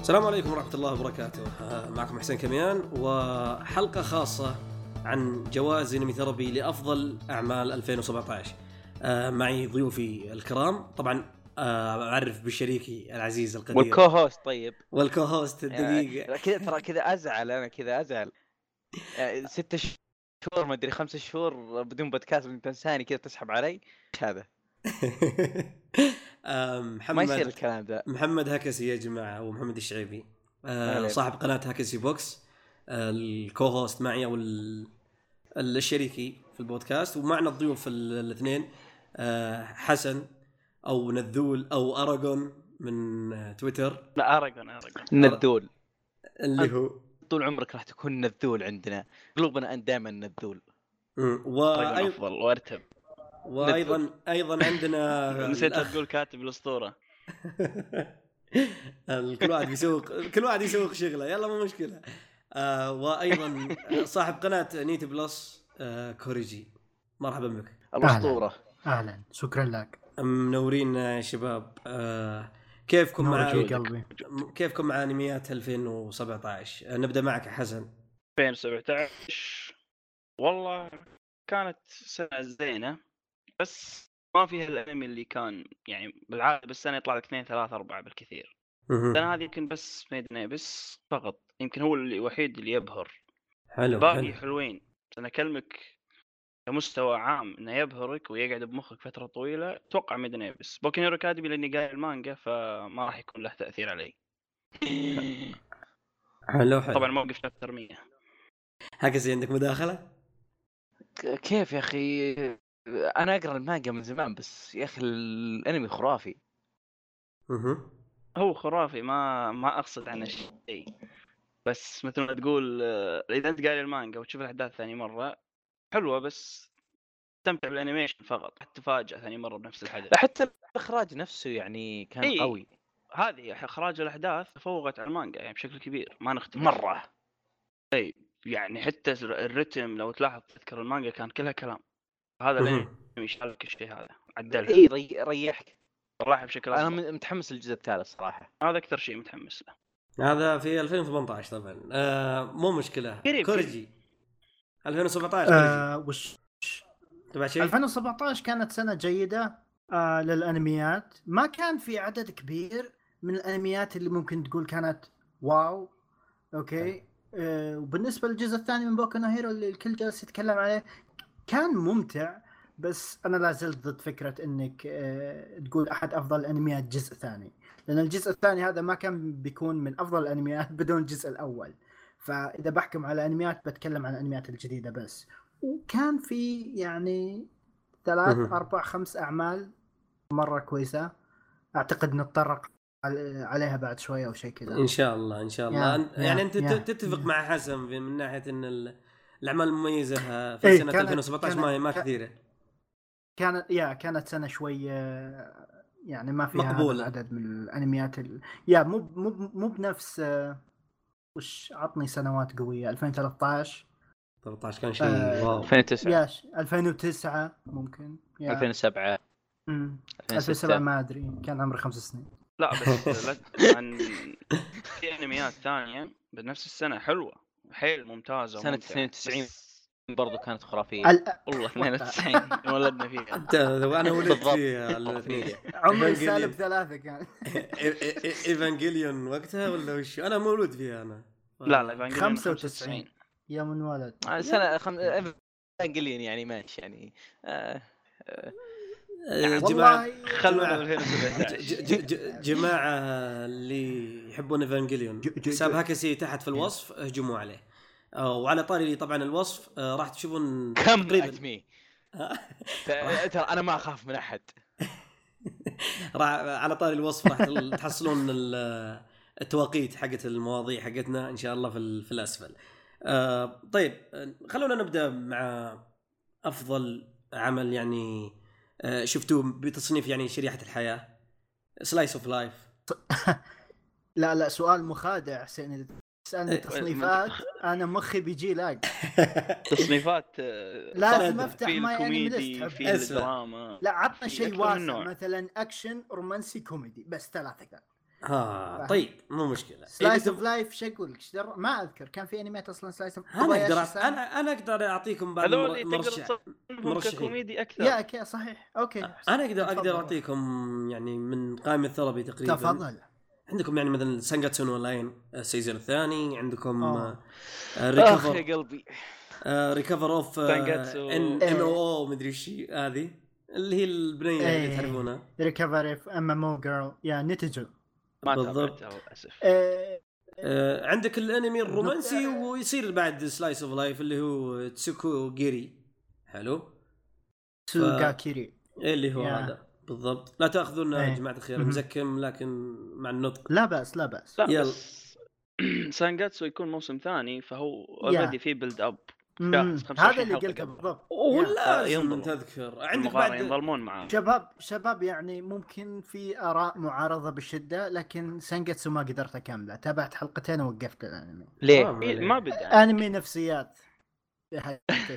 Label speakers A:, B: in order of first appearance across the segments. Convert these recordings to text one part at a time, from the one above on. A: السلام عليكم ورحمة الله وبركاته آه، معكم حسين كميان وحلقة خاصة عن جوائز انمي ثيرابي لأفضل أعمال 2017 آه، معي ضيوفي الكرام طبعا آه، أعرف بشريكي العزيز القدير
B: والكو هوست طيب
A: والكو هوست الدقيقة
B: آه، كذا ترى كذا ازعل انا كذا ازعل آه، ستة ش- شهور ما ادري خمسة شهور بدون بودكاست انت انساني كذا تسحب علي ايش هذا؟
A: آه،
B: ما يصير
A: محمد
B: الكلام ذا
A: محمد هكسي يا جماعة ومحمد الشعيبي
B: هلا
A: آه،
B: يا
A: صاحب قناة هكسي بوكس آه، الكو هوست معي او ال- ال- الشريكي في البودكاست ومعنا الضيوف ال- الاثنين آه، حسن او نذول او اراغون من آه، تويتر
C: لا اراجون اراجون
B: نذول
A: اللي هو
B: طول عمرك راح تكون نذول عندنا قلوبنا ان دائما نذول
A: مم.
C: اراجون
A: وأي-
C: افضل طيب، وارتب
A: وايضا ايضا عندنا
C: نسيت
A: الأخ-
C: تقول كاتب الاسطوره
A: كل واحد يسوق كل واحد يسوق شغله يلا مو مشكله آه وايضا صاحب قناه نيت بلس آه كوريجي مرحبا بك
B: الاسطوره
D: اهلا شكرا لك
A: منورين يا شباب آه كيفكم مع
D: نورك
B: معاك.
D: في قلبي
A: كيفكم مع انميات 2017 آه نبدا معك حسن
C: 2017 والله كانت سنه زينه بس ما فيها الانمي اللي كان يعني بالعاده بالسنه يطلع لك اثنين ثلاثة أربعة بالكثير
A: مهم.
C: السنه هذه يمكن بس ميدن ابس فقط يمكن هو اللي- الوحيد اللي يبهر
A: حلو
C: باقي
A: حلو
C: حلوين بس انا اكلمك كمستوى عام انه يبهرك ويقعد بمخك فتره طويله اتوقع ميدن ابس بوكي هيرو اكاديمي لاني قاري المانجا فما راح يكون له تاثير علي
A: حلو حلو
C: طبعا
A: طبعا
C: موقف شابتر 100
A: هكذا عندك مداخله؟
B: ك- كيف يا اخي انا اقرا المانجا من زمان بس يا اخي الانمي خرافي
A: مهم.
C: هو خرافي ما ما اقصد عنه شيء بس مثل ما تقول آه، اذا انت قاري المانجا وتشوف الاحداث ثاني مره حلوه بس تستمتع بالانيميشن فقط تتفاجئ ثاني مره بنفس الحدث
B: لا حتى الاخراج نفسه يعني كان
C: إيه.
B: قوي
C: هذه اخراج الاحداث تفوقت على المانجا يعني بشكل كبير ما نختلف
B: مره
C: يعني حتى الر- الرتم لو تلاحظ تذكر المانجا كان كلها كلام هذا الانمي
A: مهم.
C: شالك الشيء هذا عدلها
B: اي ري- ريحك
C: صراحه بشكل
B: انا
C: أفضل.
B: م- متحمس للجزء الثالث صراحه
C: هذا اكثر شيء متحمس له
A: هذا في 2018 طبعا آه مو مشكله
C: قريب، قريب.
A: كوريجي 2017 كوريجي
D: آه وش
A: تبع شيء؟
D: 2017 كانت سنه جيده آه للانميات ما كان في عدد كبير من الانميات اللي ممكن تقول كانت واو اوكي آه وبالنسبه للجزء الثاني من بوكو نو هيرو اللي الكل جالس يتكلم عليه كان ممتع بس انا لا زلت ضد فكره انك آه تقول احد افضل الانميات جزء ثاني لان الجزء الثاني هذا ما كان بيكون من افضل الانميات بدون الجزء الاول فاذا بحكم على انميات بتكلم عن الانميات الجديده بس وكان في يعني ثلاث
A: مهم.
D: اربع خمس اعمال مره كويسه اعتقد نتطرق على- عليها بعد شويه او شيء كذا
A: ان شاء الله ان شاء الله
D: يا-
A: أنت-
D: يا-
A: يعني انت
D: يا-
A: تت- تتفق
D: يا.
A: مع حسن في- من ناحيه ان ال- الاعمال المميزه في
D: إيه،
A: سنه
D: كانت-
A: 2017 ما
D: كانت-
A: ما
D: كا-
A: كثيره
D: كانت يا كانت سنه شويه يعني ما فيها
A: مقبولة.
D: مقبولة. عدد من الانميات ال... يا مو ب- مو ب- مو بنفس آه، وش عطني سنوات قويه 2013
A: 13 كان شيء
D: آه،
A: واو
B: 2009
D: يا ش- 2009 ممكن يا
B: 2007
D: مم. 2007
B: 2007
D: ما ادري كان عمري خمس سنين
C: لا بس لا تتكلم عن في انميات ثانيه بنفس السنه حلوه حيل ممتازه
B: سنة
C: وممتعة،
B: 92.
C: بس
B: برضو كانت خرافيه
D: ال-
C: والله 92 انولدنا فيها
A: أنت- انا ولدت
B: بالضبط.
A: فيها الاثنين
D: عمري
A: Evangelion.
D: سالب ثلاثه كان
A: ايفانجيليون وقتها ولا وش انا مولود فيها انا
C: لا لا Evangelion
D: 95. يوم انولد
B: آه، سنه خم... انجلين يعني ماشي يعني آه،
A: آه، جماعه
D: والله
C: خلونا
A: جماعة-
C: ب 2017
A: ج- ج- ج- جماعه اللي يحبون ايفانجيليون
D: ج- ج-
A: حساب
D: ج-
A: هاكسي تحت
D: إيه.
A: في الوصف اهجموا عليه آه، وعلى طاري طبعا الوصف آه، راح تشوفون
B: كم
A: تقريباً.
B: اتمي ترى انا ما اخاف من احد
A: راح على طاري الوصف راح تل- تحصلون ال- التواقيت حقت المواضيع حقتنا ان شاء الله في, ال- في الاسفل. آه طيب آه، خلونا نبدا مع افضل عمل يعني آه شفتوه بتصنيف يعني شريحه الحياه سلايس اوف لايف
D: لا لا سؤال مخادع حسين اذا تسالني
A: إيه،
D: تصنيفات انا مخي بيجي لاج
C: تصنيفات آه،
D: لازم
A: خادع.
D: افتح
C: في
D: ماي انمي ليست
C: الكوميدي
D: حبيبي.
C: في
A: أسمع.
C: الدراما
D: لا عطنا
C: في أكثر
D: شيء
C: من نوع.
D: واسع مثلا اكشن رومانسي كوميدي بس ثلاثه كذا
A: ها طيب مو مشكله إذا
D: سلايس اوف
A: تب-
D: لايف ايش اقول لك؟ إيش در- ما اذكر كان في انميات اصلا سلايس اوف
A: انا اقدر انا انا اقدر اعطيكم بعض المر-
C: هذول تقدر
A: مرشح
C: تصنفهم
A: مرشحين.
C: ككوميدي
D: يا
C: اكثر
D: اوكي صحيح اوكي
A: انا اقدر
D: تفضل.
A: اقدر اعطيكم يعني من قائمه ثربي تقريبا
D: تفضل
A: عندكم يعني مثلا سانجاتسون لاين آه، السيزون الثاني عندكم
D: آه.
B: اخ
A: ريكفر
B: يا قلبي
A: ريكفر اوف
C: Sangatsu.
A: ان
D: إيه.
A: ام او او مدري ايش هي هذه اللي هي البنيه
D: إيه.
A: اللي تعرفونها
D: ريكفري ام ام او جيرل يا نتجو
C: ما
A: بالضبط.
C: تابعتها للاسف
D: آه،
A: آه، عندك الانمي الرومانسي ويصير بعد سلايس اوف لايف اللي هو تسوكو جيري حلو
D: تسوغاكيري
A: اللي هو
D: Yeah.
A: هذا بالضبط لا تاخذونا يا
D: إيه.
A: جماعه الخير
D: مهم.
A: مزكم لكن مع النطق
D: لا باس لا باس
C: لا
A: يلا.
C: بس سانجاتسو يكون موسم ثاني فهو
D: يا.
C: اوريدي في بيلد اب
D: مم،
C: شهر، 25
D: هذا اللي
C: حلقة
D: قلته
C: قبل.
D: بالضبط يا.
A: ولا
C: ينظلم.
A: تذكر عندك
C: المقارنه
A: بعد
C: ينظلمون معاه
D: شباب شباب يعني ممكن في اراء معارضه بالشده لكن سانجاتسو ما قدرت اكمله تابعت حلقتين ووقفت الانمي
B: ليه؟
C: إيه، ما بدا
D: انمي نفسيات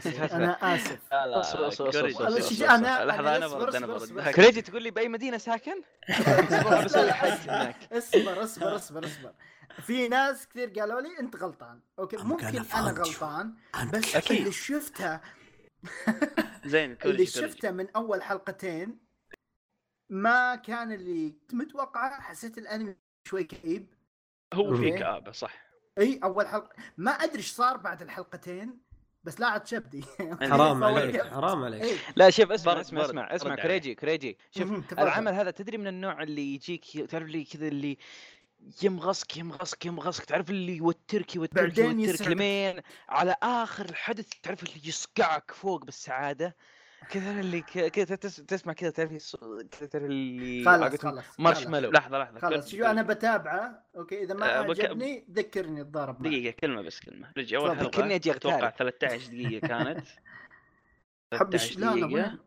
D: انا اسف
B: لا لا
C: أصبر- أصبر-
B: كوريجي.
C: أصبر- أصبر-
D: أنا- أنا
C: لحظه انا
D: أصبر-
C: برد انا
D: أصبر-
C: برد
D: أصبر.
C: دهك.
B: كريجي تقول لي باي مدينه ساكن؟ بسوي حد هناك
D: اصبر اصبر اصبر اصبر في ناس كثير قالوا لي انت غلطان اوكي
A: I'm
D: ممكن
A: gonna
D: انا
A: find you.
D: غلطان بس اللي شفتها
C: زين
D: اللي
C: كوريجي كوريجي.
D: شفته من اول حلقتين ما كان اللي كنت متوقعه حسيت الانمي شوي كئيب
C: هو في
D: أوكي.
C: كابه صح
D: اي اول حلقه إيه، ما ادري ايش صار بعد الحلقتين بس لا عاد شبدي
A: حرام
D: فوقفت.
A: عليك حرام عليك
D: اي
B: لا شوف اسمع
C: برد-
B: اسمع
C: برد.
B: اسمع
C: رد
B: اسمع
C: عليه.
B: كريجي كريجي شوف
D: مهم، تفضل.
B: العمل هذا تدري من النوع اللي يجيك تعرف لي كذا اللي يمغصك يمغصك يمغصك تعرف اللي يوترك يوترك
D: بعدين
B: يوترك
D: يسعدك.
B: لمين على اخر الحدث تعرف اللي يصقعك فوق بالسعاده كذا اللي ك- كذا تس- تسمع كذا تعرف الص- كذا تعرف اللي
D: خلاص
B: عقدهم
D: خلاص
B: مارشميلو
C: لحظه لحظه
D: خلاص
C: كوريجي،
D: شو انا بتابعه اوكي اذا ما
A: أه،
C: آه، بك-
D: عجبني ذكرني الضارب معك.
C: دقيقه كلمه بس كلمه كوريجي اول
D: تفضل.
C: حلقه
B: كأني أجي أغتالي.
C: اتوقع 13 دقيقه كانت
D: حب
C: 13
D: الشلالة
C: دقيقه
D: وين؟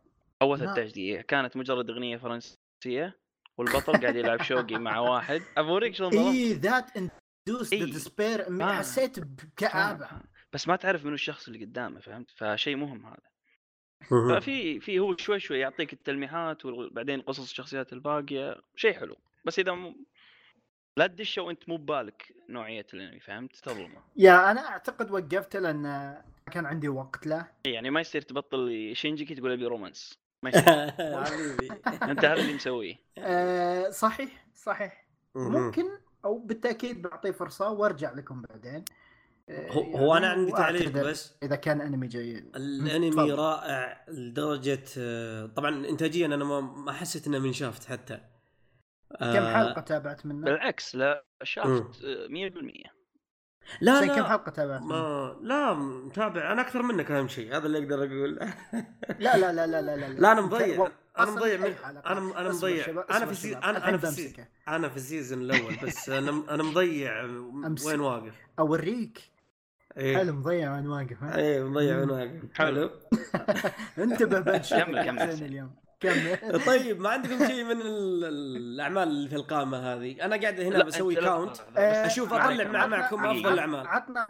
C: اول
D: لا.
C: 13 دقيقه كانت مجرد اغنيه فرنسيه والبطل قاعد يلعب شوقي مع واحد ابوريك شلون ظلمت.
D: اي ذات اندوس ذا
A: إيه.
C: إي.
D: ديسبير
C: آه.
D: حسيت بكآبه
A: آه.
C: بس ما تعرف من الشخص اللي قدامه فهمت فشيء مهم هذا
A: مهم.
C: ففي في هو شوي شوي يعطيك التلميحات وبعدين قصص الشخصيات الباقيه شيء حلو بس اذا م... لا تدش وانت مو ببالك نوعيه الانمي فهمت تظلمه
D: يا انا اعتقد وقفته لان ما كان عندي وقت له
C: يعني ما يصير تبطل شينجيكي تقول ابي رومانس ما يصير
A: حبيبي
C: انت هذا اللي مسويه
D: أه صحيح صحيح
A: مهم.
D: ممكن او بالتاكيد بعطيه فرصه وارجع لكم بعدين أه،
A: هو هو انا
D: يعني
A: عندي تعليق
D: وأعتذر
A: بس
D: اذا كان انمي جيد
A: الانمي
D: تفضل.
A: رائع لدرجه آه، طبعا انتاجيا انا ما ما حسيت انه منشافت حتى آه.
D: كم حلقه تابعت منه؟
C: بالعكس لا شافت آه، 100%
A: لا
D: حسين، كم
A: لا
D: حلقه تابعت منه؟
A: ما لا متابع انا اكثر منك اهم شيء هذا اللي اقدر اقول
D: لا لا لا لا لا لا
A: لا انا مضيع انا
D: أصلاً إيه.
A: مضيع
D: أي
A: من-
D: حلقة.
A: انا انا
D: اصبر
A: مضيع
D: شباب،
A: انا
D: اصبر
A: في سي...
D: شباب،
A: انا انا
D: الحين
A: في سي...
D: بمسكه.
A: انا في السيزون الاول بس انا انا مضيع
D: أمسك.
A: وين واقف
D: اوريك حلو
A: ايه
D: مضيع وانا واقف ها؟
A: ايه مضيع وين واقف
C: حلو.
A: حلو
D: انتبه بنشر
C: كمل، كمل.
D: اليوم كمل
A: طيب ما عندكم شيء من ال- الاعمال اللي في القائمه هذه انا قاعد هنا
C: لا،
A: بسوي
C: أنت لا-
A: كاونت
D: آه،
A: أشوف
D: عطنا-
A: أطلع مع- معكم
D: عطنا-
A: أفضل الأعمال.
D: عطنا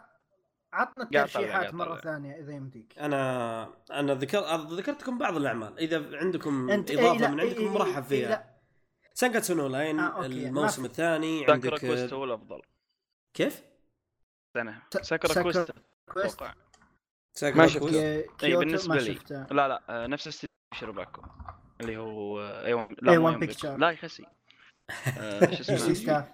D: عطنا
C: قاعد
D: الترشيحات
C: أطلع-
D: مره
C: قاعد أطلع.
D: ثانيه اذا يمديك
A: انا انا ذكر ذكرتكم بعض الاعمال اذا عندكم
D: أنت- إيه،
A: اضافه
D: لا،
A: من
D: إيه،
A: عندكم
D: إيه،
A: مرحب
D: إيه،
A: فيها
D: لا.
A: سانكاتسو نو لاين
D: آه، أوكي، ما
A: الموسم
D: في.
A: الثاني
C: ساكورا
A: إيه عندك آه.
C: كويست هو الافضل
A: كيف؟
C: انا
D: سا-
C: ساكورا
D: ساكورا
C: كويست
D: كويست
C: اتوقع
A: ساكورا
B: ما شفته.
A: كويست.
D: كي- كيوتو
C: طيب، بالنسبة
D: ما
C: لي.
D: شفته
C: لا لا آه، نفس استديو شيروباكو اللي هو آه، اي 1
D: A1
C: لا مو A1
D: Picture.
C: لا يا خسي آه، شو
D: جي
C: اسمه
D: ستاف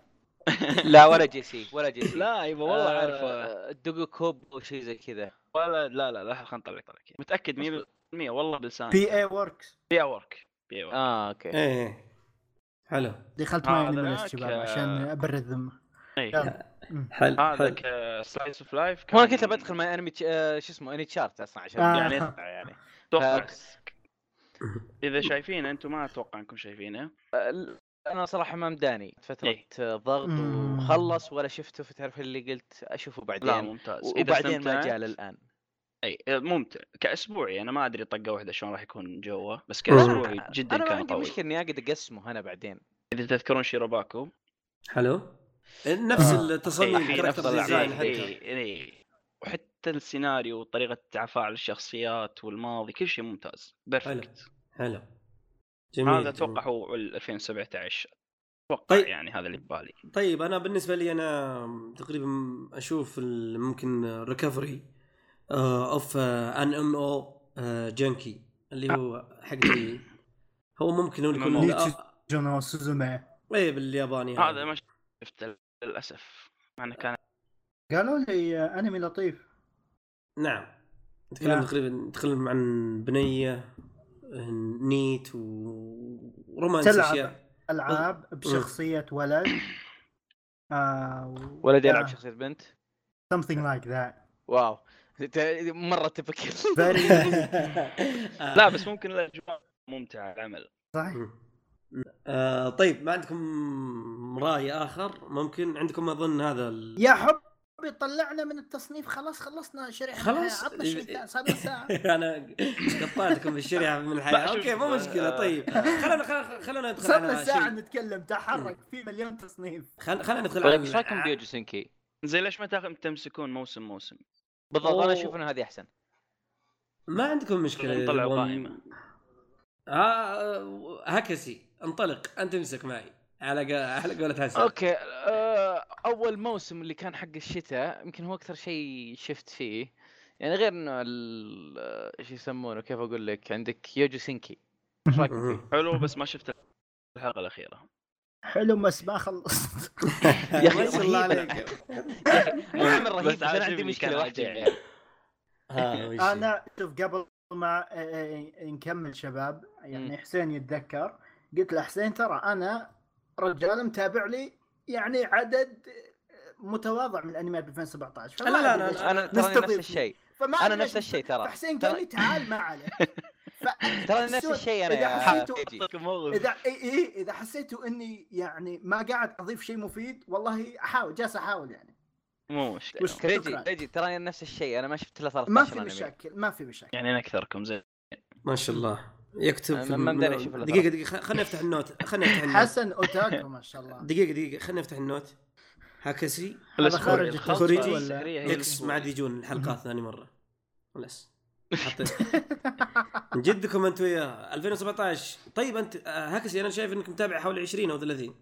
B: لا ولا جي سي ولا جي سي
C: لا ايوه والله
B: آه،
C: عارفه
B: دقو كوب او شيء زي كذا
C: ولا لا لا لا خلنا نطلع طلع متاكد 100% والله بلساني
D: بي اي وركس
C: بي ورك بي ورك
B: اه اوكي
A: ايه حلو
D: دخلت
C: آه،
D: معي من
C: هذاك،
D: الشباب
C: آه.
D: عشان ابرد ذمه يلا. مم.
A: حلو حلو
C: إيه. هذاك آه، سلايس اوف لايف
B: هو انا كنت بدخل مع انمي تش- آه، شو اسمه اني تشارت اصلا عشان
D: آه.
B: يعني يطلع يعني
C: اتوقع
A: آه.
B: فأكس.
C: اذا شايفينه انتم ما اتوقع انكم شايفينه
B: انا صراحه ما مداني فتره
C: إيه.
B: آه، ضغط
D: مم.
B: وخلص ولا شفته فتعرف اللي قلت اشوفه
C: لا
B: بعدين
C: ممتاز
B: و-
C: إذا
B: وبعدين ما
C: استمتعت-
B: جاء للان
C: اي آه، ممتع كاسبوعي انا ما ادري طقه واحده شلون راح يكون جوه بس
A: لا،
C: كاسبوعي
B: أنا-
C: جدا
B: انا ما
C: كان
B: عندي
C: قوي
B: مشكله اني اقعد اقسمه انا بعدين
C: اذا تذكرون شيروباكو
A: حلو نفس
D: آه.
A: التصميم
C: إيه،
A: كاركتر
C: أفضل
A: ديزاين
C: الأعمال.
A: حتى
C: إيه، إيه. وحتى السيناريو وطريقه تفاعل الشخصيات والماضي كل شيء ممتاز بيرفكت
A: حلو جميل
C: هذا
A: جميل.
C: اتوقع هو ال 2017 اتوقع
A: طيب.
C: طيب. يعني هذا اللي ببالي
A: طيب انا بالنسبه لي انا تقريبا اشوف ال- ممكن آه، ريكفري اوف ان ام او جنكي آه، اللي هو حق ال- هو ممكن هو يكون
D: MMO.
A: آه،
D: جونو سوزومي
A: ايه بالياباني
C: هذا ما شفته للاسف مع انه كان
D: قالوا لي آه، انمي لطيف
A: نعم تكلم
D: نعم.
A: تقريبا تكلم عن بنيه نيت و- ورومانس
D: تلعب.
A: اشياء
D: العاب بشخصيه ولد آه،
B: ولد يلعب شخصيه بنت
D: something like that
B: واو ت- مره تفكر
D: very
C: لا بس ممكن
B: طيب،
C: الاجواء ممتعه على العمل
D: صح
A: آه طيب ما عندكم راي اخر ممكن عندكم اظن هذا ال...
D: يا حبي طلعنا من التصنيف خلاص خلصنا شريحه
A: خلاص.
D: عطنا شريحه صار ساعه
A: انا قطعتكم في الشريحه من الحياه
C: لا، شوف،
A: اوكي مو مشكله
C: آه،
A: طيب خلونا خلونا خلونا ندخل
D: صرنا
A: على
D: ساعه
A: شيء
D: نتكلم تحرك في مليون تصنيف
A: خل- خلونا ندخل على
B: طيب ايش رايكم ديوجو سنكي؟
C: زي ليش ما تاخذ تمسكون موسم موسم
B: بالضبط انا
A: أوه.
B: اشوف ان هذه احسن
A: ما عندكم مشكله
C: نطلعوا
A: يبغون-
C: قائمة.
A: آه هكسي انطلق انت امسك معي على قا- على قولة حسن
B: اوكي آه، اول موسم اللي كان حق الشتاء يمكن هو اكثر شيء شفت فيه يعني غير انه ال- آه، ايش يسمونه كيف اقول لك عندك يوجو سينكي ايش رايكم فيه؟
A: مهم.
C: حلو بس ما شفت الحلقه الاخيره
D: حلو بس ما خلصت
B: يا أخي
A: ما شاء الله
B: رهيب.
A: عليك
B: يا أخي، مو عمل نعم، رهيب
C: بس
B: بس انا عندي يعني.
C: عاجبني،
B: مشكله
C: كان يعني.
B: واحده
C: عاجبني.
B: يا عيال. آه،
A: ها، وش-
D: انا شوف قبل ما آه، آه، نكمل شباب يعني
B: مم.
D: حسين يتذكر قلت له حسين ترى انا رجال متابع لي يعني عدد متواضع من الانميات ب 2017 فما
A: لا، لا،
D: أدري
A: لا،
D: ليش.
A: لا.
B: انا ترى نفس
D: نستضيفني.
B: الشيء
D: فما
B: انا
D: أدري
B: نفس
D: ليش-
B: الشيء ترى
D: فحسين قال لي تعال ما عليك
B: ترى نفس الشيء انا
D: إذا
B: يا
D: حسيتوا-
B: فيجي.
D: اذا اي اي اذا إيه، حسيتوا اني يعني ما قاعد اضيف شيء مفيد والله احاول جالس احاول يعني
C: مو مشكله
D: وش-
B: كريجي
D: شكراً.
B: كريجي ترى نفس الشيء انا ما شفت الا 13
D: ما في
B: أنمي.
D: مشاكل ما في مشاكل
C: يعني انا اكثركم زي
A: ما شاء الله يكتب
B: أنا
A: في
B: ما
A: الم-
B: أقدر أشوف إلا
A: دقيقه دقيقه خليني افتح النوت خليني
B: يعني
A: افتح النوت
D: حسن اوتاكو ما شاء الله
A: دقيقه دقيقه خليني افتح النوت هكسي
D: هذا خارج
C: الخلطة
A: التخريجي.
C: السحرية
B: إيه.
C: هي
A: اكس ما عاد
C: الأسبوعية.
A: يجون الحلقات ثاني مره خلاص حطيت من جدكم انتم وياه 2017 طيب انت آه، هكسي انا شايف انك متابع حوالي 20 او 30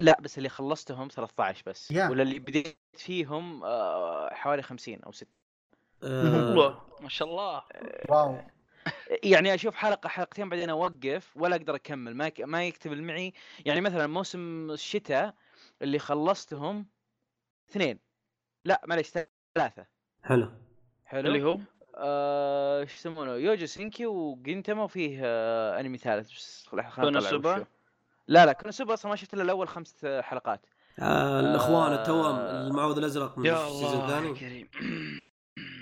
B: لا بس اللي خلصتهم 13 بس
D: يا.
B: ولا اللي بديت فيهم آه، حوالي 50 او 60
A: آه،
C: والله ما شاء الله
D: واو
B: يعني اشوف حلقه حلقتين بعدين اوقف ولا اقدر اكمل ما يك- ما يكتمل معي يعني مثلا موسم الشتاء اللي خلصتهم اثنين لا معليش ثلاثه
A: حلو
B: حلو
C: اللي هو
B: آه، ايش يسمونه يوجو سينكي وجنتما وفيه آه انمي ثالث بس خل- خلنا نطلع
C: كونوسوبا؟
B: وشو. لا لا كونوسوبا اصلا ما شفت الا الاول خمس آه، حلقات
A: آه، الاخوان
B: آه.
A: التوام المعوذ الازرق من
C: يا
A: السيزون
C: الله
A: الثاني
C: يا كريم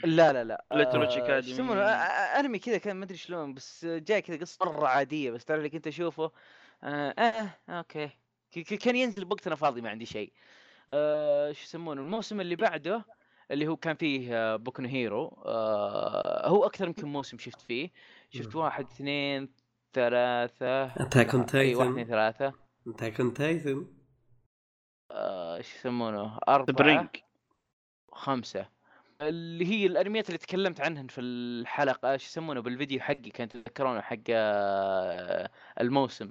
B: لا لا لا
C: Little
B: آه،
C: Witch Academy.
B: ايش يسمونه آه، آه، انمي كذا كان ما ادري شلون بس جاي كذا قصه مره عاديه بس تعرف اللي كنت اشوفه آه, اه اوكي ك- ك- كان ينزل بوقتنا فاضي ما عندي شيء آه، ايش يسمونه الموسم اللي بعده اللي هو كان فيه آه، بوكو نو هيرو آه هو اكثر يمكن موسم شفت فيه شفت واحد اثنين ثلاثة
A: اتاك اون
B: اي واحد اثنين
A: تايتن
B: ثلاثة
A: اتاك اون تايتن
B: آه، ايش يسمونه
C: ذا
B: أربعة
C: برينج
B: خمسة اللي هي الانميات اللي تكلمت عنهن في الحلقه ايش يسمونه بالفيديو حقي كان تذكرونه حق آه، الموسم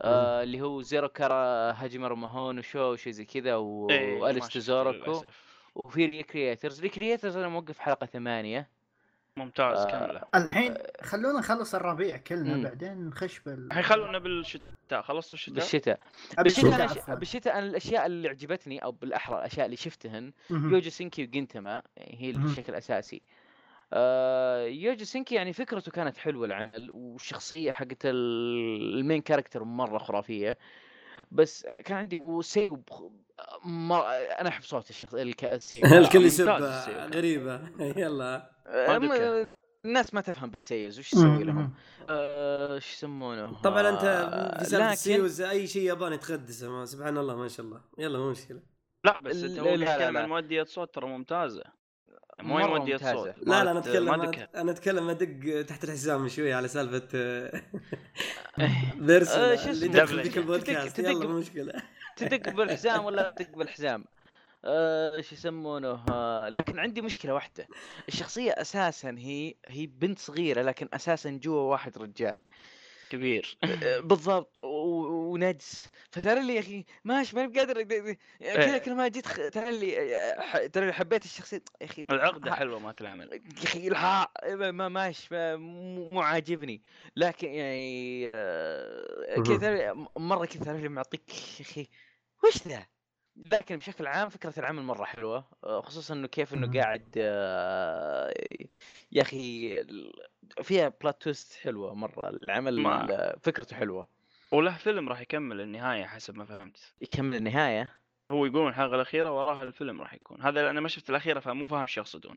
B: آه اللي هو زيرو كارا هاجمر ماهون وشو وشي زي كذا و-
C: إيه، ما
B: واليس
C: شفته
B: تزوركو
C: للأسف.
B: وفي ريكريترز ريكريترز انا موقف حلقه ثمانية
C: ممتاز
B: آه.
C: كامله
D: الحين خلونا نخلص الربيع كلنا
B: مم.
D: بعدين نخش بال
C: الحين خلونا بالشتاء خلصتوا الشتاء
B: بالشتاء
D: أبي
B: بالشتاء
D: شتاء
B: أنا ش-
D: عفواً.
B: بالشتاء انا الاشياء اللي عجبتني او بالاحرى الاشياء اللي شفتهن
D: مهم.
B: يوجو سينكي وجنتما يعني هي
D: مهم.
B: الشكل الاساسي آه، يوجو سينكي يعني فكرته كانت حلوه العمل والشخصيه حقت ال- المين كاركتر مره خرافيه بس كان عندي وسي بخ... مر... انا احب صوت الشخص الك... السيو.
A: الكل
C: ممتاز
A: يسب
C: السيو.
A: غريبه يلا
B: آه،
C: ما أدري
A: يعني.
B: م- الناس ما تفهم بالسيوز وش
D: مهم.
B: تسوي لهم؟ آه، ايش يسمونه؟
A: طبعا انت
B: آه،
A: في سالفه
B: لكن-
A: السيوز اي شيء ياباني تقدسه ما- سبحان الله ما شاء الله يلا مو مشكله
C: لا بس انت
B: لا،
C: هو
B: لا، لا،
C: بيتكلم
B: لا.
C: عن مؤدية صوت ترى ممتازه مو
B: مرة
C: هي مؤدية
B: ممتازة.
C: صوت
A: لا لا انا
C: مالت- آه،
A: اتكلم
C: ما
A: انا أنا اتكلم ادق تحت الحزام من شوي على سالفه فيرس
B: آه، شو
A: اللي
B: اسمه؟
A: دخل
C: دبلجة.
A: ذيك البودكاست
B: تدق- تدق-
A: يلا مو مشكله
B: تدق بالحزام ولا تدق بالحزام آه، ايش يسمونه آه، لكن عندي مشكله واحده الشخصيه اساسا هي هي بنت صغيره لكن اساسا جوا واحد رجال
C: كبير
B: آه، بالضبط و- و- ونجس فترى اللي يا اخي ماشي ماني بقادر كذا كل ما جيت خ- ترى اللي ح- ترى اللي حبيت الشخصيه يا اخي
C: العقده
B: ها-
C: حلوه ما تلعمل
B: يا اخي الها ما ماش ما- مو مو عاجبني لكن يعني آه،
A: مهم.
B: كذا مره كذا تعرف اللي معطيك يا اخي وش ذا؟ لكن بشكل عام فكره العمل مره حلوه آه، خصوصا انه كيف انه
A: مهم.
B: قاعد آه، يا اخي ال- فيها بلات تويست حلوه مره العمل
C: ما-
B: آه، فكرته حلوه
C: وله فيلم راح يكمل النهايه حسب ما فهمت
B: يكمل النهايه
C: هو يقول الحلقه الاخيره وراها الفيلم راح يكون هذا انا ما شفت الاخيره فمو فاهم ايش يقصدون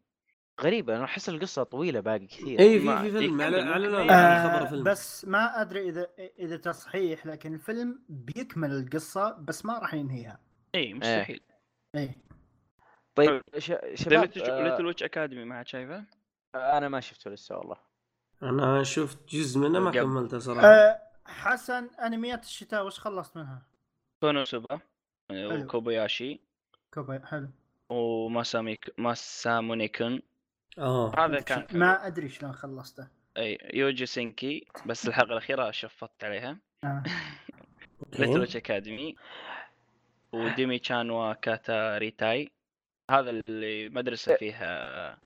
B: غريبه انا احس القصه طويله باقي كثير
A: اي إيه، في
C: ما-
A: في فيلم
C: يكمل
A: أعلن- اعلنوا
B: يعني
C: ممكن.
A: عن خبر
D: آه،
A: فيلم
D: بس ما ادري اذا اذا تصحيح لكن الفيلم بيكمل القصه بس ما راح ينهيها إيه.
C: اي مستحيل
D: اي
B: إيه. طيب ش... شباب آه،
C: ليتل ويتش اكاديمي ما عاد شايفه؟
B: انا ما شفته لسه والله
A: انا شفت جزء منه ما
C: قبل.
A: كملته
B: آه.
A: صراحه
D: أه حسن انميات الشتاء وش خلصت منها؟
C: كونوسوبا وكوبياشي
D: كوبا حلو
C: وماساميك ماسامونيكون
A: اه
C: هذا كان حلو.
D: ما ادري شلون خلصته
C: اي يوجي سينكي بس الحلقه الاخيره شفطت عليها
D: آه.
A: إيه.
C: ليتل ويتش اكاديمي وديمي تشان وكاتا ريتاي هذا اللي
B: إيه.
C: مدرسه فيها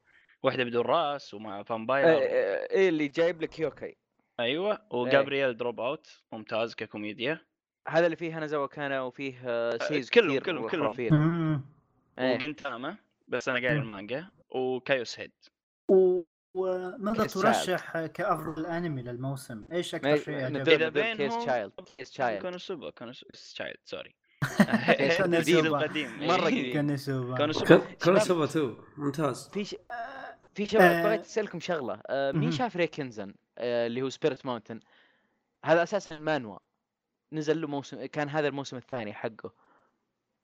C: واحده بدون راس ومع فامباير
B: ايه اللي جايب لك يوكاي
C: ايوه
B: إيه.
C: وجابرييل دروب اوت ممتاز ككوميديا
B: هذا اللي فيه هانزاوا كان وفيه آه، سيز
C: كلهم-
B: كثير
C: كلهم- كلهم.
B: وخرافير.
D: مم.
B: إيه.
C: وجنتاما بس انا قاعد المانجا وكايوس هيد
D: و- وماذا
B: كيس
D: ترشح كافضل انمي للموسم؟ ايش
B: ما-
D: اكثر شيء
B: ندور-
D: عجبك؟
C: إذا
B: ندور كيس
C: بينهم-
B: تشايلد كيس تشايلد
C: كونوسوبا كونوسوبا تشايلد سوري
D: كونوسوبا.
C: الجيل القديم إيه.
B: مرة قديم.
D: كونيسوبا.
C: كونوسوبا
A: كر- كروسوفا 2 ممتاز
B: في ش... في شباب
D: آه.
B: بغيت اسالكم شغله آه، مين
D: مهم.
B: شاف ريكنزن اللي هو سبيريت ماونتن هذا اساسا المانوا نزل له موسم كان هذا الموسم الثاني حقه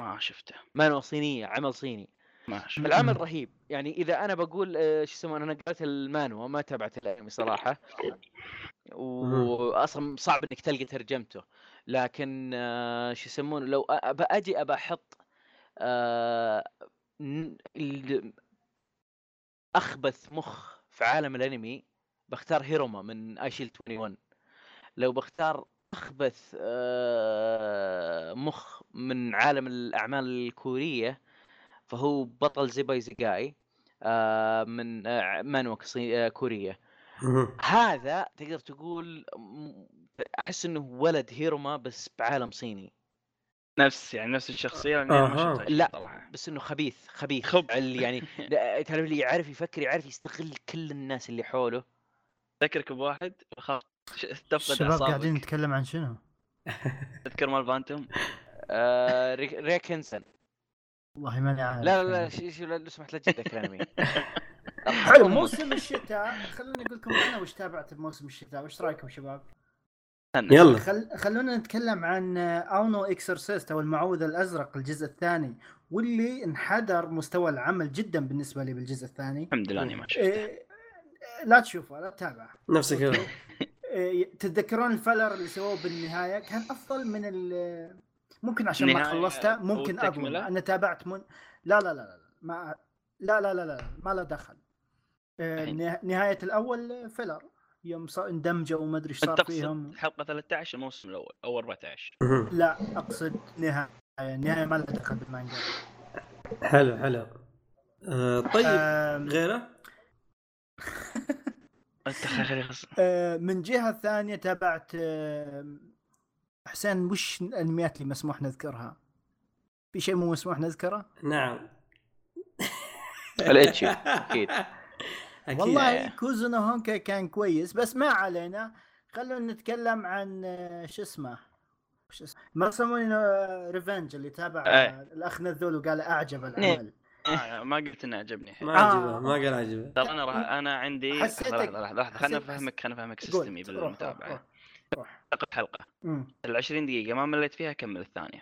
C: ما شفته
B: مانوا صينيه عمل صيني
C: ما شفته
B: العمل رهيب يعني اذا انا بقول آه، شو يسمونه انا قريت المانوا ما تابعت الانمي صراحه واصلا صعب انك تلقى ترجمته لكن آه، شو يسمونه لو أ- أبى اجي ابى احط آه، ن- ال- اخبث مخ في عالم الانمي بختار هيروما من ايشيل 21 لو بختار اخبث آه، مخ من عالم الاعمال الكوريه فهو بطل زيباي زيجاي آه، من آه، مانوا كصي- آه، كوريه
A: مهم.
B: هذا تقدر تقول م- احس انه ولد هيروما بس بعالم صيني
C: نفس يعني نفس الشخصيه لأني أنا ما
A: أها.
C: شفتها
B: لا.
C: صراحة.
B: بس انه خبيث خبيث
C: إيه، خب.
B: عل- يعني لا، تعرف اللي يعرف يفكر يعرف يستغل كل الناس اللي حوله
C: اذكرك بواحد خلاص تفقد
D: الشباب قاعدين
C: اعصابك
D: نتكلم عن شنو؟
C: تذكر مال فانتوم
B: آه ريك- ريك هنسن
D: والله ماني عارف يعني.
B: لا لا لا شو- شو- لا لو سمحت لا تجيب الانمي
D: حلو طيب، موسم الشتاء خلوني اقول لكم انا وش تابعت بموسم الشتاء وش رايكم شباب؟
A: يلا
D: خل... خلونا نتكلم عن اونو اكسورسيست او المعوذ الازرق الجزء الثاني واللي انحدر مستوى العمل جدا بالنسبه لي بالجزء الثاني
C: الحمد لله اني ما شفته
D: إيه... لا تشوفه لا تتابعه
A: نفسك يلا.
D: أوكي. إيه، تتذكرون الفلر اللي سووه بالنهايه كان افضل من ال ممكن عشان ما
C: النهاية
D: خلصته ممكن اظلم
C: والتكملة؟
D: انا تابعت من لا لا لا لا ما لا لا لا, لا ما له دخل إيه،
C: الحين.
D: نه- نهايه الاول فيلر يوم صار- اندمجوا وما ادري ايش
C: انت
D: صار فيهم
C: تقصد الحلقه 13 الموسم الاول او 14
A: مهم.
D: لا اقصد نهايه النهايه ما لها دخل بالمانجا
A: حلو حلو آه، طيب
D: آم،
A: غيره
C: انت خلي خلاص.
D: آه، من جهه ثانيه تابعت آم، حسين وش الانميات اللي مسموح نذكرها؟ في شيء مو مسموح نذكره؟
A: نعم
B: الاتشي اكيد
A: أكيد.
D: والله كوزونو هونكا كان كويس بس ما علينا خلونا نتكلم عن آه، شو اسمه شو اسمه مرسمون ريفنج آه، اللي تابع
C: إيه.
D: آه، الاخ نذول وقال اعجب
B: إيه.
D: العمل
C: آه، ما قلت انه عجبني حيل.
A: ما عجبه ما قال عجبه
C: ترى انا راح انا عندي
D: حسيتك-
C: لحظه لحظه لحظه خلنا
D: حسيت-
C: افهمك خلنا افهمك
D: قول،
C: سيستمي
D: روح، روح، روح.
C: بالمتابعه
D: روح.
C: حلقه حلقه
D: أمم،
C: ال 20 دقيقه ما مليت فيها اكمل الثانيه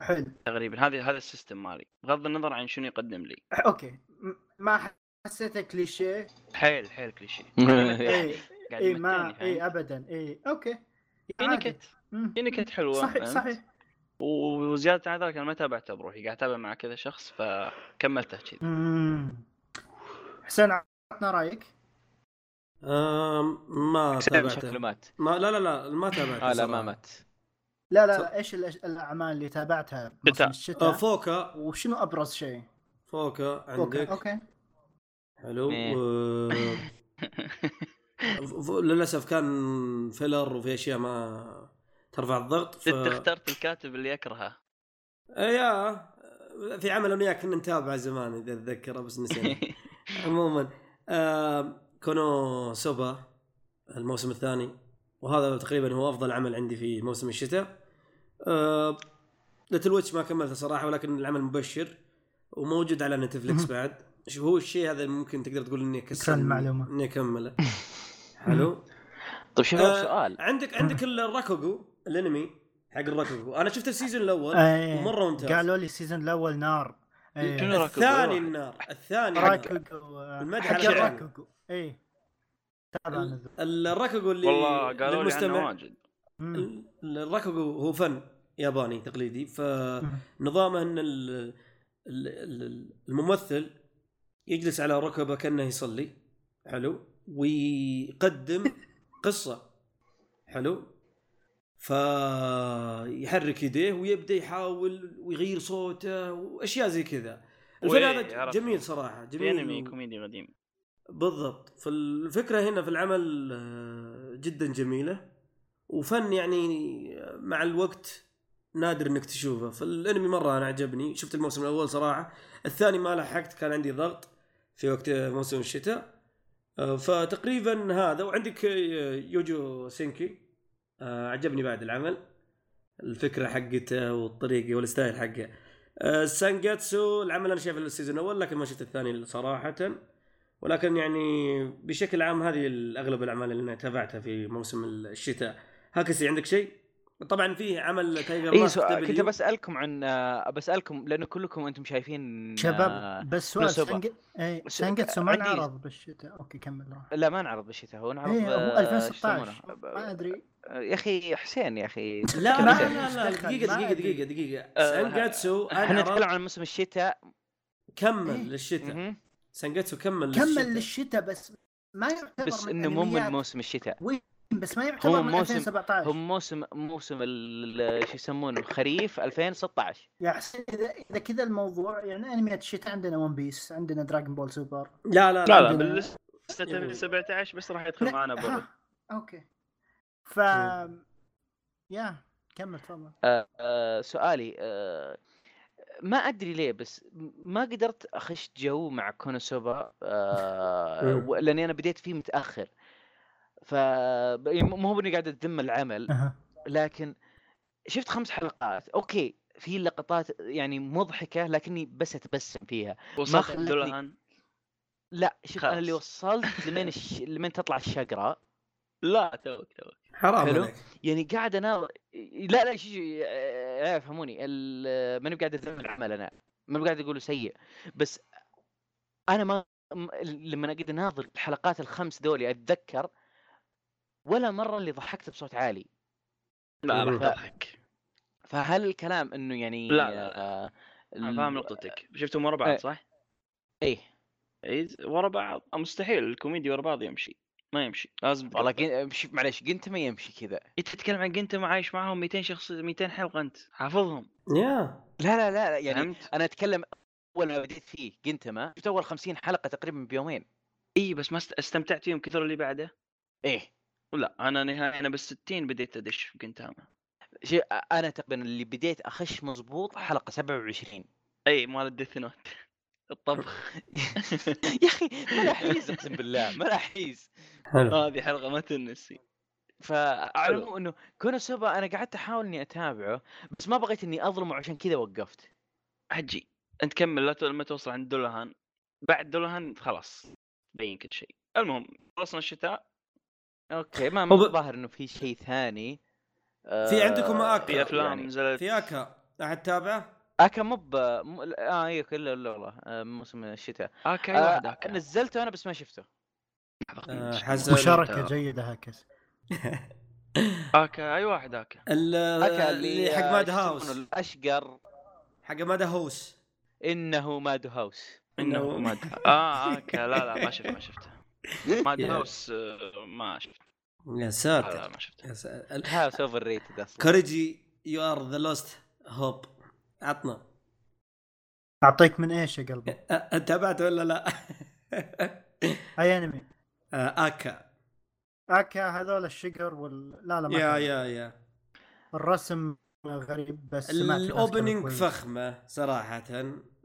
D: حلو
C: تقريبا هذا هذا السيستم مالي بغض النظر عن شنو يقدم لي
D: اوكي م- ما حسيته كليشيه
C: حيل حيل كليشيه إيه،
D: اي
C: قاعد
D: اي ما إيه،
C: يمتعني،
D: اي
C: فاهم؟
D: ابدا اي اوكي
C: في
D: عادي.
C: نكت
D: مم.
C: في نكت حلوه
D: صحيح
C: فهمت؟
D: صحيح
C: و- وزياده عن ذلك انا ما تابعته بروحي قاعد اتابع مع كذا شخص فكملته كذا
D: مم. حسين عطنا رايك
A: آم، ما تابعته
B: شكله مات
A: ما آه، لا لا لا ما تابعته
B: اه لا
A: صراحة.
B: ما مات
D: لا لا, لا ايش الأش- الاعمال اللي تابعتها موسم
C: شتاء.
A: آه،
D: الشتاء
A: فوكا
D: وشنو ابرز شيء؟
A: فوكا
D: اوكي
A: عندك
D: اوكي
A: حلو
B: إيه.
A: و... ف- للاسف كان فيلر وفي اشياء ما ترفع الضغط ف...
C: انت اخترت الكاتب اللي يكرهه
A: آه، يا في عمل انا وياك كنا نتابعه زمان اذا اتذكره بس نسينا عموما آه كونو سوبا الموسم الثاني وهذا تقريبا هو افضل عمل عندي في موسم الشتاء آه ليتل ويتش ما كملته صراحه ولكن العمل مبشر وموجود على نتفلكس
D: مهم.
A: بعد شو هو الشيء هذا اللي ممكن تقدر تقول اني كسر
D: كان معلومة.
A: اني اكمله حلو
B: طيب شباب
A: آه،
B: سؤال
A: عندك عندك الراكوغو الانمي حق الراكوغو انا شفت السيزون الاول
D: إيه.
A: ومره ممتاز
D: قالوا لي السيزون الاول نار إيه.
C: شنو راكوغو؟
A: الثاني النار الثاني النار.
D: راكوغو آه،
A: المدح
D: حق
A: على فعله.
D: راكوغو اي تابع أنا ذا.
A: الراكوغو اللي
C: والله قالوا لي عنه
A: للمستمع.
C: واجد
D: مم.
A: ال- الراكوغو هو فن ياباني تقليدي
D: مم.
A: فنظامه ان ال- ال- ال- الممثل يجلس على ركبه كانه يصلي حلو ويقدم قصه حلو فيحرك يديه ويبدا يحاول ويغير صوته واشياء زي كذا الفن
C: وإيه،
A: هذا
C: عرفته.
A: جميل صراحه
C: في
A: جميل
C: انمي
A: و-
C: كوميدي قديم
A: بالضبط فالفكره هنا في العمل آه، جدا جميله وفن يعني مع الوقت نادر انك تشوفه فالانمي مره انا عجبني شفت الموسم الاول صراحه الثاني ما لحقت كان عندي ضغط في وقت موسم الشتاء آه، فتقريبا هذا وعندك آه، يوجو سينكي آه، عجبني بعد العمل الفكره حقته والطريقه والستايل حقه آه، سانجاتسو العمل انا شايف السيزون الاول لكن ما شفت الثاني صراحه ولكن يعني بشكل عام هذه اغلب الاعمال اللي أنا تابعتها في موسم الشتاء هاكسي عندك شيء طبعا في عمل تايجر
B: اي
A: ماسك
B: إيه، سؤال كنت
A: دبليو.
B: بسالكم عن آه، بسالكم لانه كلكم انتم شايفين آه،
D: شباب بس سؤال
B: نسبة.
D: سانج- إيه،
B: س-
D: سانجتسو ما
B: عندي-
D: انعرض بالشتاء اوكي كمل راح
B: لا ما انعرض بالشتاء هو انعرض
D: ايه هو
B: آه، شو
D: 2016
B: يسمونه؟
D: ما ادري
B: آه، يا اخي حسين يا اخي
A: لا
B: كم
A: لا
B: حسين؟
A: لا لا دقيقة دقيقة دقيقة دقيقة
C: آه،
A: سانجاتسو
B: احنا أه، نتكلم
A: أنا
B: عن موسم الشتاء
A: كمل
D: إيه.
A: للشتاء
B: مهم.
A: سانجاتسو كمل
D: كمل
A: للشتاء
D: للشتاء بس ما يعتبر
B: بس
D: من
A: يعني
B: انه مو من
D: أنميات.
B: موسم الشتاء
D: بس ما يعتبر من
B: موسم-
D: 2017
B: هم موسم موسم ال- ال- شو يسمونه خريف 2016
D: يا حسين اذا اذا كذا الموضوع يعني انميات الشتاء عندنا ون بيس عندنا دراجون بول سوبر
A: لا لا
C: لا
A: لا
C: لا
D: عندنا-
C: باللسته تبي 17 بس راح يدخل
D: لا،
C: معنا برد
D: ها، اوكي ف يا كمل تفضل
B: آه، آه، سؤالي آه، ما ادري ليه بس ما قدرت اخش جو مع كونوسوبا آه،
A: مم.
B: و- لاني انا بديت فيه متاخر ف يعني مو هو اني قاعد اذم العمل
D: أها.
B: لكن شفت خمس حلقات اوكي في لقطات يعني مضحكه لكني بس اتبسم فيها
C: وصلت
B: خلتني-
C: الدولان
B: لا شوف انا اللي
C: خلاص.
B: وصلت لمين الش... لمين تطلع الشقره
C: لا توك توك
A: حرام
B: حلو.
A: عليك
B: يعني قاعد انا لا لا شو شو- آه، فهموني ال- ماني قاعد اذم العمل انا ماني قاعد اقوله سيء بس انا ما م- لما اقعد اناظر الحلقات الخمس دولي اتذكر ولا مره اللي ضحكت بصوت عالي
C: لا راح
A: لا.
C: تضحك
B: فهل الكلام انه يعني
C: لا، لا، لا.
B: آه،
C: أنا
B: ال-
C: فاهم نقطتك آه، شفتهم ورا
B: إيه.
C: بعض صح؟
B: ايه
C: اي ورا بعض آه، مستحيل الكوميدي ورا بعض يمشي ما يمشي لازم
B: والله
C: تقطع.
B: جن... مش- معليش قنت ما يمشي كذا
C: انت تتكلم عن جنت عايش معاهم 200 شخص 200 حلقه انت حافظهم
A: يا
B: لا لا لا لا، يعني
C: فهمت؟
B: انا اتكلم اول ما بديت فيه جنتما شفت اول 50 حلقه تقريبا بيومين
C: اي إيه، بس ما است- استمتعت فيهم كثر اللي بعده
B: ايه
C: إيه. لا انا نهايه انا بال 60 بديت ادش في جنتاما
B: شيء انا تقريبا اللي بديت اخش مضبوط حلقه 27
C: اي إيه، مال الديث نوت الطبخ
B: يا اخي ملاحيز اقسم بالله ملاحيز
A: حلو
C: هذه حلقه ما تنسي
B: فعلى
C: حلو.
B: العموم انه كونوسوبا انا قعدت احاول اني اتابعه بس ما بغيت اني اظلمه عشان كذا وقفت
C: حجي انت كمل لا ت- لما توصل عند دولهان بعد دولهان خلاص بين كل شيء المهم خلصنا الشتاء
B: اوكي ما
A: هو
B: ما
A: ب-
B: ظاهر انه في شيء ثاني
A: في عندكم آكا.
C: في افلام
B: يعني.
C: نزلت
A: آه، في اكا احد تابعه؟
B: اكا مو ب مو- اه اي كله الا والله آه، موسم الشتاء
C: اكا اي
B: آه،
C: واحد اكا
B: نزلته انا بس ما شفته
A: أه، آه،
C: لحظة.
A: حزن.
D: مشاركه جيده هكذا
C: اكا اي آه، واحد اكا
A: ال-
B: اكا
A: اللي حق
B: آه،
A: ماد
B: شو يسمونه
A: هاوس
B: الاشقر
A: حق ماد هاوس
B: انه ماد هاوس
A: إنه-
C: انه ما أدري. اه اكا لا لا ما شفت ما شفته ماد
A: يا.
C: هاوس آه، ما شفت
A: يا
C: لا، لا
A: ساتر
C: ما شفته
A: يا ساتر.
B: هاوس اوفر ريتد اصلا
A: كوريجي يو ار ذا لوست هوب عطنا
D: اعطيك من ايش يا قلبي؟
A: أ- تابعته ولا لا؟
D: اي انمي
A: آه، اكا
D: اكا هذول الشقر وال لا لا ما
A: يا
D: كان.
A: يا يا
D: الرسم غريب بس سمعت ناس كانوا
A: الاوبننج
D: كويس.
A: فخمه صراحه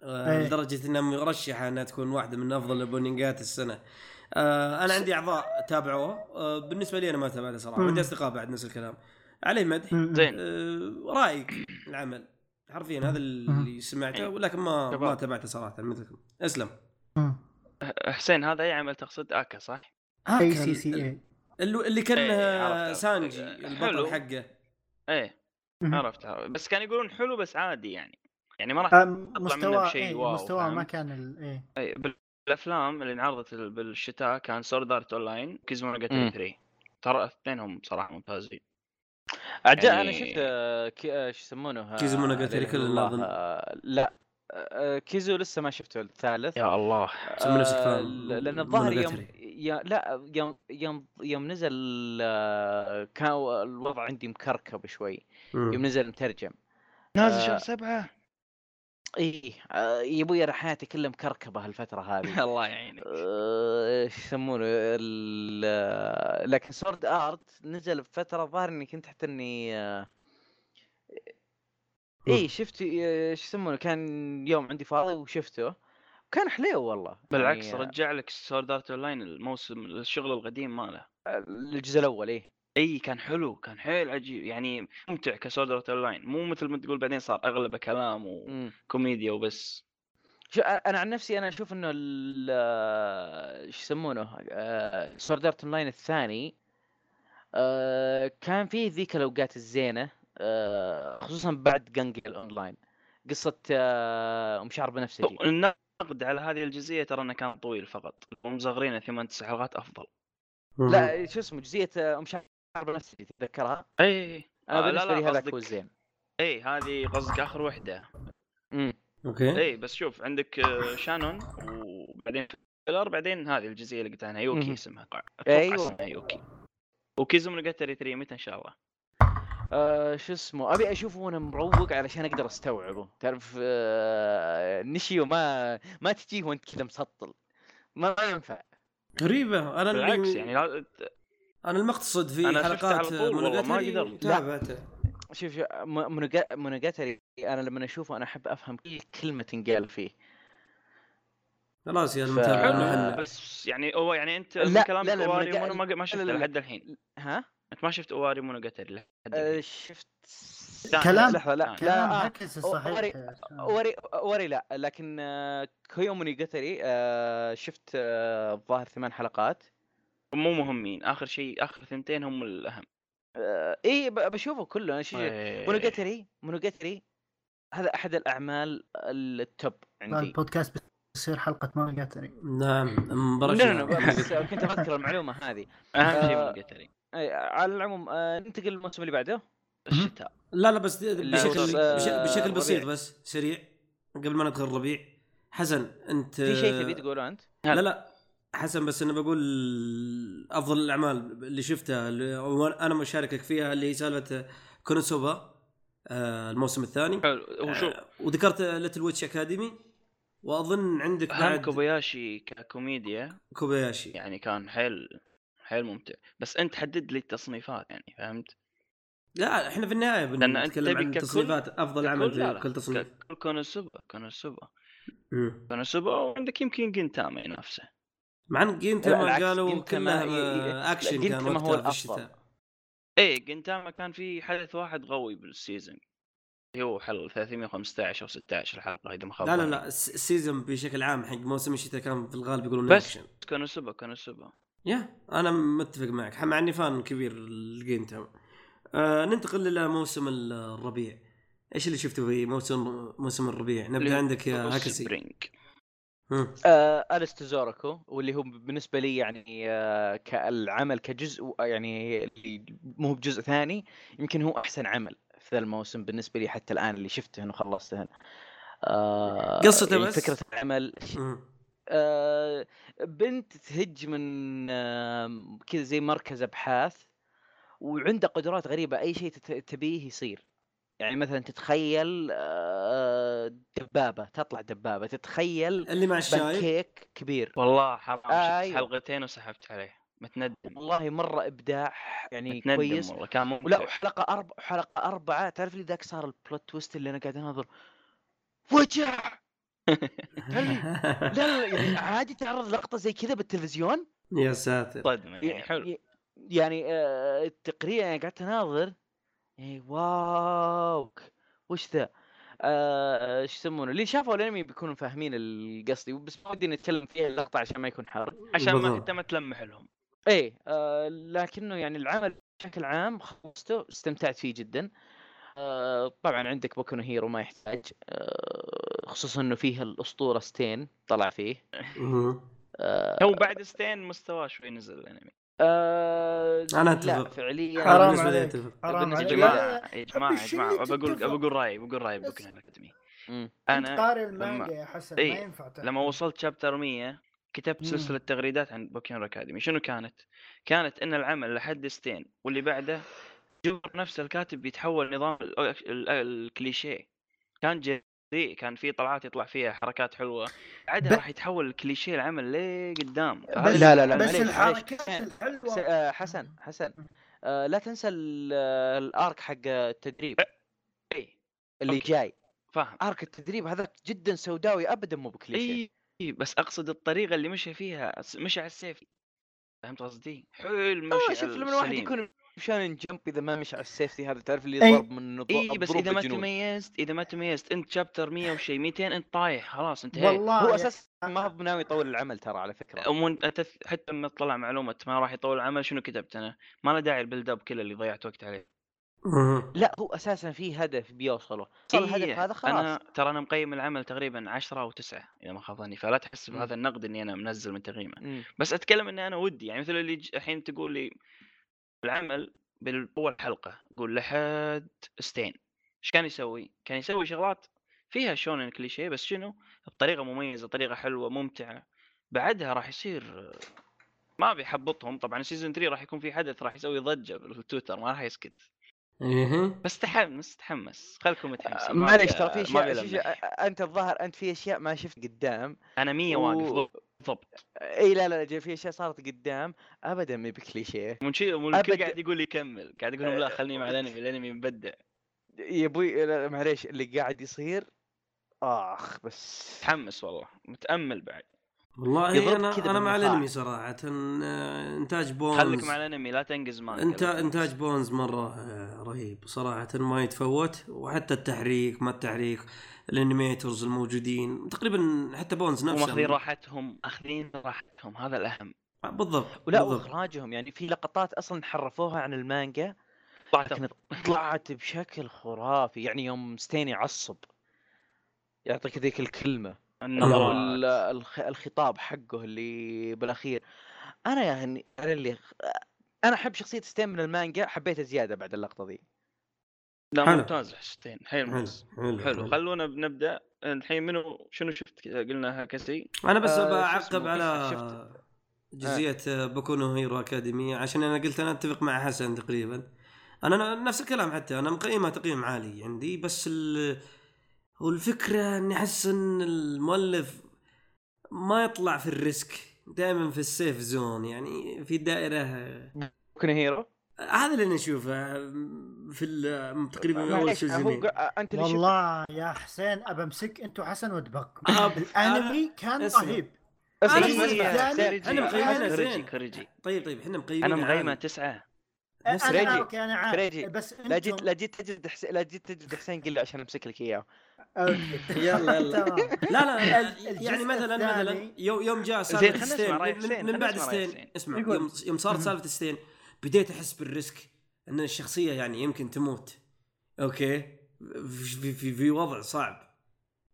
A: آه،
D: إيه.
A: لدرجه انها مرشحه انها تكون واحده من افضل الاوبننجات السنه آه، انا عندي اعضاء تابعوه آه، بالنسبه لي انا ما تابعته صراحه
D: مم.
A: عندي اصدقاء بعد نفس الكلام عليه مدح
D: م- م.
C: زين
A: آه، رايك العمل حرفيا هذا اللي سمعته ولكن ما ما
C: إيه. شباب.
A: تابعته صراحه مثلكم اسلم
D: م.
C: حسين هذا اي عمل تقصد اكا صح؟
D: اي سي سي اي
A: اللي اللي كان
C: إيه، عرفت،
A: آه،
C: عرفت.
A: سانجي
C: حلو.
A: البطل حقه
C: ايه
D: مهم.
C: عرفت عرفت. بس كانوا يقولون حلو بس عادي يعني يعني ما راح
D: أم،
C: منه
D: آه، مستوى
C: بشيء
D: إيه،
C: واو،
D: مستوى ما
C: فهمت؟
D: كان ال- ايه
C: إيه، بال- بالافلام اللي انعرضت ال- بالشتاء كان سورد ارت اون لاين كيزمونو
B: مم.
C: 3 ترى اثنينهم صراحه ممتازين
B: عجاء
C: يعني-
B: انا شفت آه، كي- آه، شو يسمونه آه،
A: كيزو مونوجاتاري
B: لا إله
A: كل
B: إلا الله،
A: الأظن.
B: آه، لا آه، كيزو لسه ما شفته الثالث
C: يا الله
A: سمي نفسك
B: آه،
A: فاهم.
B: ل- لان الظاهر يوم
A: مونوجاتاري.
B: يا لا يوم يوم يوم نزل آه، كان الوضع عندي مكركب شوي
A: مم.
B: يوم نزل مترجم
C: نازل
B: آه.
C: شهر سبعة
B: اي آه، يا ابوي انا حياتي كلها مكركبه هالفتره هذه
C: الله يعينك
B: آه، ايش يسمونه ال- لكن سورد ارت نزل بفتره الظاهر اني كنت حتى اني آه، اي شفت آه، ايش يسمونه كان يوم عندي فاضي وشفته كان حليو والله
C: بالعكس
B: يعني
C: رجع لك سورد ارت اون لاين الموسم الشغل القديم ماله
B: آه، الجزء الاول ايه
C: اي كان حلو كان حيل عجيب يعني ممتع كسورد ارت اون لاين مو مثل ما تقول بعدين صار اغلبه كلام
B: مم.
C: وكوميديا وبس
B: شو انا عن نفسي انا اشوف انه ال- آه، شو يسمونه آه، سورد ارت اون لاين الثاني آه، كان فيه ذيك الاوقات الزينه آه، خصوصا بعد جنجل اونلاين قصه آه، ام شعر بنفسجي
C: النقد على هذه الجزئيه ترى انه كان طويل فقط هم مصغرينه ثمان تسع حلقات افضل
A: مم.
B: لا
C: أمم.
B: شو اسمه جزئيه آه، ام شعر بنفسجي تتذكرها
C: اي
B: انا
C: آه، لا،
B: بالنسبه
C: لا،
B: لي هذاك
C: قصدك-
B: هو الزين
C: اي هذه قصدك اخر وحده
B: مم.
A: اوكي
C: اي بس شوف عندك آه، شانون وبعدين فيلر بعدين هذه الجزئيه اللي قلت عنها يوكي
B: مهم.
C: اسمها قا- أتوقع
B: أيوة.
C: اسمها يوكي وكيزو من قتري 3 متى ان شاء الله
B: آه، شو اسمه ابي اشوفه وانا مروق علشان اقدر استوعبه تعرف آه، نشيو ما ما تجيه وانت كذا مسطل ما ما ينفع
A: غريبه انا اللي-
C: بالعكس يعني لا-
A: انا المقصد في
C: أنا شفته على
A: حلقات
C: طول والله، ما
A: مونوجاتاري
C: قدرت.
A: تابعته
B: شوف شوف م- مونوجا- مونوجاتري انا لما اشوفه انا احب افهم كل كلمه تنقال فيه
A: خلاص يا
B: ف-
A: المتابع
C: حلو
A: محلنا.
C: بس يعني هو يعني انت
B: لا،
C: من كلامك
B: لا، لا،
C: اواري
B: المجا-
C: مونو ما ما شفته
B: لا، لا.
C: لحد الحين
B: ها
C: انت ما شفت اواري مونو قتري لحد
B: آه،
C: الحين
B: شفت
D: كلام-
B: لحظه لا
C: كلام
D: كلام
B: لا آه،
D: هكس الصحيح
B: اوري اوري آه، لا لكن آه، كيو مونوجاتري آه، شفت آه، الظاهر ثمان حلقات
C: مو مهمين اخر شيء اخر ثنتين هم الاهم
B: آه، اي ب- بشوفه كله انا شو
C: إيه.
B: مونوجاتري مونوجاتري هذا احد الاعمال التوب عندي
D: طيب، البودكاست بيصير حلقه مونوجاتري
A: نعم مباراه
B: لا لا لا،
A: شجاعة.
B: بس كنت بذكر المعلومه هذه
C: اهم شيء
B: آه،
C: مونو قتري
B: أي، على العموم آه، ننتقل للموسم اللي بعده
C: الشتاء
A: لا لا بس بشكل
C: صوت،
B: آه،
A: بش- بشكل
B: الربيع.
A: بسيط بس سريع قبل ما ندخل الربيع حسن انت
B: في شيء تبي تقوله انت؟
A: لا لا حسن بس انا بقول افضل الاعمال اللي شفتها اللي وأنا- انا مشاركك فيها اللي هي سالفه كونوسوبا آه، الموسم الثاني
C: حلو هو شوف
A: آه، وذكرت ليتل ويتش اكاديمي واظن عندك
C: اهم
A: بعد
C: كوبياشي ككوميديا
A: كوبياشي
C: يعني كان حيل حيل ممتع بس انت حدد لي التصنيفات يعني فهمت؟
A: لا احنا في النهايه
C: لأن أنت
A: بنتكلم
C: تبي
A: عن
C: ككل-
A: تصنيفات افضل عمل
C: لا،
A: في
C: لا،
A: كل تصنيف
C: كل كونوسوبا كونوسوبا
A: مم.
C: كونوسوبا وعندك يمكن جنتاما ينافسه
A: مع ان جنتا
B: لا،
A: ما
B: بالعكس،
A: قالوا
B: جنتاما
A: كلها
B: ي-
A: آه، اكشن
B: جنتاما
A: كان
B: هو
A: وقتها في
B: الأفضل.
A: الشتاء
C: ايه جنتاما كان في حدث واحد قوي بالسيزون اللي هو حل 315 او 16 الحلقه اذا ما خاب
A: لا لا
C: ظني.
A: لا الس- السيزون بشكل عام حق موسم الشتاء كان في الغالب يقولون
C: بس.
A: اكشن
C: كونوسوبا كونوسوبا
A: يا انا متفق معك مع اني فان كبير لجنتا آه ننتقل الى موسم الربيع ايش اللي شفته في موسم موسم الربيع
C: اللي هو
A: نبدا عندك يا هاكسي
C: سبرينج
A: مم.
B: آه الست زوركو واللي هو بالنسبه لي يعني آه كالعمل كجزء يعني اللي مو بجزء ثاني يمكن هو احسن عمل في ذا الموسم بالنسبه لي حتى الان اللي شفته انه خلصته أنا. آه
A: قصته
B: يعني
A: بس؟
B: فكره العمل
A: مم.
B: آه، بنت تهج من آه، كذا زي مركز ابحاث وعنده قدرات غريبه اي شيء تت- تبيه يصير يعني مثلا تتخيل آه، دبابه تطلع دبابه تتخيل
A: اللي مع الشاي
B: كيك كبير
C: والله حرام شفت
B: أيوه.
C: حلقتين وسحبت عليه متندم
B: والله مره ابداع يعني
C: متندم
B: كويس
C: والله كان ممتع
B: ولا حلقه اربع حلقه اربعه تعرف لي ذاك صار البلوت تويست اللي انا قاعد اناظر وجع لا لا يعني عادي تعرض لقطه زي كذا بالتلفزيون
A: يا ساتر
C: صدمه يعني حلو
B: ي- يعني آه، تقريبا يعني قعدت اناظر يعني واو وش ذا آه، ايش يسمونه اللي شافوا الانمي بيكونوا فاهمين القصدي بس ما ودي نتكلم فيها اللقطه عشان ما يكون حرق
C: عشان ما
A: بالضبط.
C: انت ما تلمح لهم
B: ايه آه لكنه يعني العمل بشكل عام خلصته استمتعت فيه جدا آه طبعا عندك بوكو نو هيرو ما يحتاج آه خصوصا انه فيه الاسطوره ستين طلع فيه
A: مم.
B: آه
C: هو بعد ستين مستواه شوي نزل الانمي
B: آه
A: أنا
B: لا
A: أتفق.
B: فعليا
D: حرام
A: بالنسبة لي
D: عليك.
A: أتفق.
D: حرام
C: يا
D: عليك
C: جماعه يا جماعه يا
D: أبي
C: جماعه
D: شلي
C: بقول
D: تتفق.
C: بقول رايي بقول رايي بوكو
D: بس.
C: اكاديمي
B: مم.
D: انا
C: انا
D: قارئ المانجا يا حسن ما
C: إيه،
D: ينفع تحكي.
C: لما وصلت شابتر 100 كتبت
D: مم.
C: سلسله تغريدات عن بوكيون اكاديمي شنو كانت؟ كانت ان العمل لحد ستين واللي بعده جبر نفس الكاتب بيتحول نظام ال- ال- الكليشيه كان جريء كان في طلعات يطلع فيها حركات حلوه بعدها
D: ب-
C: راح يتحول الكليشيه العمل لقدام
B: لا، لا، لا،
D: بس
B: معليش،
D: الحركات
B: معليش. س-
D: الحلوه
B: آه حسن حسن آه لا تنسى ال- آه، الارك حق التدريب
C: إيه،
B: اللي
C: أوكي.
B: جاي
C: فاهم
B: ارك التدريب هذا جدا سوداوي ابدا مو بكليشيه
C: اي إي، إيه، بس اقصد الطريقه اللي مشى فيها أس- مشى على السيف فهمت قصدي؟ حلو
B: والله
C: مشى
B: آه، شوف لما الواحد
C: السليم.
B: يكون مشان جنب اذا ما مشى على السيفتي هذا تعرف اللي
D: أي.
B: ضرب من نض-
C: اي إيه، بس
B: الضروب
C: اذا ما
B: بالجنون.
C: تميزت اذا ما تميزت انت شابتر 100 وشي 200 انت طايح خلاص انتهيت
D: والله
B: إيه. هو
D: يا-
B: اساسا ما هو ناوي يطول العمل ترى على فكره
C: ومن- أتث- حتى لما طلع معلومه ما راح يطول العمل شنو كتبت انا؟ ما له داعي البيلد اب كله اللي ضيعت وقت عليه
A: مم.
B: لا هو اساسا في هدف بيوصله صار الهدف
C: إيه،
B: هذا خلاص
C: انا ترى انا مقيم العمل تقريبا 10 او 9 اذا ما خاب ظني فلا تحس
B: مم.
C: بهذا النقد اني انا منزل من تقييمه
B: مم.
C: بس اتكلم اني انا ودي يعني مثل اللي ج- الحين تقول لي العمل بالاول حلقه قول لحد ستين ايش كان يسوي؟ كان يسوي شغلات فيها شونن كليشيه بس شنو؟ بطريقه مميزه طريقه حلوه ممتعه بعدها راح يصير ما بيحبطهم طبعا سيزون 3 راح يكون في حدث راح يسوي ضجه بالتويتر ما راح يسكت
A: إيه.
C: بس تحمس تحمس خلكم متحمسين ما
B: آه، معليش
C: بي-
B: ترى في
C: ما
B: اشياء
C: بيلمح.
B: في أشياء- انت الظاهر انت في اشياء ما شفت قدام
C: انا 100
B: و-
C: واقف بالضبط
B: اي لا لا جا- في اشياء صارت قدام ابدا ما بكليشيه
C: منشي والكل
B: أبد.
C: قاعد يقول لي كمل قاعد يقول لهم لا خليني مع الانمي الانمي مبدع
B: يا ابوي لا، معليش اللي قاعد يصير اخ بس
C: متحمس والله متامل بعد
A: والله
B: يضرب
A: انا
B: كذا
A: انا مع
B: بالمفاعل.
A: الانمي صراحه آه، انتاج بونز
C: خليك مع الانمي لا تنقز مانجا
A: انت
C: لا تنقز.
A: انتاج بونز مره آه، رهيب صراحه ما يتفوت وحتى التحريك ما التحريك الانيميترز الموجودين تقريبا حتى بونز
C: هم اخذين
A: نفسه
C: راحتهم اخذين راحتهم هذا الاهم
A: بالضبط
B: ولا
A: بالضبط
B: واخراجهم يعني في لقطات اصلا حرفوها عن المانجا لكن طلعت بشكل خرافي يعني يوم ستين يعصب يعطيك ذيك الكلمه او ال-
C: النظرات
B: الخ- الخطاب حقه اللي بالاخير انا يعني انا اللي انا احب شخصيه ستين من المانجا حبيتها زياده بعد اللقطه ذي
C: لا
A: حلو.
C: ممتاز حسين حيل
A: حلو
C: ممتاز
A: حلو,
C: حلو خلونا بنبدا الحين منو شنو شفت كذا قلنا هكسي
A: انا بس
B: آه،
A: أبغى
B: شو
A: اعقب
B: اسمه؟
A: على
B: شفت.
A: جزئيه آه. بوكونو هيرو اكاديميه عشان انا قلت انا اتفق مع حسن تقريبا انا أنا نفس الكلام حتى انا مقيمه تقييم عالي عندي بس ال... هو الفكره اني احس ان المؤلف ما يطلع في الريسك دائما في السيف زون يعني في دائره آه،
B: كنا هيرو
A: هذا اللي انا اشوفه آه، في ال- آه، تقريبا اول
B: معليش، هو
A: سيزونين
B: قا- انت اللي شفت
D: والله يا حسين ابمسك انت وحسن ودبكم
A: أب-
D: الانمي كان
A: اسمع.
D: رهيب
A: أنا
B: اسمع،
A: مقيم.
B: اسمع.
D: يعني-
C: كوريجي
A: أنا مقيمة
C: كوريجي،
A: زين.
C: كوريجي
A: طيب طيب احنا مقيمين
C: انا مقيمه
A: عالي.
C: تسعه
A: نفس
D: أنا-
B: ريجي.
D: اوكي انا عارف
B: ريجي.
D: بس انتم
B: لا جيت لا جيت تجد حسين لا جيت تجد حسين قل له عشان امسك لك اياه
D: أوكي.
A: يلا، يلا.
D: تمام.
A: لا لا
D: ال- الجزء
A: يعني مثلا مثلا
D: الثاني-
A: يو- يوم جاء
C: زين،
A: سالفه
C: خلنا
A: ستين
C: نسمع رأي
A: من-
C: حسين،
A: من
C: خلنا
A: بعد
C: نسمع رأي
A: ستين
C: حسين.
A: اسمع
D: يقول.
A: يوم يوم صارت
D: مم.
A: سالفه ستين بديت احس بالريسك ان الشخصيه يعني يمكن تموت اوكي في في, في, في وضع صعب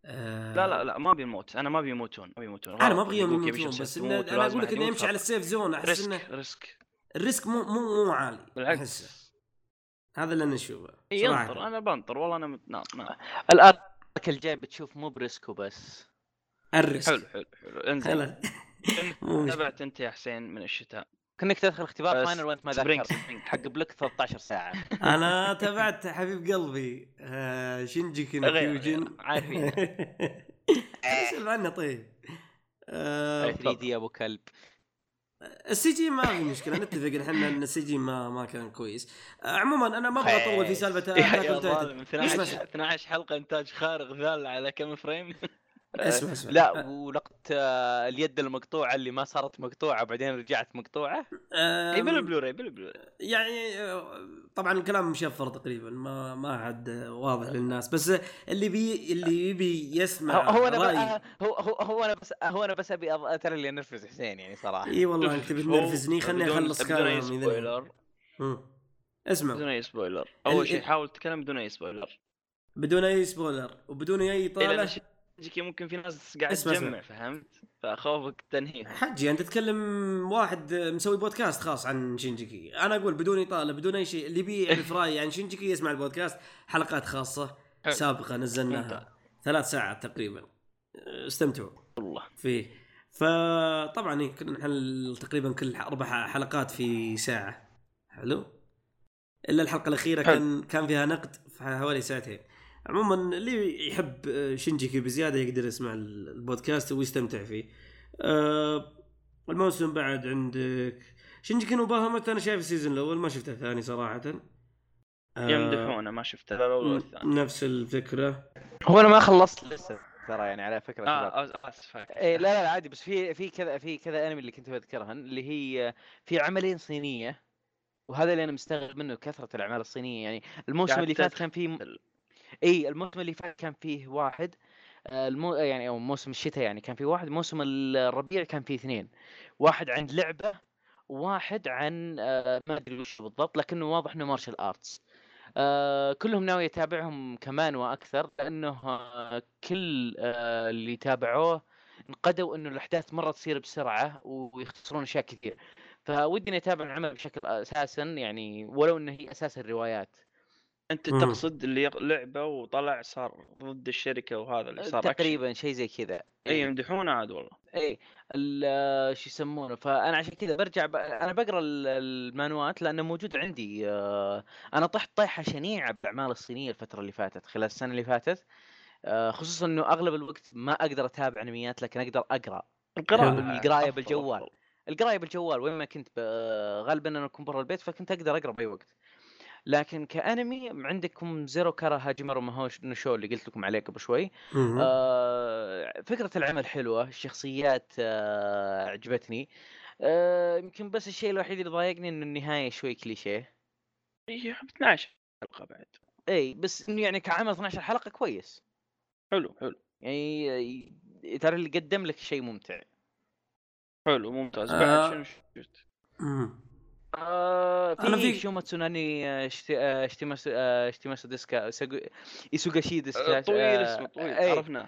A: آه
C: لا لا لا ما بيموت انا ما بيموتون ما بيموتون
A: انا
C: غلط.
A: ما ابغى يوم
C: يقولك يا
A: يموتون
C: شخص
A: بس
C: تموت
A: إن انا
C: ولازم
A: اقول لك
C: أحد
A: انه
C: يموت،
A: يمشي على
C: خلاص.
A: السيف زون احس انه
C: ريسك ريسك
A: الريسك مو مو مو عالي أحسه.
C: بالعكس
A: هذا اللي انا اشوفه
C: ينطر انا بنطر والله انا متناط نعم.
B: الان الجاي بتشوف مو بريسك وبس
A: الريسك
C: حلو حلو حلو انزين
A: خلاص مو مشكلة.
C: تابعت انت يا حسين من الشتاء
B: كانك تدخل اختبار
C: بس
B: فاينل وانت ما
C: سبرينج
B: ذاكر
C: سبرينج
B: حق بلوك 13 ساعه
A: انا تابعت حبيب قلبي آه، شينجي
C: غير-
A: كيوجين
C: غير، عارفين
A: اسال عنه طيب آه،
B: 3 دي ابو كلب
A: السي جي ما في مشكله نتفق احنا ان السي جي ما ما كان كويس آه، عموما انا ما ابغى اطول في سالفه
C: يا-
A: Attack
C: يا
A: on Titan.
C: ظالم
A: ليش
C: 12
A: ما-
C: 12 حلقه انتاج خارق ذال على كم فريم
A: اسمع اسمع
B: لا ولقطه آه، اليد المقطوعه اللي ما صارت مقطوعه بعدين رجعت مقطوعه
A: آه،
C: اي بالبلوراي بالبلوراي
A: يعني آه، طبعا الكلام مشفر تقريبا ما ما عاد آه، واضح للناس بس آه، اللي بي اللي يبي
B: هو
A: يسمع
B: هو انا ب-
A: رأي
B: آه، هو هو هو انا بس هو انا بس ابي أض- ترى اللي انرفز حسين يعني صراحه
A: اي والله انت بتنرفزني خليني
C: بدون-
A: اخلص
C: بدون اي
A: كلام إذا-
C: سبويلر
A: مم. اسمع
C: بدون اي سبويلر
A: آه. ال-
C: اول شيء
A: ال-
C: حاول تتكلم بدون اي سبويلر
A: بدون اي سبويلر وبدون اي
C: إيه، لأن
A: طالع
C: شكلك ممكن في ناس قاعد
A: اسمع، اسمع.
C: تجمع فهمت فخوفك تنهيك
A: حجي انت تتكلم واحد مسوي بودكاست خاص عن شينجيكي انا اقول بدون اطاله بدون اي شيء اللي بيعرف رايي عن شينجيكي يسمع البودكاست حلقات خاصه
C: حلو.
A: سابقه
C: ممتاز.
A: نزلناها ثلاث ساعات تقريبا استمتعوا
C: والله
A: فيه فطبعا إيه، كنا نحل تقريبا كل اربع حلقات في ساعه حلو الا الحلقه الاخيره
C: حلو.
A: كان كان فيها نقد في حوالي ساعتين عموما اللي يحب آه، شينجيكي بزياده يقدر يسمع ال- البودكاست ويستمتع فيه آه، الموسم بعد عندك شينجيكي نوباها انا شايف السيزون الاول ما شفته الثاني صراحه آه،
C: يمدحونه ما شفته لا الاول ولا الثاني
A: نفس الفكره
B: هو انا ما خلصت لسه ترى يعني على فكره شباب.
C: اه آس- اسف
B: ايه لا لا عادي بس في في كذا في كذا انمي اللي كنت بذكرها اللي هي في عملين صينيه وهذا اللي انا مستغرب منه كثره الاعمال الصينيه يعني الموسم
C: قاعد
B: اللي فات
C: تت-
B: كان فيه اي الموسم اللي فات كان فيه واحد آه، المو يعني او موسم الشتاء يعني كان فيه واحد موسم الربيع كان فيه اثنين واحد عن لعبه وواحد عن آه، ما ادري وش بالضبط لكنه واضح انه مارشال ارتس آه كلهم ناوي اتابعهم كمان واكثر لانه آه كل آه اللي تابعوه انقدوا انه الاحداث مره تصير بسرعه ويخسرون اشياء كثير فودي اني اتابع العمل بشكل اساسا يعني ولو انه هي اساس الروايات
C: انت
A: مم.
C: تقصد اللي يق- لعبه وطلع صار ضد الشركه وهذا اللي صار إيه.
B: تقريبا شيء زي كذا
C: اي يمدحونه عاد والله
B: اي ال- شو يسمونه فانا عشان كذا برجع ب... انا بقرا ال- المانوات لانه موجود عندي آه، انا طحت طيحه شنيعه بالاعمال الصينيه الفتره اللي فاتت خلال السنه اللي فاتت آه، خصوصا انه اغلب الوقت ما اقدر اتابع انميات لكن اقدر اقرا
C: القراءه
B: القراية
C: آه، أفضل-
B: بالجوال.
C: أفضل.
B: القرايه بالجوال وين ما كنت ب... غالبا انا اكون برا البيت فكنت اقدر اقرا باي وقت لكن كانمي عندكم زيرو كارا هاجمر وماهوش نشو اللي قلت لكم عليه قبل شوي
A: مم.
B: آه، فكرة العمل حلوة الشخصيات آه، عجبتني آه، يمكن بس الشيء الوحيد اللي ضايقني انه النهاية شوي كليشيه
C: إيه، 12 حلقه بعد
B: اي بس انه يعني كعمل 12 حلقة كويس
C: حلو حلو
B: يعني آه، ترى اللي قدم لك شيء ممتع
C: حلو ممتاز
A: آه.
C: بعد شنو شفت؟
A: مم.
B: آه
A: أنا
B: في
A: في-
B: في شوما تسوناني آه، شت- آه، شتيماسو آه، شتيماسو ديسكا ساجو- ايسوغاشي ديسكا
C: آه، طويل اسمه طويل
B: آه، إيه.
C: عرفناه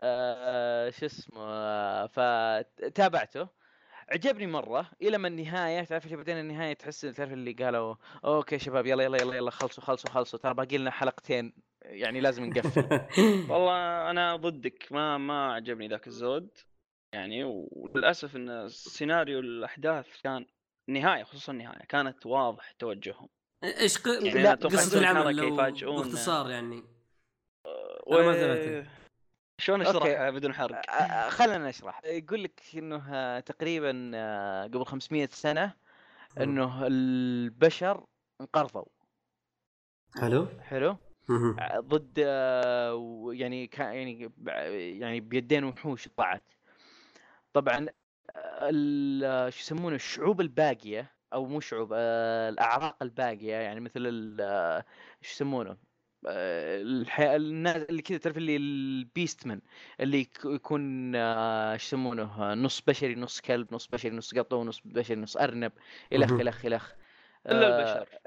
B: آه، شو اسمه آه، فتابعته عجبني مره الى ما النهايه تعرف إيش بعدين النهايه تحس تعرف اللي قالوا اوكي شباب يلا يلا يلا يلا خلصوا خلصوا خلصوا ترى باقي لنا حلقتين يعني لازم نقفل
C: والله انا ضدك ما ما عجبني ذاك الزود يعني وللاسف ان سيناريو الاحداث كان النهايه خصوصا النهايه كانت واضح توجههم
A: ايش ق...
C: يعني
A: لا
C: أنا أتوقع
A: قصه
C: إنه
A: العمل
C: حركة
A: لو
C: يفاجئون. آه،
A: باختصار يعني أنا ما
C: و...
A: تابعته.
C: شلون اشرحها بدون
B: آه،
C: حرق؟
B: آه، خلنا نشرح يقول لك انه آه، تقريبا آه، قبل 500 سنه انه البشر انقرضوا
A: حلو
B: حلو
A: مهم.
B: ع- آه، ضد آه، و- يعني كا- يعني ب- يعني بيدين وحوش طلعت طبعا آه، ال- آه، شو يسمونه الشعوب الباقيه او مو شعوب آه، الاعراق الباقيه يعني مثل ال- آه، شو يسمونه آه، الح- الناس اللي كذا تعرف اللي البيستمن اللي يك- يكون آه، شو يسمونه آه، نص بشري نص كلب نص بشري نص قطه ونص بشري نص ارنب الخ
A: مهم.
B: الخ الخ
C: الا
B: آه،
C: البشر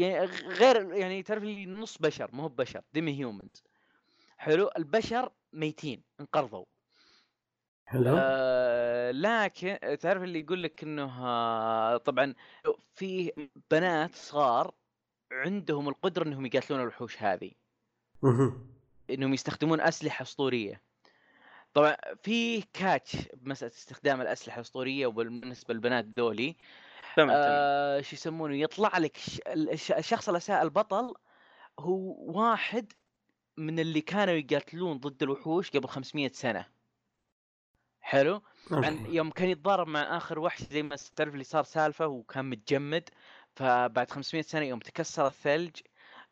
B: يعني غير يعني تعرف اللي نص بشر مو هو بشر ديمي هيومنز حلو البشر ميتين انقرضوا
A: حلو
B: آه لكن تعرف اللي يقول لك انه آه، طبعا في بنات صغار عندهم القدره انهم يقاتلون الوحوش هذه
A: مهم.
B: انهم يستخدمون اسلحه اسطوريه طبعا في كاتش بمساله استخدام الاسلحه الاسطوريه وبالنسبه للبنات ذولي
C: تمام تمام
B: آه شو يسمونه يطلع لك ش- ال- الش- الشخص الاساء البطل هو واحد من اللي كانوا يقاتلون ضد الوحوش قبل 500 سنه حلو عن يوم كان يتضارب مع اخر وحش زي ما تعرف اللي صار سالفه وكان متجمد فبعد 500 سنه يوم تكسر الثلج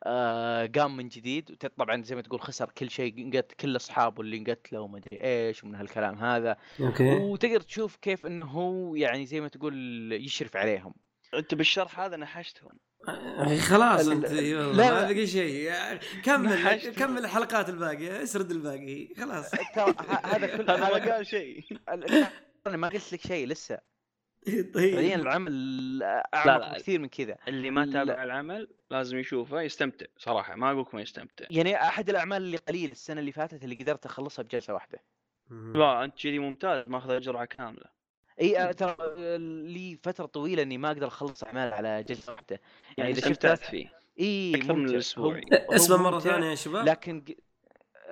B: آه قام من جديد وت- طبعا زي ما تقول خسر كل شيء قت- كل اصحابه اللي انقتلوا وما ادري ايش ومن هالكلام هذا
C: إيه.
A: اوكي
B: وتقدر تشوف كيف انه هو يعني زي ما تقول يشرف عليهم
C: انت بالشرح هذا نحشتهم
A: اخي خلاص
B: ال-
A: انت
B: ال-
A: إي والله
B: لا،
A: ما
B: لا.
A: بقي شيء يا- كمل
C: نحشت.
A: كمل الحلقات الباقيه اسرد الباقي خلاص
B: ترى ه- هذا كل
C: هذا
B: هذا
C: ما قال شيء
B: ال- انا ما قلت لك شيء لسه
C: إيه.
B: بعدين
A: طيب
B: العمل
C: لا،
B: اعمق
C: لا.
B: كثير من كذا
C: اللي ما
B: لا.
C: تابع العمل لازم يشوفه يستمتع صراحه ما اقولك ما يستمتع
B: يعني احد الاعمال اللي قليل السنه اللي فاتت اللي قدرت اخلصها بجلسه واحده
C: لا انت كذي ممتاز ماخذ جرعه كامله
B: اي أنا ترى لي فتره طويله اني ما اقدر اخلص اعمال على جلسه واحده يعني اذا شفت
C: استمتعت
B: ثلاث
C: فيه
B: اي
C: اكثر من
B: ممتع.
C: الاسبوع
B: هو-
A: اسمه مره
B: ممتع،
A: ثانيه يا شباب
B: لكن ج-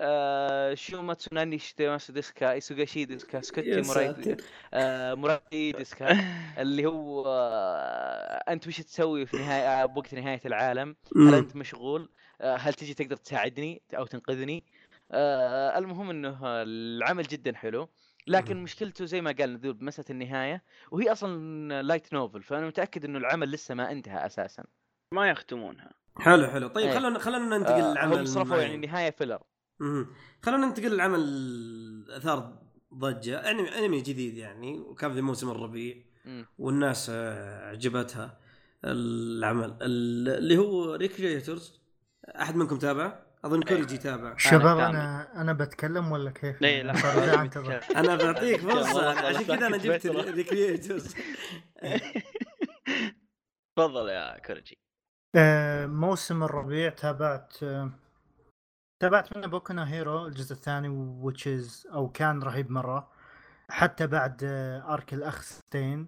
B: آه شو ما تسوناني شتيماسو ديسكا ايسوغاشي ديسكا سكوتي
A: يا
B: موراي
A: ساتر.
B: آه موراي ديسكا اللي هو آه انت وش تسوي في نهايه آه، بوقت نهايه العالم هل
A: مم.
B: انت مشغول آه، هل تجي تقدر تساعدني او تنقذني آه، المهم انه العمل جدا حلو لكن
A: مم.
B: مشكلته زي ما قال نذوب مسألة النهاية وهي أصلا لايت نوفل فأنا متأكد أنه العمل لسه ما انتهى أساسا
C: ما يختمونها
A: حلو حلو طيب
B: إيه.
A: خلونا خلونا ننتقل
B: آه،
A: للعمل
B: هم صرفوا
A: المعين.
B: يعني النهاية فيلر
A: مهم. خلونا ننتقل للعمل اثار ضجه انمي انمي جديد يعني وكان في موسم الربيع
B: مم.
A: والناس آه، عجبتها العمل ال- اللي هو ريكريتورز احد منكم تابع؟ اظن كوريجي تابع
D: شباب
C: كامل.
D: انا انا بتكلم ولا كيف؟
C: لا لا
D: صار
C: لازم
D: ذا أعتذر.
C: يتكلم.
A: انا بعطيك فرصه
C: والله
A: عشان كذا انا
C: ساكت
A: جبت
C: فترة.
A: ريكريتورز
C: تفضل يا كرجي
D: آه، موسم الربيع تابعت آه، تابعت منه بوكو نو هيرو الجزء الثاني وتشيز او كان رهيب مره حتى بعد آه، ارك الاخ ستين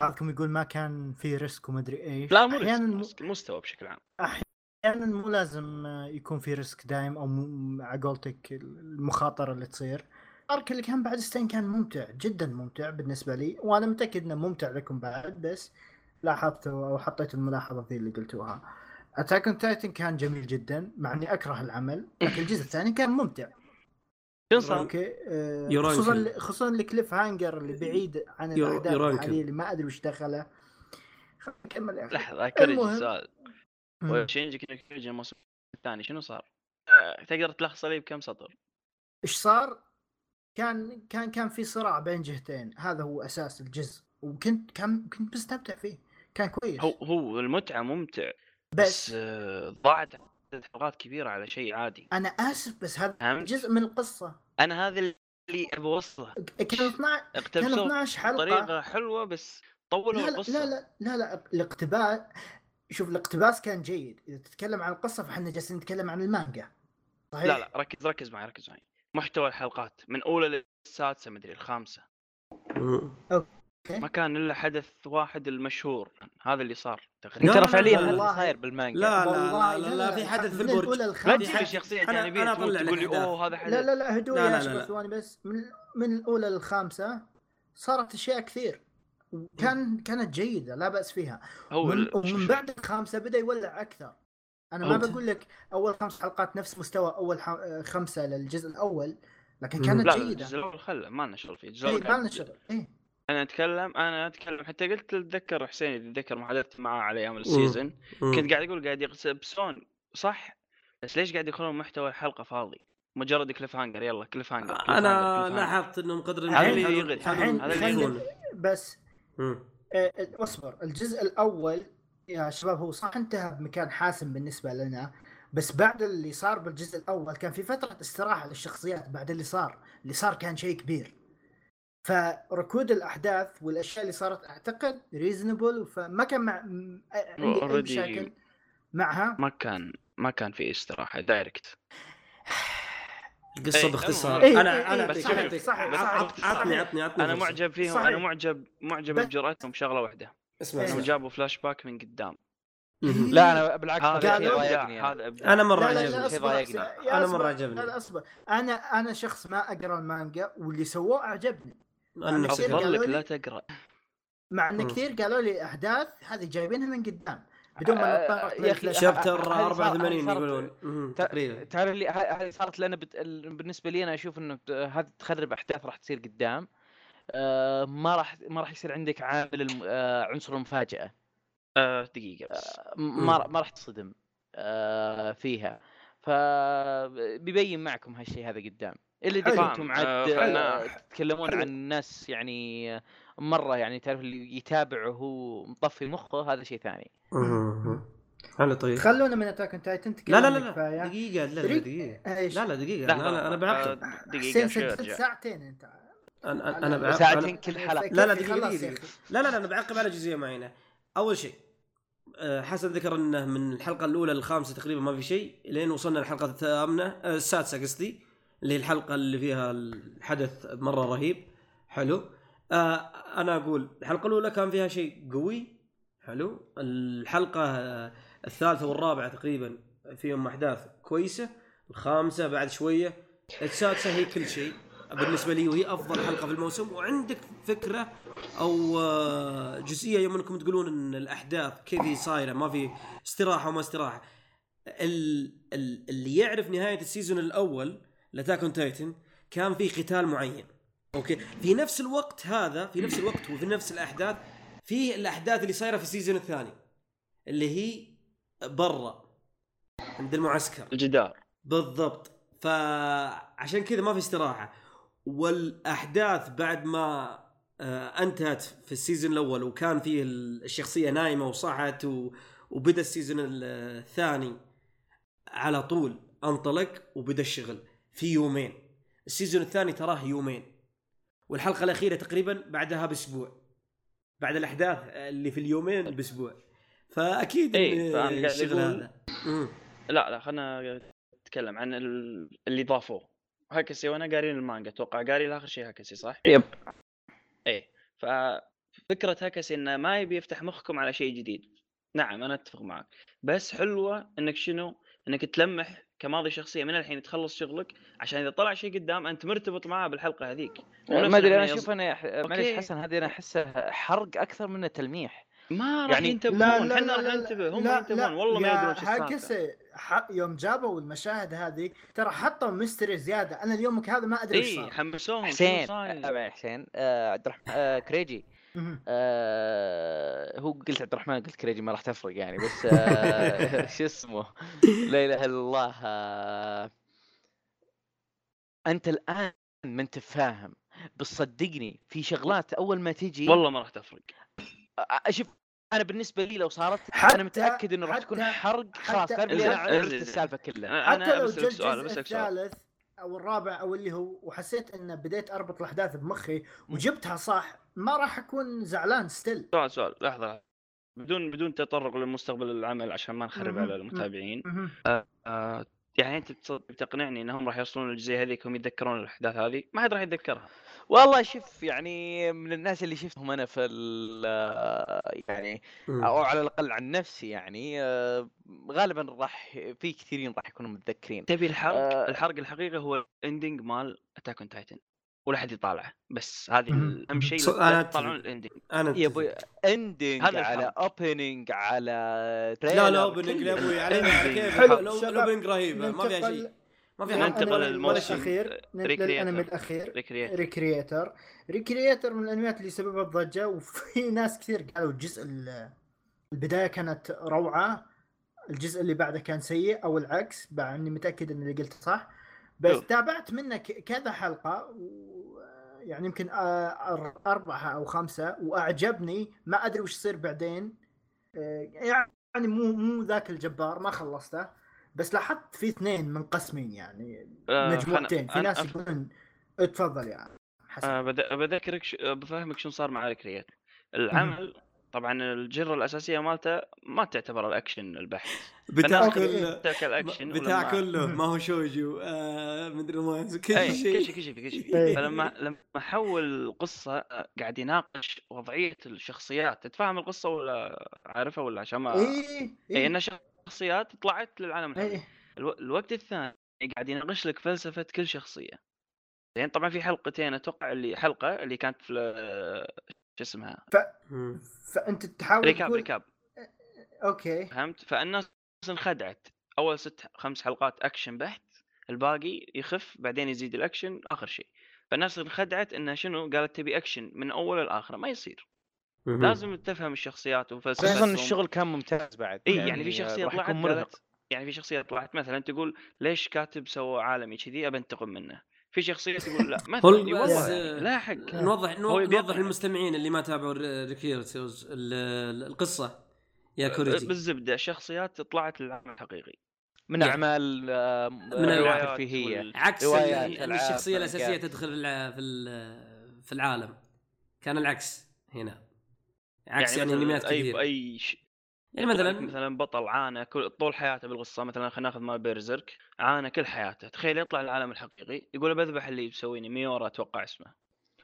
D: بعضكم يقول ما كان في ريسك ومدري ايش
C: لا مو
D: احيانا
C: رزق، المستوى بشكل عام
D: احيانا مو لازم آه، يكون في ريسك دايم او م- على قولتك المخاطره اللي تصير ارك اللي كان بعد ستين كان ممتع جدا ممتع بالنسبه لي وانا متاكد انه ممتع لكم بعد بس لاحظتوا او حطيت الملاحظه ذي اللي قلتوها اتاك اون تايتن كان جميل جدا مع اني اكره العمل لكن الجزء الثاني كان ممتع
C: تنصح
D: اوكي آه،
A: يورانكل.
D: خصوصا خصوصا الكليف هانجر اللي بعيد عن
A: يور-
D: الاحداث
A: يورانكل.
D: الحاليه اللي ما ادري وش دخله خلينا نكمل يا اخي
C: لحظه كرجي
D: المهم.
C: سؤال
D: مم.
C: وشينجي كيجي الموسم الثاني شنو صار؟ آه، تقدر تلخص لي بكم سطر؟
D: ايش صار؟ كان كان كان في صراع بين جهتين هذا هو اساس الجزء وكنت كان كنت مستمتع فيه كان كويس
C: هو هو المتعه ممتع بس
D: بس
C: آه، ضاعت عدد حلقات كبيره على شيء عادي
D: انا اسف بس هذا
C: فهمت؟
D: جزء من القصه
C: انا هذا اللي ابغى اوصله
D: ك- كان 12 كان
C: اقتبسوه
D: 12 حلقه
C: بطريقه حلوه بس طولوا
D: لا لا لا لا
C: القصه
D: لا, لا الاقتباس شوف الاقتباس كان جيد اذا تتكلم عن القصه فاحنا جالسين نتكلم عن المانجا
A: إيه.
D: صحيح
C: لا لا ركز ركز معي ركز معي محتوى الحلقات من اولى للسادسه مدري الخامسه
A: إيه.
C: ما كان الا حدث واحد المشهور هذا اللي صار
A: لا، لا،
C: تقريبا
B: ترى
A: لا،
B: فعليا
A: لا،
B: هذا
D: والله.
B: اللي صاير بالمانجا
A: لا
D: والله
A: لا لا لا في حدث في
D: من
A: البرج
D: الأولى
C: لا
D: للخامسة-
A: في
C: تجيب
A: حد-
C: الشخصية
A: أنا-
C: الجانبية
A: أنا
C: تموت
A: أطلع لك
C: تقول لي
A: أهداف.
C: اوه هذا حدث
D: لا لا لا هدوء
A: لا، لا،
D: يا
A: لا، لا.
D: شباب ثواني بس من من الاولى للخامسه صارت اشياء كثير كان كانت جيده لا باس فيها
C: هو
D: ومن,
C: ال- شوف-
D: ومن
C: شوف.
D: بعد الخامسه بدا يولع اكثر انا ما
A: أنت-
D: بقول لك اول خمس حلقات نفس مستوى اول ح... آه، خمسه للجزء الاول لكن
A: مم.
D: كانت
C: لا لا
D: جيده
C: الجزء الاول خله ما لنا شغل فيه الجزء
A: إيه،
D: اي
C: الأول
D: ما لنا
C: كان-
D: شغل إيه، اي
C: انا اتكلم انا اتكلم حتى قلت اتذكر حسين يتذكر محادثتي معاه على ايام
A: مم.
C: السيزون كنت قاعد اقول قاعد يقسبسون صح بس ليش قاعد يدخلون محتوى الحلقه فاضي مجرد كليف هانجر يلا كليف هانجر كليف هانجر،
A: انا
C: كليف هانجر.
A: لاحظت انهم قدر
D: هذا اللي
A: الإمكان
C: يغري.
A: حاولوا-
D: الحين-
A: حاولوا
D: الحين-
A: يكون.
D: بس
A: مم.
D: آه، آه، اصبر الجزء الاول يا شباب هو صح انتهى بمكان حاسم بالنسبه لنا بس بعد اللي صار بالجزء الاول كان في فتره استراحه للشخصيات بعد اللي صار اللي صار كان شيء كبير فركود الاحداث والاشياء اللي صارت اعتقد ريزنبل فما كان مع م- أ- عندي أي
C: Already-
D: مشاكل معها
C: ما كان ما كان في استراحه دايركت
A: القصه
C: إيه،
A: باختصار
D: إيه،
A: انا
D: إيه،
A: انا
D: إيه،
A: أعطيك-
C: بس شوف،
A: أعطيك-
D: صح-
A: عط-
D: صح-
A: آه، عطني عطني عطني
C: انا
A: فرصة.
C: معجب فيهم
D: صحيح.
C: انا معجب معجب
D: بس-
C: بجرأتهم بشغله واحده
A: اسمع
D: إيه.
C: انهم
A: اسمع
C: جابوا فلاش باك من قدام
B: لا انا بالعكس
C: هذا
B: هذا شيء يعني.
D: قالوا-
B: ضايقني أنا.
C: هذا أبداً.
A: انا مره
D: لا، لا، لا،
A: عجبني
B: شيء
D: أصبر،
B: ضايقني.
D: أصبر، يا
A: أنا
D: أصبر،
A: مرة عجبني.
D: لا، اصبر انا انا شخص ما اقرا المانجا واللي سووه اعجبني
A: انا نفس الشيء.
D: أصبر.
C: افضل
D: قالوا
C: لك
D: لي-
C: لا تقرا
D: مع ان
A: مم.
D: كثير قالوا لي احداث هذه جايبينها من قدام بدون ما
B: آه،
D: نتطرق
B: يا أخي،
D: للفلاش.
A: شابتر
B: هذه صار-
A: 84
B: هذه صارت-
A: يقولون مم،
B: تا-
A: تقريبا
B: تعرف اللي ه- هذه صارت لنا بت... ال- بالنسبه لي انا اشوف انه بت- هذه تخرب احداث راح تصير قدام آه، ما راح ما راح يصير عندك عامل الم... آه، عنصر المفاجاه
C: آه، دقيقه بس
B: م- ما راح- ما راح تصدم آه، فيها فبيبين معكم هالشيء هذا قدام اللي
D: حلو.
B: دفعتم عاد
C: آه،
B: آه،
C: فنان.
B: تتكلمون
D: حلو.
B: عن ناس يعني آه، مره يعني تعرف اللي يتابعه وهو مطفي مخه هذا شيء ثاني
A: مم. حلو طيب
D: خلونا من اتاك اون تايتن
A: لا لا لا لا دقيقه لا لا دقيقه لا لا دقيقه أنا- انا انا بعقب
C: آه،
D: دقيقه
C: دقيقه شوي ارجع
D: ساعتين انت
A: انا أنا- انا
D: لا،
A: بعقب
B: ساعتين
A: أنا-
B: كل حلقه
A: لا، لا،
D: كيف-
A: دقيقة،
D: خلاص
A: دقيقة،
D: يا
A: دقيقة.
D: أخي.
A: لا لا لا انا بعقب على جزئيه معينه اول شيء آه، حسن ذكر انه من الحلقه الاولى للخامسه تقريبا ما في شيء لين وصلنا الحلقه الثامنه آه، السادسه قصدي اللي هي الحلقه اللي فيها الحدث مره رهيب حلو آه، انا اقول الحلقه الاولى كان فيها شيء قوي حلو الحلقه آه، الثالثه والرابعه تقريبا فيهم احداث كويسه الخامسه بعد شويه السادسه هي كل شيء بالنسبه لي وهي افضل حلقه في الموسم وعندك فكره او آه، جزئيه يوم انكم تقولون ان الاحداث كيف هي صايره ما في استراحه وما استراحه ال- ال- اللي يعرف نهايه السيزون الاول لاتاك اون تايتن كان في قتال معين اوكي في نفس الوقت هذا في نفس الوقت وفي نفس الاحداث في الاحداث اللي صايره في السيزون الثاني اللي هي برا عند المعسكر
C: الجدار
A: بالضبط فعشان كذا ما في استراحه والاحداث بعد ما آه، انتهت في السيزون الاول وكان فيه ال- الشخصيه نايمه وصحت و... وبدا السيزون ال- الثاني على طول انطلق وبدا الشغل في يومين السيزون الثاني تراه يومين والحلقه الاخيره تقريبا بعدها باسبوع بعد الاحداث اللي في اليومين باسبوع فاكيد
C: إيه،
A: إن
C: فأنا قاعد
A: الشغل
C: أقول-
A: هذا مم.
C: لا لا خلنا نتكلم عن ال- اللي ضافوه هاكسي وانا قارين المانجا اتوقع قاري اخر شيء هاكسي صح؟
B: يب
C: ايه ففكرة هاكسي انه ما يبي يفتح مخكم على شيء جديد نعم انا اتفق معك بس حلوة انك شنو انك تلمح كماضي شخصية من الحين تخلص شغلك عشان اذا طلع شيء قدام انت مرتبط معاه بالحلقة هذيك ونفس
B: ما ادري انا
C: الحين
B: اشوف انا ح- معليش
C: يعني أوكي.
B: حسن هذه انا احسها حرق اكثر منه تلميح
C: ما راح
B: يعني-
C: ينتبهون
D: لا، لا،
C: احنا
D: لا،
C: راح
D: لا،
C: ننتبه هم
D: لا،
C: ينتبهون
D: لا،
C: والله ما
D: يا
C: يدرون شو السالفة
D: هاكسي ح- يوم جابوا المشاهد هذه ترى حطوا ميستري زياده انا اليومك هذا ما ادري ايش
C: اي
D: صار
C: إيه، حمسوهم شنو
B: حسين
C: صاير؟
B: آه، معليش حسين آه، عبد الرحمن آه، كريجي
D: مهم.
B: آه، هو قلت عبد الرحمن قلت كريجي ما راح تفرق يعني بس آه، شو اسمه لا اله الا الله آه، انت الان ما انت فاهم بس صدقني في شغلات اول ما تجي
C: والله ما راح تفرق
B: آه، شوف انا بالنسبه لي لو صارت
D: حتى-
B: انا متاكد انه راح تكون
D: حتى-
B: حرق خلاص
D: حتى-
B: لان أنا
C: إنزين،
B: عرفت
C: إنزين.
B: السالفه كلها
C: أنا-
D: حتى
C: انا
D: لو
C: بسألك
D: جا
C: سؤال
D: الجزء
C: بسألك سؤال
D: الثالث او الرابع او اللي هو وحسيت ان بديت اربط الاحداث بمخي وجبتها صح ما راح اكون زعلان ستيل
C: سؤال سؤال لحظة بدون بدون تطرق لمستقبل العمل عشان ما نخرب
D: مهم.
C: على
D: مهم.
C: المتابعين آه، يعني انت بتص- بتقنعني انهم راح يوصلون للجزئيه هذيك وهم يتذكرون الاحداث هذه ما حد راح يتذكرها
B: والله شوف يعني من الناس اللي شفتهم انا في ال- يعني
A: مم.
B: او على الاقل عن نفسي يعني آه، غالبا راح في كثيرين راح يكونوا متذكرين
C: تبي الحرق
B: آه.
C: الحرق الحقيقي هو الاندنج مال اتاك اون تايتن ولا حد يطالعه بس هذه
D: مهم.
C: اهم شيء
A: صو-
C: لا
A: أنا أتفق.
C: تطالعون الاندنج
A: انا
B: يا ابوي اندنج
C: هذا
B: على
C: الحرق.
B: اوبننج على
A: لا
B: تريلر،
A: لا
B: كل
A: اوبننج يا ابوي على على كيف
D: حلو،
A: لو
D: شباب.
A: اوبننج رهيبه ما فيها شيء ما فيها حرق
C: ننتقل
A: ولا- ولا
C: للموسم.
A: شيء.
D: الاخير
C: Recreator.
D: للانمي الاخير
C: ريكريت
D: ريكريتر ريكريتر من الانميات اللي سببت ضجه وفي ناس كثير قالوا الجزء ال- البدايه كانت روعه الجزء اللي بعده كان سيء او العكس مع اني متاكد ان اللي قلته صح بس
C: شوف.
D: تابعت منه ك- كذا حلقه و... يعني يمكن آه، أر- اربعه او خمسه واعجبني ما ادري وش يصير بعدين آه، يعني مو مو ذاك الجبار ما خلصته بس لاحظت في اثنين منقسمين يعني
C: آه،
D: مجموعتين في ناس يقولون تفضل يا حسن
C: أه، بذكرك ش- آه، بفهمك شنو صار مع ريكريت العمل طبعا الجره الاساسيه مالته ما تعتبر الاكشن البحت
A: بتاع
C: أنا-
A: كله
C: ترك الاكشن
A: بتاع
C: ولما-
A: كله ما هو شوجو آه مدري ما كل
C: اي كل شيء
A: شيء
C: كل شيء كل
D: إيه.
C: شيء فلما لما حول القصه قاعد يناقش وضعيه الشخصيات تتفاهم القصه ولا عارفها ولا عشان
D: إيه،
C: ما
D: اي
C: اي انها شخصيات طلعت للعالم الحقيقي
D: اي
C: الو... الوقت الثاني قاعد يناقش لك فلسفه كل شخصيه زين طبعا في حلقتين اتوقع اللي حلقه اللي كانت في ال- شو اسمها
A: مم.
D: فانت تحاول
C: ريكاب
D: تقول-
C: ريكاب
D: اوكي
C: فهمت فالناس انخدعت اول ست خمس حلقات اكشن بحت الباقي يخف بعدين يزيد الاكشن اخر شيء فالناس انخدعت انها شنو قالت تبي اكشن من اول لاخره ما يصير
A: مم.
C: لازم تفهم الشخصيات وفلسفتهم
B: خصوصا الشغل كان ممتاز بعد آه،
C: اي يعني في شخصيه
B: راح
C: طلعت
B: يكون مرهق
C: قالت يعني في شخصيه طلعت مثلا تقول ليش كاتب سوى عالمي كذي ابى انتقم منه في شخصيه تقول لا مثلا
A: هول-
C: إي
A: بس-
C: والله يعني، لا حق
A: نوضح
C: هو يبي
A: نوضح
C: يطلع.
A: للمستمعين اللي ما تابعوا ريكيرتوز القصه
C: أه،
A: يا كوريجي
C: بالزبده شخصيات طلعت للعالم الحقيقي
B: من
C: نعم.
A: يعني.
B: اعمال آه، م-
A: من
B: روايات
C: الروايات
B: ترفيهيه
C: وال-
A: عكس ال-
B: روايات،
A: ان
B: ألعاب،
A: الشخصيه الاساسيه
B: مانجات.
A: تدخل في الع- في ال- في العالم كان العكس هنا عكس يعني,
C: مثلاً
A: انميات
C: اي
A: كثير
C: اي ش...
A: يعني مثلا
C: مثلا طيب، بطل عانى كل... طول حياته بالقصه مثلا خلينا ناخذ مال بيرزرك عانى كل حياته تخيل يطلع العالم الحقيقي يقول بذبح اللي بيسويني ميورا اتوقع اسمه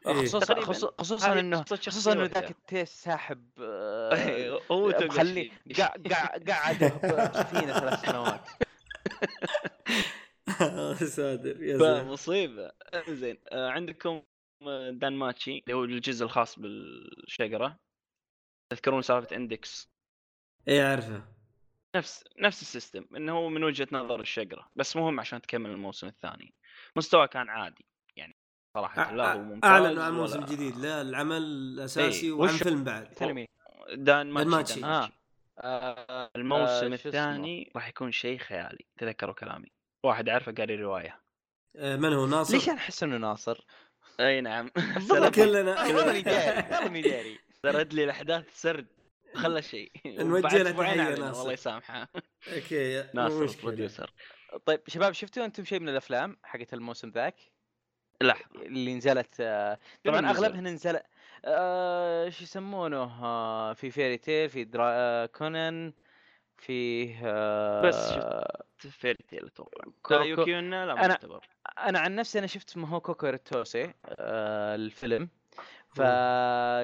A: إيه.
B: خصوصا
C: تقريباً.
B: خصوصا- خصوصا
C: هذه
B: انه
C: قصة شخصية
B: خصوصا انه
C: واحدة.
B: ذاك التيس ساحب آه،
C: إيه، هو توغاشي.
B: مخلي قع- قع- قعده بسفينه ثلاث سنوات
A: ساتر يا زلمه
C: فمصيبه زين آه، عندكم آه، دان ماتشي اللي هو الجزء الخاص بالشجره تذكرون سالفه اندكس
A: اي اعرفه
C: نفس نفس السيستم انه هو من وجهه نظر الشجره بس مهم عشان تكمل الموسم الثاني مستواه كان عادي يعني صراحه لا هو ممتاز
A: اعلنوا عن موسم
C: ولا-
A: جديد لا العمل الاساسي
C: إيه،
A: وعن
B: وش-
A: فيلم بعد
B: تنمي
C: دان ماتشي, دان
A: ماتشي.
C: ماتشي.
B: آه. آه،
C: الموسم
B: آه، شو اسمه؟
C: الثاني راح يكون شيء خيالي تذكروا كلامي واحد عارفه قاري روايه
A: آه، من هو ناصر
B: ليش انا احس انه ناصر؟
C: اي نعم
B: بالضبط.
A: كلنا
B: والله ماني داري والله ماني داري
C: سرد لي الاحداث سرد خلى شيء
A: نوجه
C: بعد
A: له
C: أسبوعين
A: تحية
C: أعلن،
A: ناصر.
C: الله يسامحه
A: اوكي مو
C: ناصر
A: مشكله
C: بروديوسر
B: طيب شباب شفتوا انتم شيء من الافلام حقت الموسم ذاك
C: لحظه
B: اللي نزلت آه،
C: نزل؟
B: طبعا اغلبها نزل آه، شو يسمونه آه، في فيري تيل في درا... آه، كونان في آه،
C: بس فيري تيل اتوقع
B: كو-
C: لا، يوكيونا لا ما
B: أنا-
C: يعتبر
B: انا عن نفسي انا شفت ماهوكو كوريتوسي آه، الفيلم ف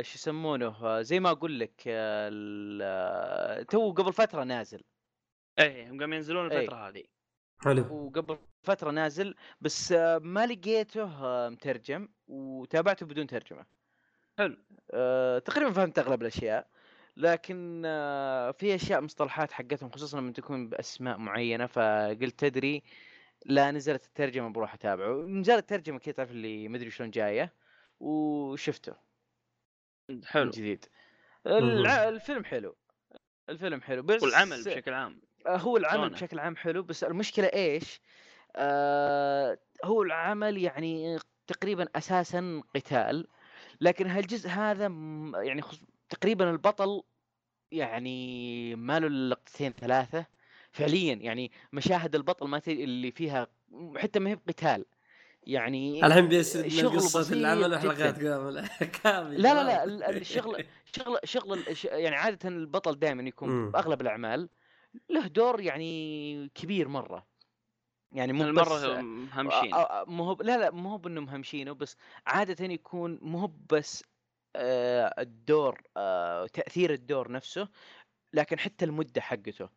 B: شو يسمونه آه، زي ما اقول لك آه، ال- آه، تو قبل فتره نازل
C: اي إيه، هم قاموا ينزلون
B: إي.
C: الفتره هذه
A: حلو
B: وقبل فتره نازل بس آه، ما لقيته آه، مترجم وتابعته بدون ترجمه
C: حلو.
B: آه، تقريبا فهمت اغلب الاشياء لكن آه، في اشياء مصطلحات حقتهم خصوصا لما تكون باسماء معينه فقلت تدري لا نزلت الترجمه بروح اتابعه نزلت الترجمه كذا تعرف اللي مدري شلون جايه وشفته من
C: حلو
B: جديد الع... الفيلم حلو الفيلم حلو بس
C: والعمل بشكل عام
B: آه، هو العمل
C: شلونه؟
B: بشكل عام حلو بس المشكله ايش؟ آه هو العمل يعني تقريبا اساسا قتال لكن هالجزء هذا م- يعني خص- تقريبا البطل يعني ما له لقطتين ثلاثه فعليا يعني مشاهد البطل ما تدري اللي فيها حتى ما هي بقتال يعني
A: الحين بيسردنا
B: شغل
A: قصه
B: بسيط
A: العمل
B: جداً.
A: وحلقات كامله كامله
B: لا لا لا ال- الشغل شغل شغل الش- يعني عاده البطل دائما يكون
A: مم.
B: باغلب الاعمال له دور يعني كبير مره يعني مو بس
C: المره همشين
B: أ- أ- مو هو لا لا مو هو بانهم همشينه بس عاده يكون مو هو بس آه، الدور آه، تاثير الدور نفسه لكن حتى المده حقته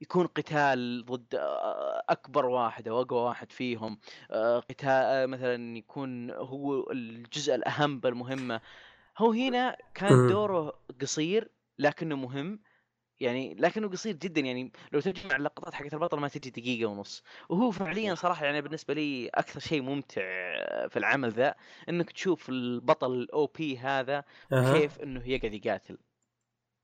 B: يكون قتال ضد آه، اكبر واحد او اقوى واحد فيهم آه، قتال آه، مثلا يكون هو الجزء الاهم بالمهمه هو هنا
A: مم.
B: كان دوره قصير لكنه مهم يعني لكنه قصير جدا يعني لو تجمع اللقطات حقت البطل ما تجي دقيقه ونص وهو فعليا صراحه يعني بالنسبه لي اكثر شيء ممتع في العمل ذا انك تشوف البطل الاو بي هذا
A: أها.
B: كيف انه يقعد يقاتل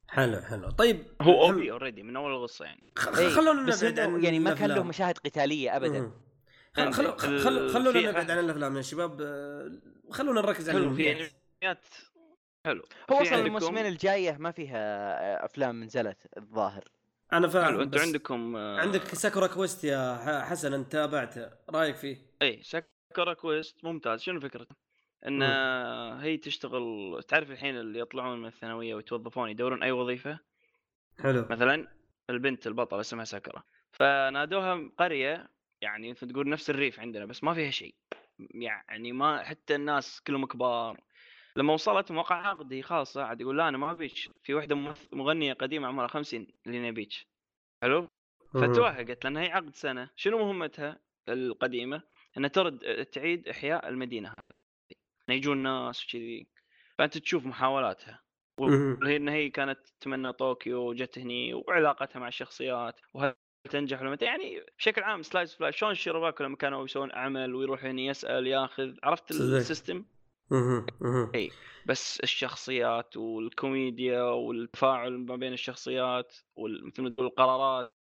A: حلو حلو طيب
C: هو
A: خل-
C: اوبي اوريدي من اول القصه يعني
A: خ-
B: إي،
A: خلونا
B: إيه، بس
A: نبعد
B: إنه
A: عن
B: يعني ما كان له
A: الأفلام.
B: مشاهد قتاليه ابدا
A: مهم. خل- خلو- خل- خل-
C: يعني ال-
A: خلونا
C: في-
A: نبعد عن الافلام يا شباب آه، خلونا نركز على
C: حلو في
A: الأنميات.
C: انميات حلو
B: هو
C: في
B: اصلا
C: عندكم-
B: الموسمين الجايه ما فيها افلام نزلت الظاهر
A: انا
C: حلو
A: فاهم
C: انتم
A: بس
C: عندكم آه،
A: عندك ساكورا كويست يا ح- حسن انت تابعته رايك فيه؟
C: إيه، اي ساكورا كويست ممتاز شنو فكرته؟ ان هي تشتغل تعرف الحين اللي يطلعون من الثانويه ويتوظفون يدورون اي وظيفه
A: حلو
C: مثلا البنت البطله اسمها ساكرا فنادوها قريه يعني مثل تقول نفس الريف عندنا بس ما فيها شيء يعني ما حتى الناس كلهم كبار لما وصلت موقع عقدي خاصة عاد يقول لا انا ما ابيك في واحدة ممث- مغنية قديمة عمرها 50 اللي نبيك حلو
A: امم.
C: فتوهقت لان هي عقد سنة شنو مهمتها القديمة انها ترد آه، تعيد احياء المدينة هذه إن يجون ناس وكذي فانت تشوف محاولاتها
A: مهم.
C: هي ان هي كانت تتمنى طوكيو وجت هني وعلاقتها مع الشخصيات وهل تنجح ولا ما تنجح. يعني بشكل عام سلايس فلاي شلون شيروباكو لما كانوا يسوون عمل ويروح هني يسال ياخذ عرفت
A: صدق.
C: السيستم
A: مهم. مهم.
C: إيه. بس الشخصيات والكوميديا والتفاعل ما بين الشخصيات وال- مثل ما تقول القرارات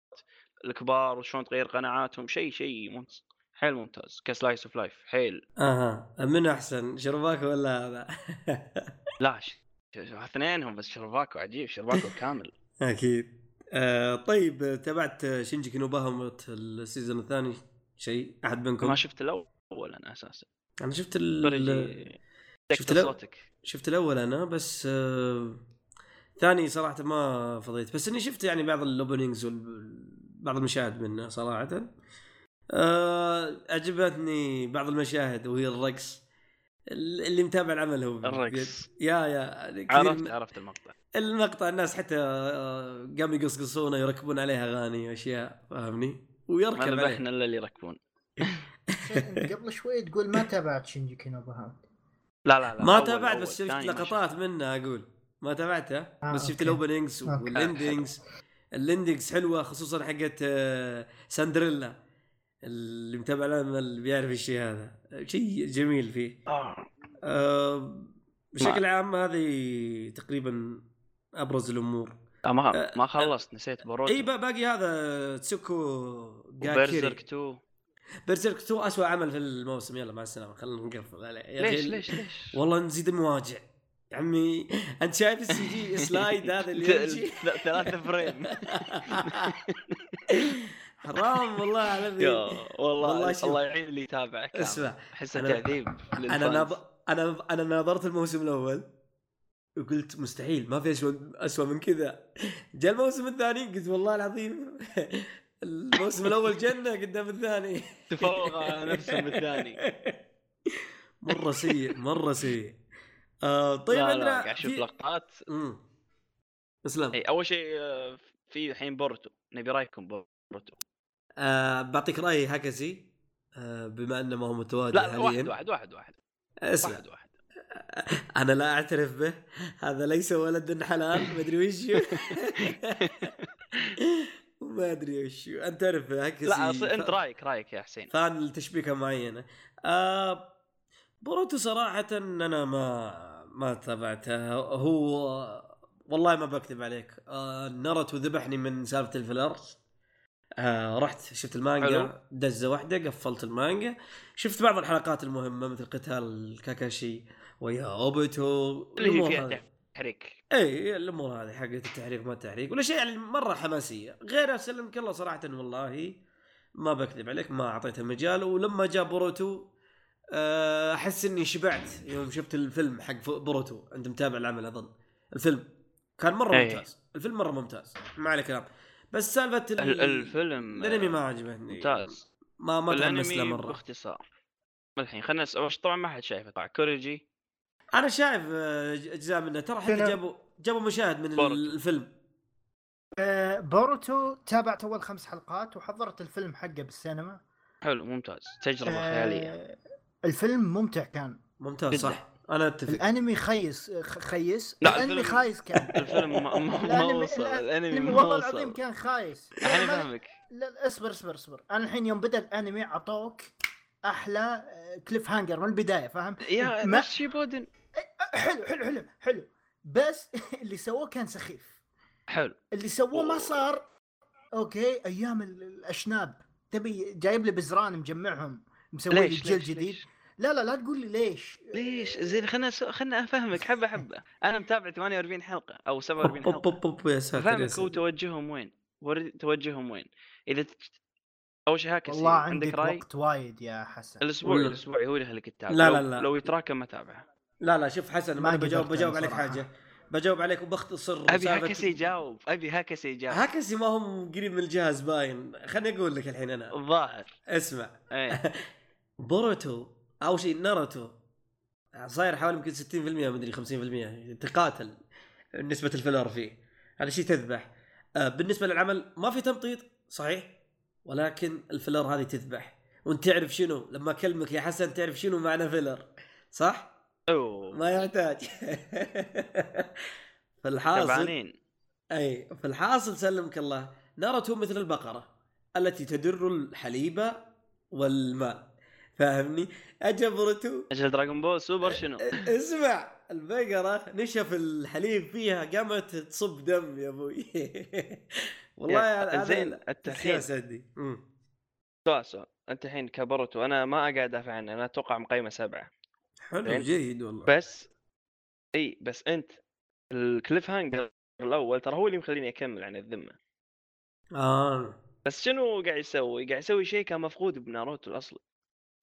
C: الكبار وشلون تغير قناعاتهم شيء شيء ممتاز حيل ممتاز كسلايس اوف لايف حيل
A: اها من احسن شرباك ولا هذا؟
C: لا ش- ش- اثنينهم بس شرباكو عجيب شرباكو كامل
A: اكيد آه طيب تابعت شينجي كينوباهم السيزون الثاني شيء احد منكم؟
C: ما شفت الاول انا اساسا
A: انا شفت ال...
C: فرجي
A: شفت
C: شفت
A: لو-
C: صوتك
A: شفت الاول انا بس آه، ثاني صراحه ما فضيت بس اني شفت يعني بعض الاوبننجز بعض المشاهد منه صراحه آه، عجبتني بعض المشاهد وهي الرقص ال- اللي متابع العمل هو
C: الرقص.
A: يا يا كثير
C: عرفت
A: من-
C: عرفت المقطع
A: المقطع الناس حتى آه، قاموا يقصقصونه يركبون عليها اغاني واشياء فاهمني
C: ما
A: ويركب عليها
C: ذبحنا الا اللي يركبون
D: قبل شوي تقول ما تابعت شينجي كينوبا
C: لا لا لا
A: ما
C: أول-
A: تابعت
C: أول،
A: بس شفت
C: ثاني ما
A: لقطات منه اقول ما تابعته
D: آه،
A: بس شفت
D: أوكي.
A: الاوبننجز
D: أوكي.
A: والاندنجز الاندنجز حلوه خصوصا حقت آه، سندريلا اللي متابع العمل اللي بيعرف الشيء هذا شيء جميل فيه
C: آه.
A: آه، بشكل
C: نعم.
A: عام هذه تقريبا ابرز الامور
C: آه، ما ما خلصت نسيت باروتو
A: اي أه، بقى- باقي هذا تسوكو
C: وبرزرك
A: جاكيري
C: 2
A: بيرزيرك 2 اسوء عمل في الموسم يلا مع السلامه خلينا نقفل عليه يا أخي
C: ليش ليش ليش
A: والله نزيد المواجع يا عمي انت شايف السي جي سلايد هذا اللي يمشي
C: ثل- ثلاثة فريم
A: حرام والله على
C: يا
A: ذي والله
C: والله
A: شوف.
C: الله يعين اللي يتابعك
A: اسمع
C: احسه
A: أنا-
C: تعذيب
A: انا ناظ... انا انا ناظرت الموسم الاول وقلت مستحيل ما في اسوء اسوء من كذا جاء الموسم الثاني قلت والله العظيم الموسم الاول جنه قدام الثاني
C: تفوق على نفسه بالثاني
A: مره سيء مره سيء آه طيب
C: طيب لا
A: عندنا
C: لا قاعد إيه. اشوف
A: في-
C: لقطات
A: مم. اسلام
C: اي اول شيء آه، في الحين بورتو نبي رايكم بورتو
A: آه بعطيك رايي هكسي آه بما انه ما هو متواجد
C: لا واحد
A: حاليا
C: واحد واحد واحد
A: طيب، اسمع
C: واحد واحد
A: انا لا اعترف به هذا ليس ولد حلال مدري وش هو. ما ادري وش هو. انت تعرف هكسي
C: لا أص- انت
A: ف-
C: رايك رايك يا حسين
A: فان لتشبيكه معينه آه بوروتو صراحه انا ما ما تابعته هو والله ما بكذب عليك آه نرت وذبحني من سالفه الفلرس آه رحت شفت
C: حلو.
A: المانجا دزه واحده قفلت المانجا شفت بعض الحلقات المهمه مثل قتال كاكاشي ويا اوبيتو
C: اللي هي
A: الأمور
C: فيها
A: هذه.
C: تحريك
A: اي الامور إيه، هذه حقت التحريك ما التحريك ولا شيء يعني مره حماسيه غير اسلمك الله صراحه والله ما بكذب عليك ما اعطيته مجال ولما جاء بوروتو آه، احس اني شبعت يوم شفت الفيلم حق ف- بوروتو انت متابع العمل اظن الفيلم كان مره
C: إيه.
A: ممتاز الفيلم مره ممتاز ما عليه كلام بس سالفه ال-
C: ال- الفيلم
A: الانمي ما
C: آه،
A: عجبتني
C: ممتاز
A: ما ما تحمست له
C: الانمي
A: مره
C: باختصار الحين خلينا نس- أول شي طبعا ما حد شايفه طبعا كوريجي
A: انا شايف آه، اجزاء منه ترى حتى
D: فيلم.
A: جابوا جابوا مشاهد من
C: بوروتو.
A: الفيلم
D: آه، بوروتو تابعت اول خمس حلقات وحضرت الفيلم حقه بالسينما
C: حلو ممتاز تجربه
D: آه،
C: خياليه
D: الفيلم ممتع كان
A: ممتاز
C: جداً.
A: صح انا اتفق
D: الانمي خيس خ- خيس
C: لا،
D: الانمي
C: الفيلم-
D: خايس كان
C: الفيلم ما- ما ما
D: الأنمي-
C: وصل
D: الأنمي
C: الانمي
D: الانمي
C: ما
D: والله العظيم
C: وصل
D: كان خايس
C: انا
D: ما-
C: فاهمك
D: لا اصبر اصبر اصبر انا الحين يوم بدا الانمي عطوك احلى كليف هانجر آه، من البدايه فاهم؟
C: يا
D: ما-
C: نفس شي بودن
D: حلو حلو حلو حلو بس اللي سووه كان سخيف
C: حلو
D: اللي سووه ما صار اوكي ايام ال- الاشناب تبي جايب لي بزران مجمعهم مسوي لي
C: ليش
D: جيل
C: ليش
D: جديد
C: ليش,
D: لا لا لا تقول لي ليش
C: ليش؟ زين خلنا س... خلنا افهمك حبه حبه انا متابع 48 حلقه او 47
A: بوب
C: حلقه
A: بوب بوب يا ساتر يا
C: فهمك هو
A: ساتر
C: توجههم وين ورد توجههم وين اذا ت- اول شيء هاكسي
D: والله عندك
C: عندك راي
D: وقت وايد يا حسن
C: الاسبوع
A: ولا-
C: الاسبوعي هو اللي يهلك التابع
A: لا،
C: لو-
A: لا، لا.
C: لو يتراكم ما تابعه
A: لا لا شوف حسن
D: ما
A: ما بجاوب
D: قدرت
A: بجاوب
D: أنا
A: عليك
D: صراحة.
A: حاجه بجاوب عليك وبختصر
C: ابي
A: سالفة-
C: هاكسي يجاوب ابي هاكسي يجاوب
A: هاكسي ما هم قريب من الجهاز باين خليني اقول لك الحين انا
C: الظاهر
A: اسمع
C: ايه
A: بوروتو او شيء ناروتو صاير حوالي يمكن 60% مدري 50% تقاتل نسبة الفلور فيه هذا شيء تذبح آه، بالنسبة للعمل ما في تمطيط صحيح ولكن الفلور هذه تذبح وانت تعرف شنو لما اكلمك يا حسن تعرف شنو معنى فيلر صح؟
C: اوه
A: ما يحتاج فالحاصل
C: تعبانين
A: اي فالحاصل سلمك الله ناروتو مثل البقرة التي تدر الحليب والماء فاهمني؟ اجا بوروتو
C: اجل دراغون بول سوبر
A: إيه،
C: شنو؟
A: اسمع البقرة نشف الحليب فيها قامت تصب دم يا ابوي والله يعني
C: يا-
A: هذا-
C: زين
A: هذا
C: انت الحين
A: السياسة عندي أمم.
C: سؤال سؤال انت الحين كبرتو انا ما اقعد ادافع عنه انا اتوقع مقيمه سبعه
A: حلو
C: زين.
A: جيد والله
C: بس اي بس انت الكليف هانجر الاول ترى هو اللي مخليني اكمل عن الذمه
A: اه
C: بس شنو قاعد يسوي؟ قاعد يسوي شيء كان مفقود بناروتو الاصلي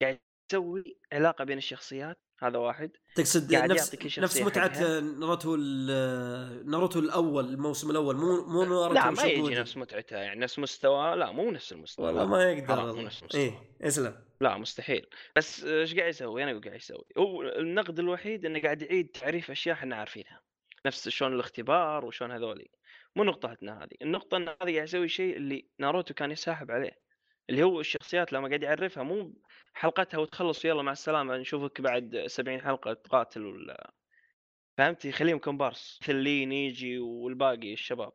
C: قاعد يسوي علاقه بين الشخصيات هذا واحد
A: تقصد
C: قاعد
A: نفس
C: يعطيك الشخصية
A: نفس متعة
C: حقها.
A: ناروتو ال- ناروتو الاول الموسم الاول مو مو ناروتو
C: لا ما
A: شيبودن.
C: يجي نفس متعته يعني نفس مستوى لا مو نفس المستوى
A: والله ما يقدر
C: حرام، مو
A: والله.
C: نفس المستوى.
A: ايه اسلم
C: لا مستحيل بس ايش قاعد يسوي انا أقول قاعد يسوي هو النقد الوحيد انه قاعد يعيد تعريف اشياء احنا عارفينها نفس شلون الاختبار وشلون هذولي مو نقطتنا هذه النقطه ان هذا قاعد يسوي شيء اللي ناروتو كان يسحب عليه اللي هو الشخصيات لما قاعد يعرفها مو حلقتها وتخلص يلا مع السلامه نشوفك بعد 70 حلقه تقاتل ولا فهمت يخليهم كومبارس مثل لي نيجي والباقي الشباب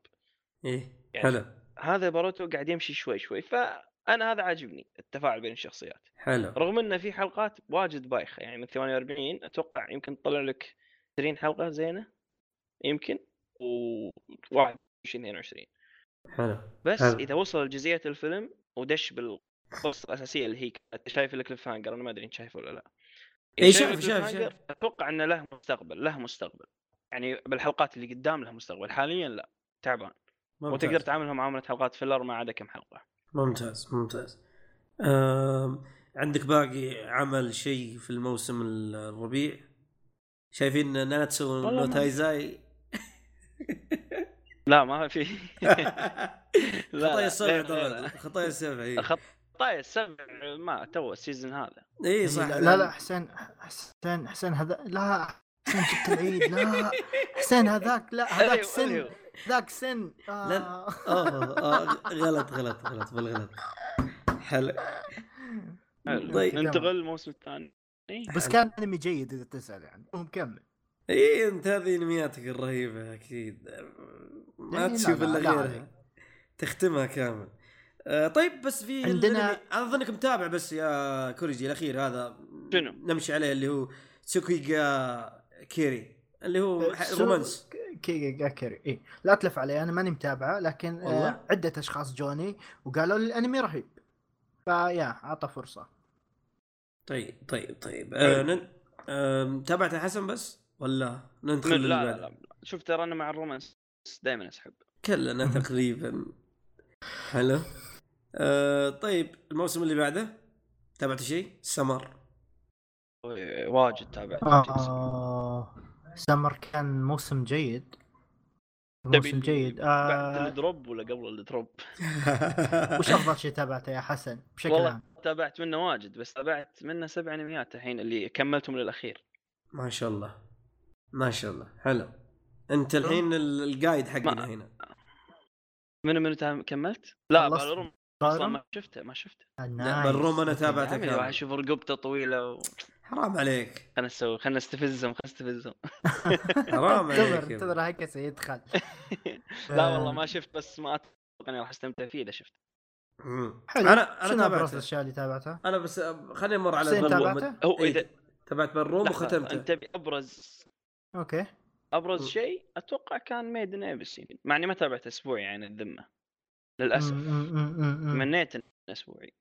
A: ايه
C: يعني-
A: حلو
C: هذا باروتو قاعد يمشي شوي شوي فانا هذا عاجبني التفاعل بين الشخصيات
A: حلو
C: رغم انه في حلقات واجد بايخه يعني من 48 اتوقع يمكن تطلع لك 20 حلقه زينه يمكن و 21 22
A: حلو
C: بس
A: حلو.
C: اذا وصل لجزئيه الفيلم ودش بالقصه الاساسيه اللي هي كانت- شايف الكليف هانجر انا ما ادري انت شايفه ولا لا إذا
A: إيه،
C: شايف
A: شايف- شايف-
C: الcliffhanger،
A: شايف.
C: اتوقع انه له مستقبل له مستقبل يعني بالحلقات اللي قدام له مستقبل حاليا لا تعبان
A: ممتاز.
C: وتقدر تعاملها معامله حلقات فيلر ما عدا كم حلقه
A: ممتاز ممتاز أم عندك باقي عمل شيء في الموسم الربيع شايفين ناناتسو
C: والله
A: نو
C: ما-
A: تايزاي
C: لا ما في لا،
A: خطايا
C: لا،
A: السبع
C: لا، لا،
A: طبعا
C: لا.
A: خطايا السبع إيه.
C: خطايا السبع ما تو السيزون هذا
A: اي إيه، صح
D: إيه، لا لا حسين حسين حسين هذا لا حسين جبت العيد لا حسين هذاك لا هذاك
C: أيوه،
D: سن
C: أيوه.
D: ذاك سن
A: لا.
D: آه.
A: أوه، آه، غلط غلط غلط بالغلط حلو
C: حلو.
D: إيه،
A: طيب.
C: ننتقل للموسم الثاني
D: بس كان انمي جيد اذا تسال يعني هو مكمل
A: اي انت هذه انمياتك الرهيبه اكيد ما
D: إيه، لا،
A: تشوف
D: لا،
A: الا
D: لا
A: غيرها
D: عليك.
A: تختمها كامل آه طيب بس في
D: عندنا-
A: الأنمي- انا اظنك متابع بس يا كوريجي الاخير هذا
C: شنو؟
A: نمشي عليه اللي هو تسوكيغا كيري اللي هو ح-
D: سو-
A: رومانس
D: كي جاكري اي إيه. لا تلف علي انا ماني متابعه لكن
A: والله؟
D: آه عده اشخاص جوني وقالوا لي الانمي رهيب فيا اعطى فرصه
A: طيب طيب طيب
C: إيه.
A: آه نن... آه تابعته حسن بس ولا
C: من-
A: ندخل
C: لا لا,
A: للبعد؟
C: لا شوف ترى انا مع الرومانس دائما اسحب
A: كلنا تقريبا حلو آه طيب الموسم اللي بعده تابعت شيء؟ سمر
C: أوي، واجد تابع
D: آه سمر كان موسم جيد موسم
C: تبي
D: جيد
C: بعد
D: آه
C: الدروب ولا قبل الدروب؟
D: وش افضل شيء تابعته يا حسن بشكل
C: والله
D: عام
C: تابعت منه واجد بس تابعت منه سبع انميات الحين اللي كملتهم للاخير
A: ما شاء الله ما شاء الله حلو انت الحين ال- القايد حقنا
C: ما-
A: هنا
C: منو منو تام- كملت؟ لا
D: خلصت
C: بالروم اصلا
D: بالروم
C: ما شفته ما شفته
A: لا، بالروم انا تابعته
C: عمي، واحد
A: كامل
C: اشوف رقبته طويله و...
A: حرام عليك
C: خلنا نسوي خلنا نستفزهم خلنا نستفزهم
A: حرام عليك يا
D: انتظر
A: ابني.
D: انتظر هيك سيدخل
C: لا
D: آه.
C: والله ما شفت بس ما اتوقع اني راح استمتع فيه اذا شفت
A: مم.
D: حلو
A: انا
D: شنو
A: انا
D: ابرز
A: تابعته
D: الاشياء اللي تابعتها؟
A: انا بس أب- خليني امر على
D: حسين
A: بالروم.
D: تابعته؟
C: هو
A: إيه،
C: اذا
A: تابعت بالروم
C: لحظة،
A: وختمته
C: انت ابرز
D: اوكي
A: م.
C: ابرز شيء اتوقع كان ميدن ابس يمكن مع اني ما تابعت اسبوعي يعني الذمه للاسف
D: من
C: تمنيت انه اسبوعي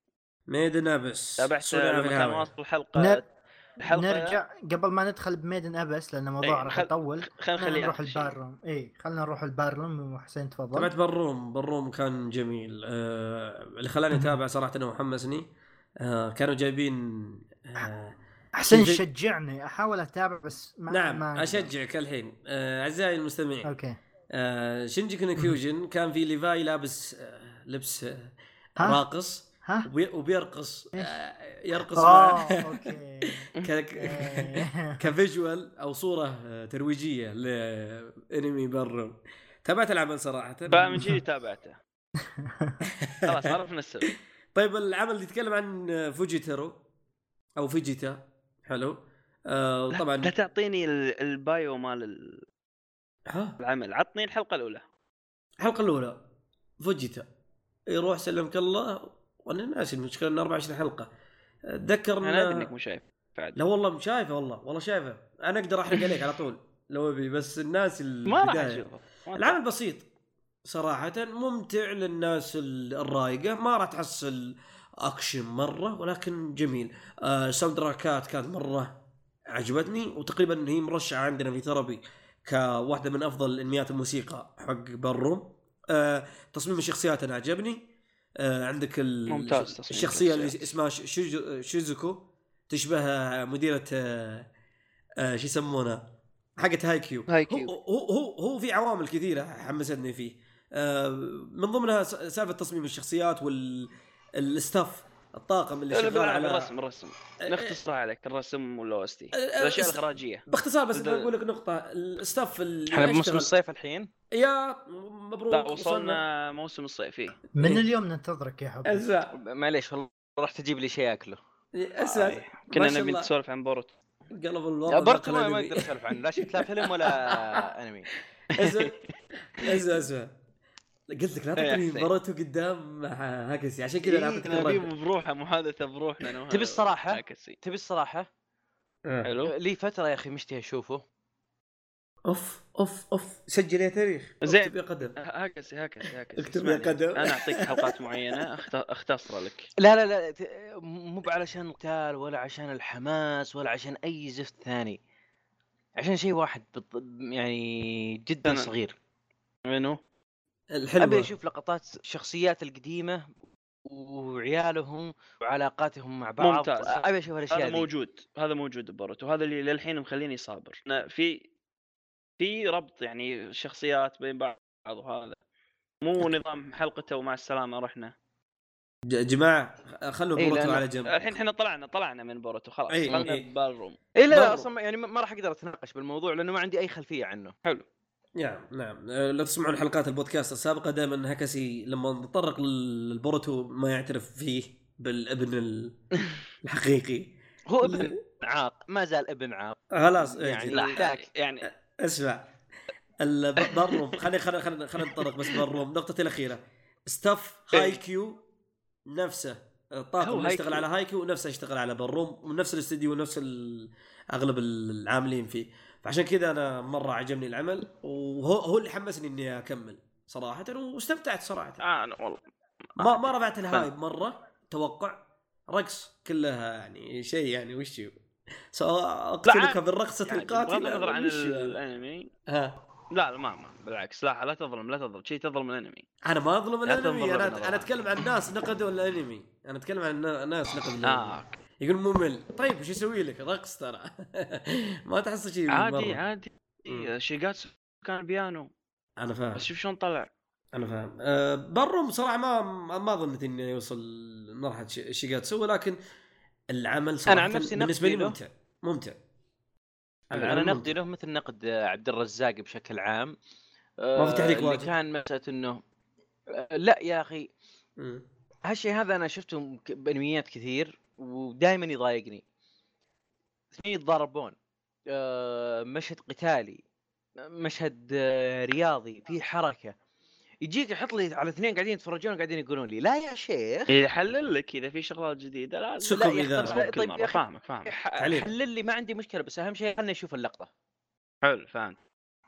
A: ميدن ابس
C: تابعت لما كان واصل الحلقه
D: نت-
C: الحلقه
D: نرجع قبل ما ندخل بميدن ابس لان الموضوع
C: إيه،
D: راح
C: خل-
D: يطول
C: خلينا
D: خلينا
C: نخليها
D: نروح
C: آخر شيء.
D: الباروم اي خلينا نروح الباروم وحسين تفضل
A: تابعت بروم بروم كان جميل آه اللي خلاني اتابع صراحه انه محمسني آه كانوا جايبين آه
D: حسين
A: في-
D: شجعني احاول اتابع بس ما
A: نعم
D: ما أقدر.
A: اشجعك الحين آه اعزائي المستمعين
D: اوكي
A: آه شينجي كيوجن كان في ليفاي لابس آه لبس آه
D: ها؟
A: راقص
D: ها
A: وبي- وبيرقص آه يرقص
D: اه
A: مع
D: اوكي
A: ك- ك-
D: إيه.
A: كفيجوال او صوره آه، ترويجيه لانمي بروم تابعت العمل صراحه
C: بقى من جيلي تابعته خلاص عرفنا السبب
A: طيب العمل اللي يتكلم عن فوجيترو او فيجيتا حلو آه
C: لا-
A: طبعا
C: لا تعطيني ال- البايو مال
A: ها
C: العمل عطني الحلقه الاولى
A: الحلقه الاولى فوجيتا يروح سلمك الله وانا ناسي المشكله انه 24 حلقه اتذكر
C: انا ادري
A: إنه-
C: انك مو شايف
A: لا والله شايفه والله والله شايفه انا اقدر احرق عليك على طول لو ابي بس الناس
C: ما راح
A: البداية.
C: اشوفه ما
A: العمل بسيط صراحة ممتع للناس ال- الرايقة ما راح تحصل اكشن مرة ولكن جميل آه ساوند تراكات كانت مرة عجبتني وتقريبا هي مرشحة عندنا في ثربي كواحدة من افضل انميات الموسيقى حق بروم آه تصميم الشخصيات انا عجبني آه عندك ال-
C: ممتاز تصميم
A: الشخصية اللي
C: الشخصيات.
A: اسمها ش- شوجو- شوزوكو تشبه آه، مديرة آه آه شو يسمونها حقت هايكيو
C: هايكيو.
A: هو هو هو- هو في عوامل كثيره حمستني فيه آه، من ضمنها س- سالفه تصميم الشخصيات والستاف الطاقم اللي
C: لا
A: شغال
C: بالعكس
A: على
C: الرسم الرسم نختصر عليك الرسم والاوستي
A: آه،
C: الاشياء
A: است-
C: الاخراجيه
A: باختصار بس
C: بدأ-
A: بقول لك نقطه الستاف اللي
B: احنا بموسم
A: يشتغل-
B: الصيف الحين
A: يا
C: لا
A: مبروك
C: وصلنا موسم الصيف إيه.
D: من اليوم ننتظرك يا حبيبي
A: اسمع
B: معليش والله راح تجيب لي شيء اكله
A: اسمع ما
C: آه، كنا
A: شاء
C: نبي
A: الله.
C: نسولف عن بوروتو
A: قلب الوضع
B: برت
A: نقل
B: أه، ما ما
A: أدبي.
B: اقدر اسولف عنه لا شفت لا فيلم ولا انمي
A: اسمع اسمع اسمع قلت لك لا
C: يا
A: تعطيني
C: حسين.
A: مباراته قدام مع هاكسي عشان كذا انا اعطيتك
C: إيه، نبي
A: الرد.
C: بروحه محادثه بروحنا أنا وهذا.
B: تبي الصراحة؟
C: عكسي.
B: تبي الصراحه
A: آه.
C: حلو
B: لي فتره يا اخي مشتهي اشوفه
A: اوف اوف اوف سجل يا تاريخ
C: زين.
A: اكتب يا قدم
C: هكذا هكذا هكذا
A: اكتب يا
C: اسمعني.
A: قدم.
C: انا اعطيك حلقات معينه أخت- اختصر لك
B: لا لا لا ت- مو علشان القتال ولا عشان الحماس ولا عشان اي زفت ثاني عشان شيء واحد بط... يعني جدا
C: أنا-
B: صغير
C: منو؟
A: الحلوه
B: ابي اشوف لقطات الشخصيات القديمه وعيالهم وعلاقاتهم مع بعض
C: ممتاز.
B: ابي اشوف الاشياء
C: هذا
B: دي
C: موجود هذا موجود ببوروتو وهذا اللي للحين مخليني صابر أنا في في ربط يعني شخصيات بين بعض وهذا مو نظام حلقته ومع السلامه رحنا
A: يا جماعه خلوا
B: إيه،
A: بروتو
B: لأنه-
A: على جنب
C: الحين احنا طلعنا طلعنا من بوروتو خلاص
A: إيه،
C: طلعنا
A: إيه.
C: بالروم
B: اي لا
A: برضو.
B: لا اصلا يعني ما- ما راح اقدر اتناقش بالموضوع لانه ما عندي اي خلفيه عنه
A: نعم نعم أه، لو تسمعون حلقات البودكاست السابقه دائما هكسي لما نتطرق للبروتو ما يعترف فيه بالابن ال- الحقيقي
B: هو ابن عاق ما زال ابن عاق
A: خلاص إيه،
B: يعني
A: جد.
B: لا حكاك
C: يعني
A: اسمع ال- بالروم خلينا خلينا خلينا خلينا نتطرق بس بالروم نقطتي الاخيره ستاف
C: إيه.
A: هاي كيو نفسه
C: هو
A: الطاقم اللي
C: هاي
A: اشتغل
C: كيو.
A: على هايكيو نفسه اشتغل على بالروم ونفس الاستديو ونفس ال- اغلب العاملين فيه فعشان كذا انا مره عجبني العمل وهو هو اللي حمسني اني اكمل صراحه واستمتعت صراحه
C: آه أنا والله
A: ما ما رفعت الهايب مره توقع رقص كلها يعني شيء يعني وش هو؟ سواء اقتلك
C: عادي.
A: بالرقصه
C: يعني
A: القاتله
C: بغض النظر عن
A: وش- يعني؟
C: الانمي
A: ها.
C: لا لا، ما ما بالعكس لا لا تظلم لا تظلم شيء تظلم الانمي
A: انا ما اظلم
C: لا تظلم
A: الانمي
C: الرجل
A: انا انا
C: طبعاً.
A: اتكلم عن ناس نقدوا الانمي انا اتكلم عن نا- ناس نقدوا
B: آه.
C: اه
A: الانمي
C: أوكي.
A: يقول ممل طيب وش يسوي لك رقص ترى ما تحصل شيء
C: عادي
A: مرة.
C: عادي
A: مم.
C: شيغاتسو كان بيانو
A: انا فاهم
C: بس شوف شلون طلع
A: انا فاهم أه بروم صراحه ما ما- ما ظنيت انه يوصل مرحله ش- شيجاتسو ولكن العمل صراحه
B: أنا عن نفسي
A: بالنسبه لي
B: نقدي له.
A: ممتع ممتع
B: انا
A: العمل
B: نقدي له مثل نقد عبد الرزاق بشكل عام آه،
A: ما في تحريك
B: اللي
A: واجد.
B: كان مساله انه آه، لا يا اخي
A: ممتع. مم.
B: هالشيء هذا انا شفته م- ك- بانميات كثير ودائما يضايقني اثنين يتضاربون آه، مشهد قتالي مشهد آه، رياضي في حركه يجيك يحط لي على اثنين قاعدين يتفرجون وقاعدين يقولون لي لا يا شيخ
C: يحلل لك اذا في شغلات جديده لا
A: سكر
C: لا،
A: إذا-
C: يختصر
B: طيب
C: كل
B: يا
C: مرة.
B: أخي.
C: فاهمك فاهمك
B: ح-
A: تعليق.
B: حلل لي ما عندي مشكله بس اهم شيء خلنا نشوف اللقطه
C: حلو فهمت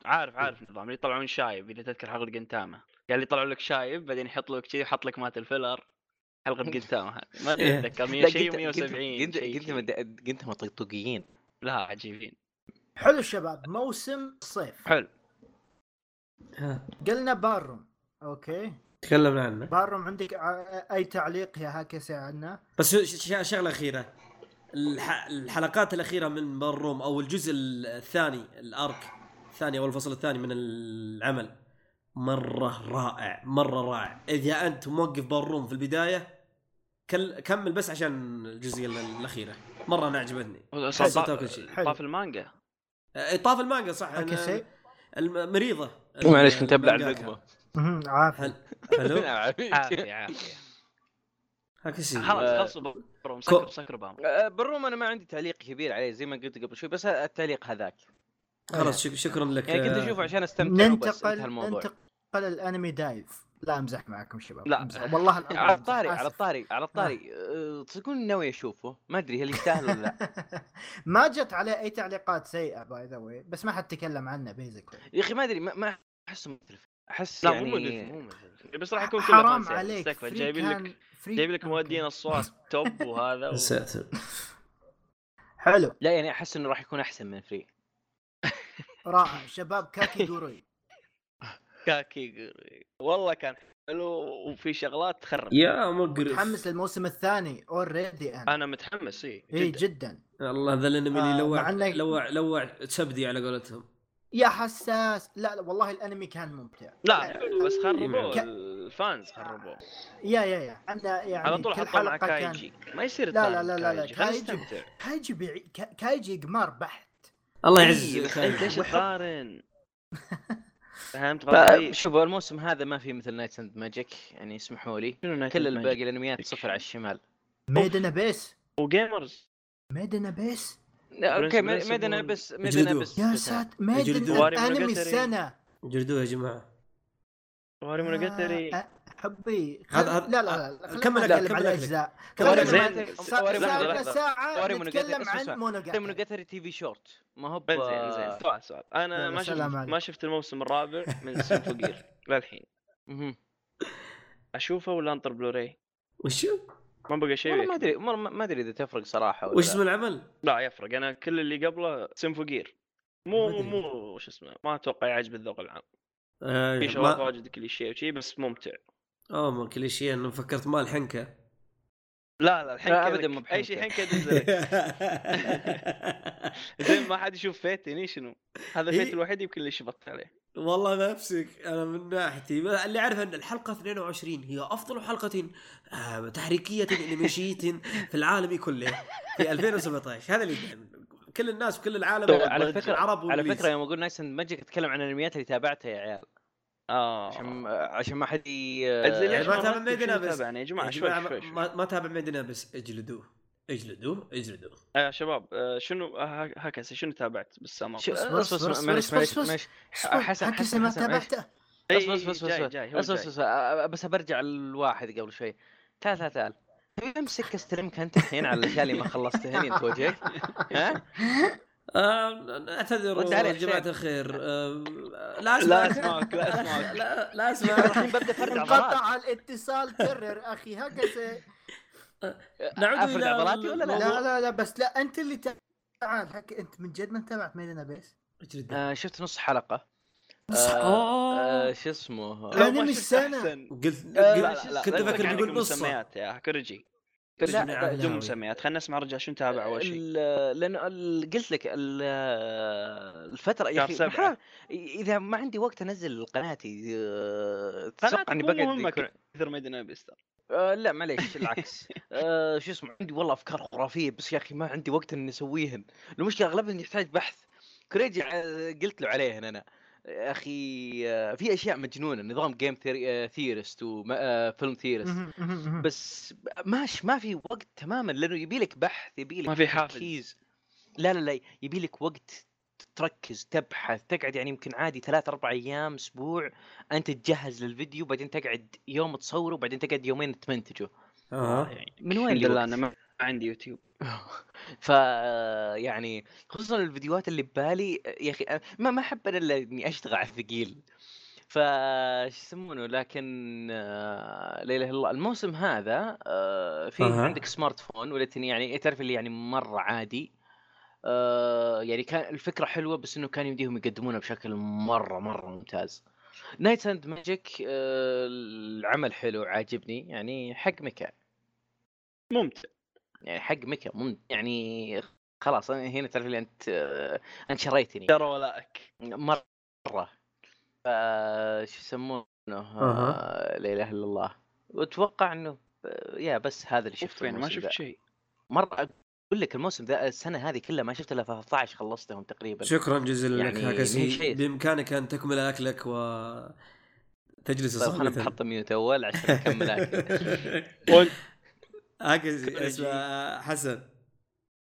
C: عارف عارف النظام اللي يطلعون شايب اذا تذكر حلقه قنتاما قال لي يطلعوا لك شايب بعدين يحط لك شيء يحط لك مات الفيلر حلقه قنتاما هذه ما
A: إيه.
C: اتذكر
B: لا،
C: 100 شيء
B: قلت-
C: و170
B: قلت قلت مد- قلت مطقطقيين
C: لا عجيبين
D: حلو الشباب موسم الصيف
C: حلو
D: قلنا باروم اوكي
A: تكلمنا عنه
D: باروم عندك ع- اي تعليق يا هاكسي عنه؟
A: بس ش- ش- شغله اخيره الح... الحلقات الاخيره من بالروم او الجزء الثاني الارك الثاني او الفصل الثاني من العمل مره رائع مره رائع اذا انت موقف بالروم في البدايه كل... كمل بس عشان الجزئيه ال- الاخيره مره انا عجبتني
C: أصلاً
A: حلو.
C: طاف-
A: كل شيء.
D: حلو.
C: طاف المانجا
A: آه، طاف المانجا صح
D: هاكسي
A: المريضه
B: معليش كنت ابلع اللقمه
D: مهم، عافية
A: حلو حلو
C: عافيه عافيه
A: هاكسي
C: خلاص خلصوا بامر مسكر مسكر بامر
B: آه، بالرغم انا ما عندي تعليق كبير عليه زي ما قلت قبل شوي بس التعليق هذاك
A: خلاص شك- شكرا لك آه،
B: يعني كنت اشوفه عشان استمتع وبس
D: ننتقل
B: انتهى الموضوع
D: ننتقل الانمي دايف لا امزح معكم شباب
B: لا.
D: أمزح. والله العظيم
B: على
D: أمزح.
B: الطاري على
D: آسف.
B: الطاري على الطاري آه، تصدقون ناوي اشوفه ما ادري هل يستاهل ولا لا
D: ما جت عليه اي تعليقات سيئه باي ذا واي بس ما حد تكلم عنه بيزكلي
B: يا اخي ما ادري ما- ما احسه مختلف احس
C: لا مو مدري
B: يعني
C: مو مدري بس راح يكون كله
D: حرام
C: فانسيرفس،
D: عليك
C: تكفى
D: فري
C: جايبين لك
D: كان- فري
C: جايب لك
D: كان-
C: مودين الصوت توب وهذا
A: يا
C: و...
A: ساتر
D: حلو
B: لا يعني احس انه راح يكون احسن من فري
D: رائع شباب كاكي دوري
C: كاكي والله كان حلو وفي شغلات
D: يعني
C: تخرب
A: يا مقرف
D: متحمس للموسم الثاني اوريدي انا
C: انا متحمس اي
D: اي
C: جداً.
D: جدا
A: الله ذا الانمي
D: آه،
A: اللي لوع
D: مع إنك-
A: لوع لوع تسبدي على قولتهم
D: يا حساس لا, لا والله الانمي كان ممتع
C: لا حلو
D: إيه،
C: بس خربوه
D: ك-
C: الفانز خربوه
D: يا يا يا انا يعني
C: على طول
D: كل
C: حطوا مع
D: حلقه
C: كايجي
D: كان
C: ما يصير
D: لا، لا،
C: تلعب
D: لا، لا، لا،
C: كايجي خلينا
D: كايجي.
C: نستمتع
D: كايجي بيع... كا- كايجي قمار بحت
A: الله
C: إي،
A: يعزك
C: إيه، بس انت ليش
A: خير.
C: تقارن؟ فهمت
B: ف-
C: غلطي؟
B: شوفوا الموسم هذا ما في مثل نايت اند ماجيك يعني اسمحوا لي كل الباقي الانميات صفر على الشمال
D: ميدنا بيس
C: وجيمرز
D: ميدنا بيس
B: لا، اوكي
C: برنس- برنس
B: ميدنا
C: مون.
B: بس ميدنا
A: جلدوه.
B: بس
D: يا
B: قتال.
D: ساتر
A: يجلدون.
D: ميدنا انمي
C: مونوجاتري.
D: السنه
A: جلدوه يا جماعه
C: وهاري مونوجاتري
D: آه، آه، حبي خل...
A: هذا-
D: لا
A: هذا-
D: لا لا خلينا
A: كمل
D: ما
A: أكلك،
D: نتكلم عن
A: كمل أكلك.
D: الاجزاء
A: كمل
D: خلينا
A: أكلك.
D: ما-
B: لحظة،
D: صار-
B: لحظة،
D: صار لنا
B: لحظة.
D: ساعه
B: واري مونوجاتري،
D: نتكلم
B: اسمع
D: عن
B: سؤال.
D: مونوجاتري
B: مونوجاتري تي في شورت ما هو ب-
C: زين زين سؤال سؤال انا
D: يلا،
C: ما شفت
D: سلام عليك.
C: ما شفت الموسم الرابع من سن فقير للحين
B: مهم.
C: اشوفه ولا انطر بلوراي؟
A: وشو؟
C: ما بقى شيء
B: والله ما
C: يكفي.
B: ادري والله ما ما ادري اذا تفرق صراحه ولا
A: وش
B: لا.
A: اسم العمل؟
C: لا يفرق انا كل اللي قبله سن فقير مو
A: ما أدري.
C: مو مو شو اسمه ما اتوقع يعجب الذوق العام
A: آه،
C: في شغلات
A: ما-
C: واجد كليشيه وشي بس ممتع
A: اوه ما كليشيه انه فكرت مال حنكه
C: لا لا الحين
B: لا،
C: كذا-
B: أبداً مو
C: اي شيء الحين
B: بحنكة.
C: كذا زين ما حد يشوف فيتني شنو هذا
A: إيه.
C: فيت الوحيد يمكن اللي شبطت عليه
A: والله نفسك انا من ناحيتي ما- اللي اعرف ان الحلقه 22 هي افضل حلقه آه، تحريكيه انميشيه في العالم كله في 2017 هذا اللي كل الناس بكل العالم
B: طيب، على فكرة-
A: العرب
B: على
A: والإنجليز.
B: فكره يوم اقول نايت اند ماجيك اتكلم عن الانميات اللي تابعتها يا عيال
C: اه
B: عشان عشان ما حد ي-
C: زين ليش
A: ما
C: ما
A: تابع
C: تابع
A: ميدنا بس.
C: بس يا جماعه
A: يا
C: شوي
A: جماعه ما-
C: شوي شوي
A: ما ما تابع ميدنا بس اجلدوه اجلدوه اجلدوه
C: يا شباب آه، شنو آه، هكذا شنو تابعت بالسمر
B: شو- اصبر
D: اصبر، اصبر،
B: اصبر أه، معليش
D: اصبر،
B: معليش
D: اصبر.
B: معليش
D: أصبر،
B: حسن-
D: هكي
B: حسن-
D: ما
B: حسن، معليش.
D: تابعته
C: إي،
B: اصبر
C: إي،
B: اصبر اصبر
C: جاي
B: اصبر
C: جاي هو
B: اصبر
C: جاي
B: اصبر أ- أه، بس برجع للواحد قبل شوي تعال تعال تعال تبي امسك استلمك انت الحين على الاشياء اللي ما خلصتها انت وجهك ها
A: آه، اعتذر
B: رد عليه
A: يا جماعه
B: حسين.
A: الخير آه، لا اسمع
C: لا اسمعك لا اسمعك
A: لا لا
B: الحين
A: اسمع
B: ببدا فرد عضلات
D: انقطع الاتصال كرر اخي هكذا
A: نعود
B: افرد
A: الى
B: عضلاتي ولا لا؟
D: لا لا لا بس لا انت اللي تا- تعال هكي انت من جد ما تابعت ميدنا بيس
A: اجلدوه.
B: آه، شفت نص حلقه آه،
A: أوه.
B: شو اسمه
D: لا،
C: لو ما
D: أنمي
C: شفت
D: السنة.
C: أحسن.
A: قلت
B: آه،
A: قلت-
B: لا، لا، لا،
A: يعني كنت افكر
B: لا، لا،
A: بيقول
C: عندكم
A: نصه
C: مسميات يا كرجي
A: لا،
B: لا
A: لا،
C: بدون
A: لا.
C: مسميات خلينا نسمع رجع شنو تابع اول شيء
B: ال- لانه ال- قلت لك ال- الفتره يا
C: شهر
B: اخي
C: سبعة.
B: حرام، اذا ما عندي وقت انزل قناتي آه،
C: قناتك
B: اتوقع اني
C: مو
B: بقعد
C: مهمة
B: يكون-
C: كثر ميدنا بيستر
B: آه، لا معليش العكس آه، شو اسمه عندي والله افكار خرافيه بس يا اخي ما عندي وقت اني اسويهن المشكله اغلبها يحتاج بحث كريجي آه، قلت له عليهن انا يا اخي آه، في اشياء مجنونه نظام آه، جيم ثيرست وفيلم ثيرست
D: مهم، مهم، مهم.
B: بس ماش ما في وقت تماما لانه يبي لك بحث يبي لك
C: ما في حافز.
B: لا لا لا يبي لك وقت تركز تبحث تقعد يعني يمكن عادي ثلاث اربع ايام اسبوع انت تجهز للفيديو بعدين تقعد يوم تصوره بعدين تقعد يومين تمنتجه
A: اها
C: يعني
B: من وين
C: الحمد لله
B: الوقت؟
C: انا ما عندي يوتيوب
B: ف يعني خصوصا الفيديوهات اللي ببالي يا اخي ما ما احب انا الا اني اشتغل على الثقيل
E: فش يسمونه لكن آه، لا اله الا الله الموسم هذا آه، في
A: أها.
E: عندك سمارت فون ولكن يعني تعرف اللي يعني مره عادي آه، يعني كان الفكره حلوه بس انه كان يمديهم يقدمونها بشكل مره مره ممتاز نايت اند ماجيك آه، العمل حلو عاجبني يعني حق ميكا
C: ممتع
E: يعني حق ميكا مم يعني خلاص أنا هنا تعرف اللي انت آه، انت شريتني
C: ترى ولائك
E: مره فا شو يسمونه
A: أها.
E: آه، لا اله الا الله واتوقع انه آه، يا بس هذا اللي
C: شفت
E: شفته
C: يعني ما
E: الموسم
C: شفت
E: ذا.
C: شيء
E: مره اقول لك الموسم ذا السنه هذه كلها ما شفت الا 13 خلصتهم تقريبا
A: شكرا جزيلا لك
E: يعني مين
A: هاكسي
E: شيء.
A: بامكانك ان تكمل اكلك و تجلس
E: طيب انا
A: صامتا
E: بحط ميوت اول عشان اكمل أكل.
C: قول.
A: هاكسي اسمه آه، حسن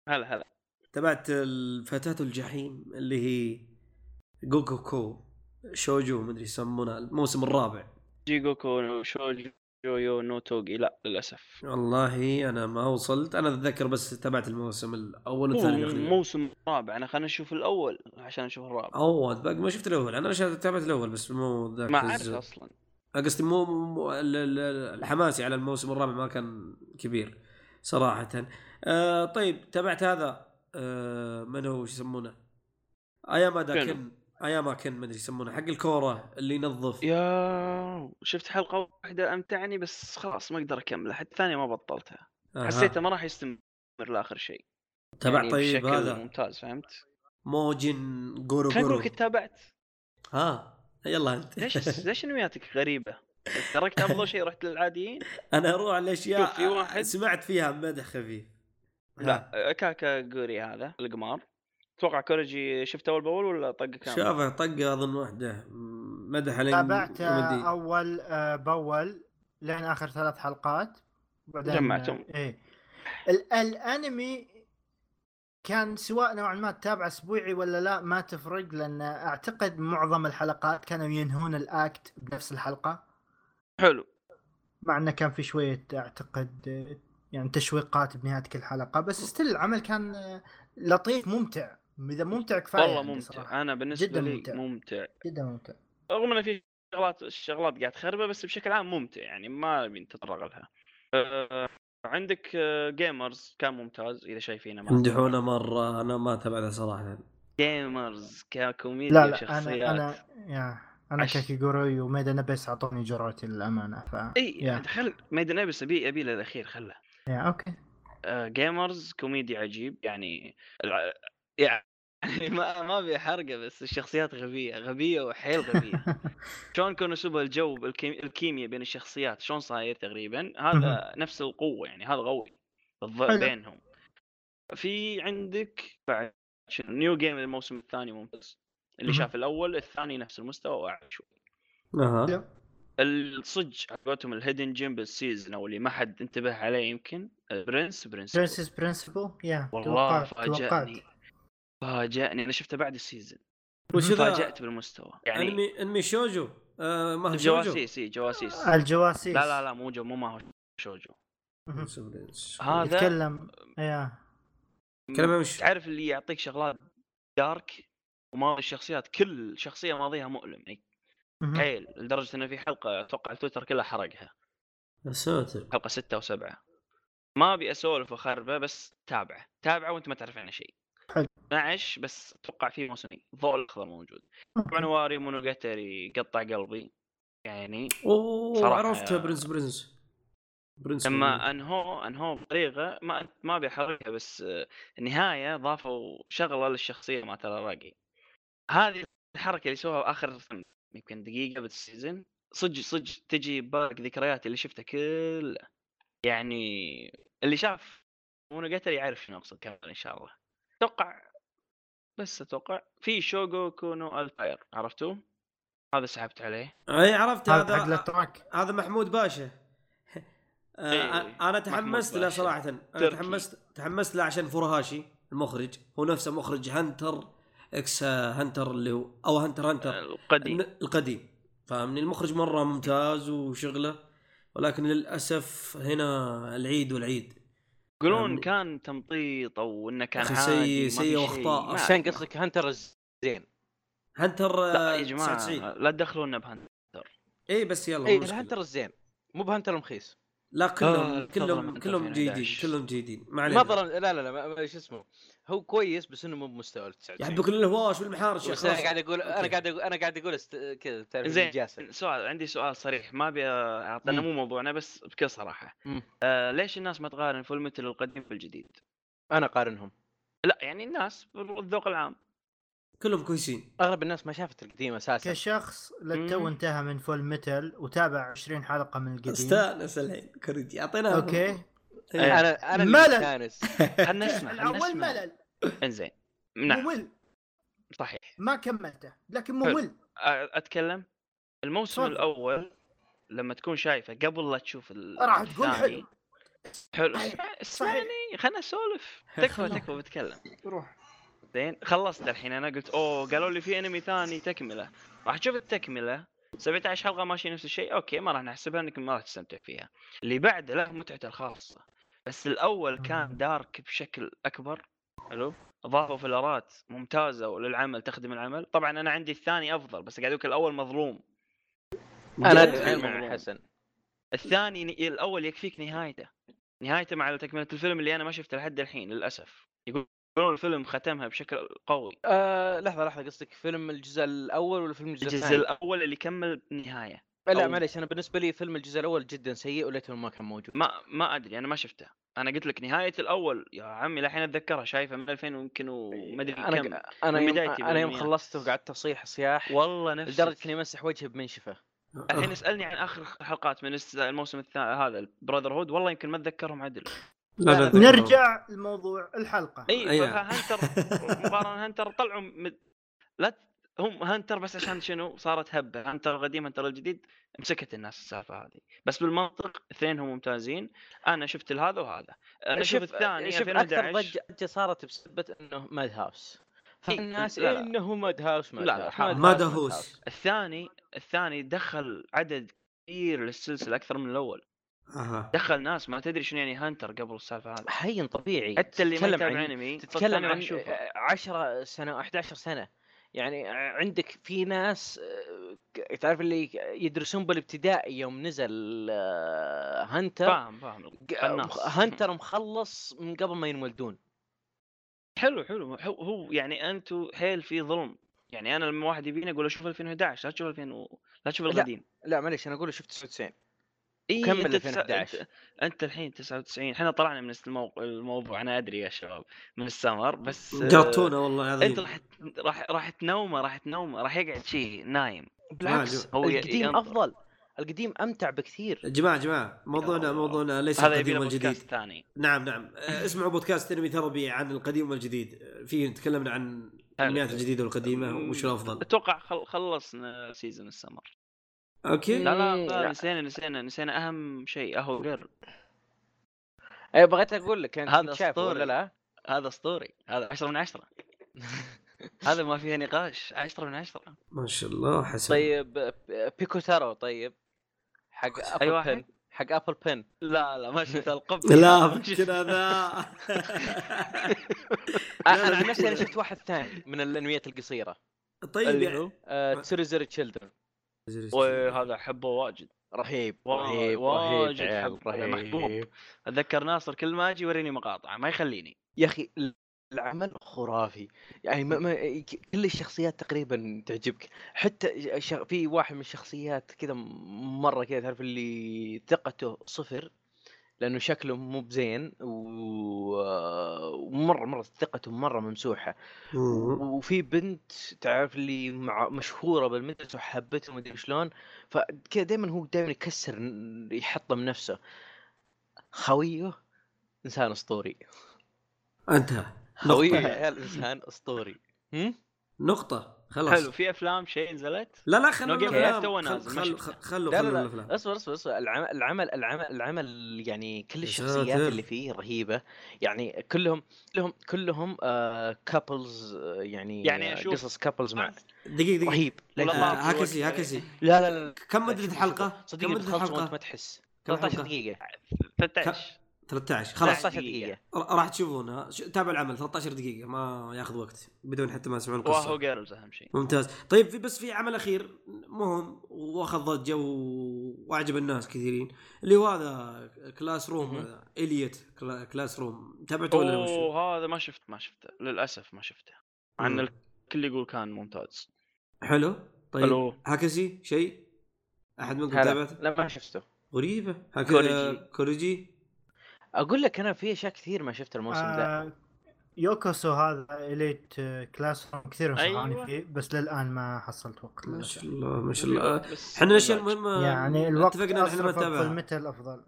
C: هلا هلا
A: تبعت الفتاة الجحيم اللي هي جوكو كو شوجو مدري يسمونها الموسم الرابع
C: جيجوكو نو شوجو يو نو توغي لا للاسف
A: والله انا ما وصلت انا اتذكر بس تبعت الموسم الاول
C: هو
A: والثاني تقريبا
C: موسم رابع انا خلينا نشوف الاول عشان نشوف الرابع
A: اول باقي ما شفت الاول انا شا- تابعت الاول بس مو ذاك
C: ما اعرف
A: الز-
C: اصلا
A: قصدي مو مو- ال- ال- الحماسي على الموسم الرابع ما كان كبير صراحة آه طيب تابعت هذا آه من هو شو يسمونه اياما دا
C: كينو.
A: كن اياما كن ما ادري يسمونه حق الكورة اللي ينظف
C: يا شفت حلقه واحده امتعني بس خلاص ما اقدر اكملها حتى الثانيه ما بطلتها
A: أها.
C: حسيتها ما راح يستمر لاخر شيء
A: تبع
C: يعني
A: طيب
C: بشكل
A: هذا
C: ممتاز فهمت
A: موجن جورو
C: خلينا
A: جورو
C: نقول كنت تابعت
A: ها يلا انت
C: ليش ليش انمياتك غريبه تركت افضل شيء رحت للعاديين
A: انا اروح على الاشياء
C: شوف، في واحد-
A: سمعت فيها مدح خفيف
C: لا
A: ها.
C: كاكا جوري هذا القمار اتوقع كوريجي شفته اول باول ولا طق كامل؟
A: شافه طقه اظن وحده مدح علي
D: تابعت
A: ودي.
D: آه، اول آه، باول لين اخر ثلاث حلقات بعدين
C: جمعتهم.
D: ايه ال- الانمي كان سواء نوعا ما تتابع اسبوعي ولا لا ما تفرق لان اعتقد معظم الحلقات كانوا ينهون الاكت بنفس الحلقه
C: حلو
D: مع انه كان في شويه اعتقد آه، يعني تشويقات بنهايه كل حلقه بس ستيل العمل كان آه، لطيف ممتع اذا ممتع كفايه
C: والله
D: يعني
C: ممتع
D: صراحة.
C: انا بالنسبه
D: جداً
C: لي
D: ممتع.
C: ممتع, ممتع.
D: جدا ممتع
C: رغم ان في شغلات شغلات قاعد تخربه بس بشكل عام ممتع يعني ما بنتطرق لها أه، عندك آه، جيمرز كان ممتاز اذا شايفينه معنا.
A: مدحونا مره انا ما تابعته صراحه
C: جيمرز ككوميديا
D: لا لا
C: وشخصيات
D: انا انا يا انا
C: عش-
D: كاكيغوري وميدا نبس اعطوني جرعتي للامانه ف
C: اي
D: يا.
C: دخل ميدن ابيس ابي ابي للاخير خله
D: يا اوكي
C: آه، جيمرز كوميدي عجيب يعني الع- يعني ما ما ابي احرقه بس الشخصيات غبيه غبيه وحيل غبيه شلون كانوا سبوا الجو بالكيم- الكيمياء بين الشخصيات شلون صاير تقريبا هذا نفسه قوه يعني هذا قوي بالضبط
D: حلو.
C: بينهم في عندك بعد شنو؟ نيو جيم الموسم الثاني ممتاز اللي
D: مهم.
C: شاف الاول الثاني نفس المستوى واعلى شوي
A: اها
C: الصج على قولتهم الهيدن جيم بالسيزون او اللي ما حد انتبه عليه يمكن برنس برنس
D: برنسس برنسبل يا
C: والله
D: توقعت- توقعت.
C: فاجأني فاجأني انا شفته بعد السيزون
A: وش ذا
C: فاجأت بالمستوى يعني
A: انمي انمي شوجو آه ما هو شوجو
C: جواسيس اي جواسيس لا
D: الجواسيس
C: لا لا مو جو مو ما هو شوجو
D: مهم.
C: هذا
D: يتكلم يا
A: كلام مش
C: تعرف اللي يعطيك شغلات دارك وماضي الشخصيات كل شخصيه ماضيها مؤلم يعني
D: مهم.
C: حيل لدرجه انه في حلقه اتوقع التويتر كلها حرقها
A: يا ساتر
C: حلقه ستة وسبعة ما ابي اسولف واخربه بس تابعه تابعه وانت ما تعرف عنه شيء
D: حلو.
C: 12 بس اتوقع فيه موسمين الضوء الاخضر موجود طبعا واري مونوجاتري قطع قلبي يعني
A: اوه
C: صراحة-
A: عرفته برنس برنس برنس
C: لما انهو انهو بطريقه ما ما بيحرقها بس آه، النهايه ضافوا شغله للشخصيه مالت الاراقي هذه الحركه اللي سووها اخر يمكن دقيقه بالسيزون صدق صدق تجي ببالك ذكرياتي اللي شفتها كلها يعني اللي شاف مونوجاتري يعرف شنو اقصد كمان ان شاء الله اتوقع بس اتوقع في شوغو كونو الفاير عرفتوه؟ هذا سحبت عليه
A: اي عرفت
D: هذا حق
A: هذا
D: الاتراك
A: هذا محمود باشا آه،
C: إيه،
A: انا تحمست له
C: باشا.
A: صراحه انا
C: تركي.
A: تحمست تحمست له عشان فورهاشي المخرج هو نفسه مخرج هنتر اكس هنتر اللي هو او هنتر هنتر
C: آه، القديم
A: الن- القديم فاهمني المخرج مره ممتاز وشغله ولكن للاسف هنا العيد والعيد
C: يقولون
A: يعني-
C: كان تمطيط او انه كان
A: أخي
C: عادي
A: سيء-
C: ما في
A: سيء
C: شيء،
A: وأخطاء.
C: ما
E: عشان
C: أدري.
E: قصدك هانتر زين
A: هنتر
C: لا يا
A: آه، 99
C: جماعه لا تدخلونا بهن
A: اي بس يلا
E: إيه،
B: اي
A: مو مشكلة.
B: الهنتر الزين مو بهنتر المخيس
A: لا كلهم
C: آه، طبعاً
A: كلهم
C: أنت
A: كلهم
C: فين
A: جيدين
C: 11.
A: كلهم جيدين ما علينا
B: ما ظلم لا لا لا ما- ما- شو اسمه هو كويس بس انه مو بمستوى ال
A: يا
B: 99
A: حبك الهواش والمحارش يا
B: بس انا
A: خلاص.
B: قاعد اقول انا
A: أوكي.
B: قاعد اقول انا قاعد اقول است... كذا تعرف
C: زين.
B: الجاسة
C: سؤال عندي سؤال صريح ما ابي اعطينا
B: مم.
C: مو موضوعنا بس بكل صراحه
B: مم.
C: آه ليش الناس ما تقارن فول متل القديم بالجديد؟
B: انا قارنهم
C: لا يعني الناس بالذوق العام
A: كلهم كويسين
B: اغلب الناس ما شافت القديم اساسا
D: كشخص للتو
C: مم.
D: انتهى من فول ميتال وتابع 20 حلقه من القديم
A: استانس الحين كريدي اعطيناها
D: اوكي
C: إيه.
B: انا انا اللي
D: ملل.
B: مستانس
C: خلنا نسمع خلنا
D: الاول
C: نسمع
D: ملل
C: انزين نعم
D: ممل
C: صحيح
D: ما كملته لكن
C: حلو.
D: ممل
C: آه، اتكلم الموسم
D: تفضل.
C: الاول لما تكون شايفه قبل لا تشوف ال-
D: راح تقول حلو.
C: حلو
D: صحيح،
C: اسمع-
D: صحيح.
C: اسمعني خلنا نسولف تكفى تكفى بتكلم
D: روح
C: زين خلصت الحين انا قلت اوه قالوا لي في انمي ثاني تكمله راح تشوف التكمله 17 حلقه ماشي نفس الشيء اوكي ما راح نحسبها انك ما راح تستمتع فيها اللي بعد له متعته الخاصه بس الاول كان دارك بشكل اكبر حلو اضافوا فلرات ممتازه وللعمل تخدم العمل طبعا انا عندي الثاني افضل بس قاعد اقول الاول مظلوم
B: انا
C: جد.
B: اتفق مع حسن
C: الثاني ن- الاول يكفيك نهايته نهايته مع تكمله الفيلم اللي انا ما شفته لحد الحين للاسف يقولون الفيلم ختمها بشكل قوي
B: آه لحظه لحظه قصدك فيلم الجزء الاول ولا فيلم الجزء
C: الجزء
B: الثاني؟
C: الاول اللي كمل نهايه
B: لا
C: أول.
B: معليش انا بالنسبه لي فيلم الجزء الاول جدا سيء وليته ما كان موجود
C: ما ما ادري انا ما شفته انا قلت لك نهايه الاول يا عمي للحين اتذكرها شايفه من 2000 ويمكن وما ادري
B: انا
C: كم
B: انا
C: من
B: يوم
C: بدايتي
B: انا يوم
C: بالأنميات.
B: خلصته وقعدت اصيح صياح
C: والله نفسك
B: لدرجه اني امسح وجهي بمنشفه
C: الحين اسالني عن اخر حلقات من الس- الموسم الثاني هذا البراذر هود والله يمكن ما اتذكرهم عدل
A: لا لا ذكرهم.
D: نرجع لموضوع الحلقه
B: إيه.
C: اي
A: أيوة.
C: فهنتر مقارنه هنتر طلعوا مد... لا ت- هم هنتر بس عشان شنو صارت هبه هنتر القديم هنتر الجديد مسكت الناس السالفه هذه بس بالمنطق اثنين هم ممتازين انا شفت الهذا وهذا انا شوف الثاني
B: شوف اكثر
C: 2011
B: ضجه ضجة صارت بسبه انه ماد هاوس فالناس
C: إيه، لا، لا.
B: انه ماد هاوس ماد
C: لا، لا،
B: هاوس
C: حرام.
A: ماد
B: ماد هاوس، ماد
A: هوس.
B: هاوس.
C: الثاني الثاني دخل عدد كبير للسلسله اكثر من الاول
A: اها
C: دخل ناس ما تدري شنو يعني هانتر قبل السالفه هذه
B: حين طبيعي
C: حتى اللي ما
B: تتكلم
C: يتابع
B: عن-
C: انمي
B: تتكلم
C: راح
B: عن آه،
C: يشوفه
B: 10 سنه 11 سنه يعني عندك في ناس آه، ك- تعرف اللي يدرسون بالابتدائي يوم نزل آه، هانتر
C: فاهم فاهم
B: ق-
C: قناص.
B: هانتر مخلص من قبل ما ينولدون
C: حلو حلو هو- هو يعني انتم حيل في ظلم يعني انا لما واحد يبيني اقول له شوف 2011 لا تشوف 2000 و... لا تشوف القديم
B: لا معليش انا اقول شفت 99
C: إيه
B: وكمل
C: أنت تسع-
B: 2011.
C: أنت- انت الحين 99 احنا طلعنا من المو... الموضوع انا ادري يا شباب من السمر بس آه،
A: جربتونا والله
B: طيب.
C: انت
A: هذا
C: راح ت- راح راح تنومه راح تنومه راح يقعد شيء نايم
B: بالعكس
C: هو ي-
B: القديم
C: ينظر.
B: افضل القديم امتع بكثير
A: جماعه جماعه موضوعنا
C: يلا.
A: موضوعنا ليس
C: هذا يبي
A: القديم
C: له
A: والجديد
C: بودكاست ثاني
A: نعم نعم آه، اسمعوا بودكاست انمي ثربي عن القديم والجديد آه، فيه تكلمنا عن الانميات الجديده والقديمه وش الافضل
C: اتوقع خل... خلصنا سيزون السمر
A: اوكي
C: لا لا,
B: مم،
C: لا
B: لا.
C: نسينا نسينا نسينا اهم شيء اهو غير
B: اي بغيت اقول لك
C: هذا
B: انت شايفه ولا
C: أسطوري.
B: لا
C: هذا اسطوري هذا 10 من 10 هذا ما فيها نقاش 10 من 10
A: ما شاء الله حسن
B: طيب ب- بيكو تارو طيب حق
C: أي
B: ابل
C: واحد؟
B: بن حق ابل بن
C: لا لا ما شفت القبل
A: لا ممكن هذا لا،
B: انا عن
A: لا،
B: نفسي انا
A: بيكو-
B: شفت واحد ثاني من آه، الانميات القصيره
A: طيب
C: أيوه.
A: يعني
B: تسوريزر تشيلدرن
C: وهذا احبه واجد
B: رهيب
C: واو،
B: رهيب
C: واجد
B: رهيب عيال،
C: حب- محبوب. اتذكر ناصر كل ما اجي يوريني مقاطع ما يخليني
B: يا اخي العمل خرافي يعني ما ما ك- كل الشخصيات تقريبا تعجبك حتى ش- في واحد من الشخصيات كذا م- مره كذا تعرف اللي ثقته صفر لانه شكله مو بزين و- ومره مره ثقته مره ممسوحه
A: مم.
B: وفي بنت تعرف اللي مع مشهوره بالمدرسه وحبته وما ادري شلون فكذا دائما هو دائما يكسر ن- يحطم نفسه خويه انسان اسطوري
A: انتهى
B: خويه
A: نقطة.
B: يا عيال انسان اسطوري هم؟
A: نقطة خلاص
C: حلو في افلام شيء نزلت
A: لا لا خلوا
C: نوقف
A: الافلام
C: تو
A: خل-
C: نازل، ما
A: خل-
C: شفنا.
A: خلوا
B: لا
A: خلوا
B: لا لا
A: الافلام
B: اصبر اصبر اصبر العمل العمل العمل العمل يعني كل
A: يا
B: الشخصيات
A: ساتر.
B: اللي فيه رهيبه يعني كلهم كلهم كلهم كابلز يعني
C: يعني أشوف-
B: قصص كابلز مع
A: دقيقة دقيقة
B: رهيب لا
A: آه،
C: ولا
B: لا
C: ما في
A: هاكسي
C: وقت.
A: هاكسي
B: لا لا, لا.
A: كم مدة
B: شوفوا-
A: الحلقة؟
B: شوفوا. صدقني
A: كم مدة
B: بتخلص وانت
A: الحلقة؟
B: ما تحس
A: كم
B: 13
A: حلقة؟
B: دقيقه
C: 13
A: 13 خلاص
B: 13
E: 13 دقيقة
A: ر- راح تشوفونها ش- تابع العمل 13 دقيقة ما ياخذ وقت بدون حتى ما يسمعون
C: واهو
A: القصة
C: جيرلز اهم شيء
A: ممتاز طيب في بس في عمل اخير مهم واخذ ضجة و- واعجب الناس كثيرين اللي هو هذا كلاس روم
E: مهم.
A: هذا اليت كلا- كلاس روم تابعته ولا وش؟
C: اوه هذا ما شفت ما شفته للاسف ما شفته مع ان
A: مم.
C: الكل يقول كان ممتاز
A: حلو طيب
C: حلو.
A: هاكسي شيء احد منكم
E: هلا
A: تابعته؟
E: لا ما شفته
A: غريبة هاك...
C: كوريجي.
A: كوريجي
E: اقول لك انا في اشياء كثير ما شفتها الموسم ذا
D: آه، يوكوسو هذا اليت كلاس كثير انصحوني
C: أيوة.
D: فيه بس للان ما حصلت وقت
A: ما
D: للأسف.
A: شاء الله ما شاء الله آه،
C: بس
A: احنا الاشياء
C: مزاج.
A: المهمة
D: يعني الوقت
A: اتفقنا إن احنا ما
D: أصرفه في
A: نتابعها
D: المثل افضل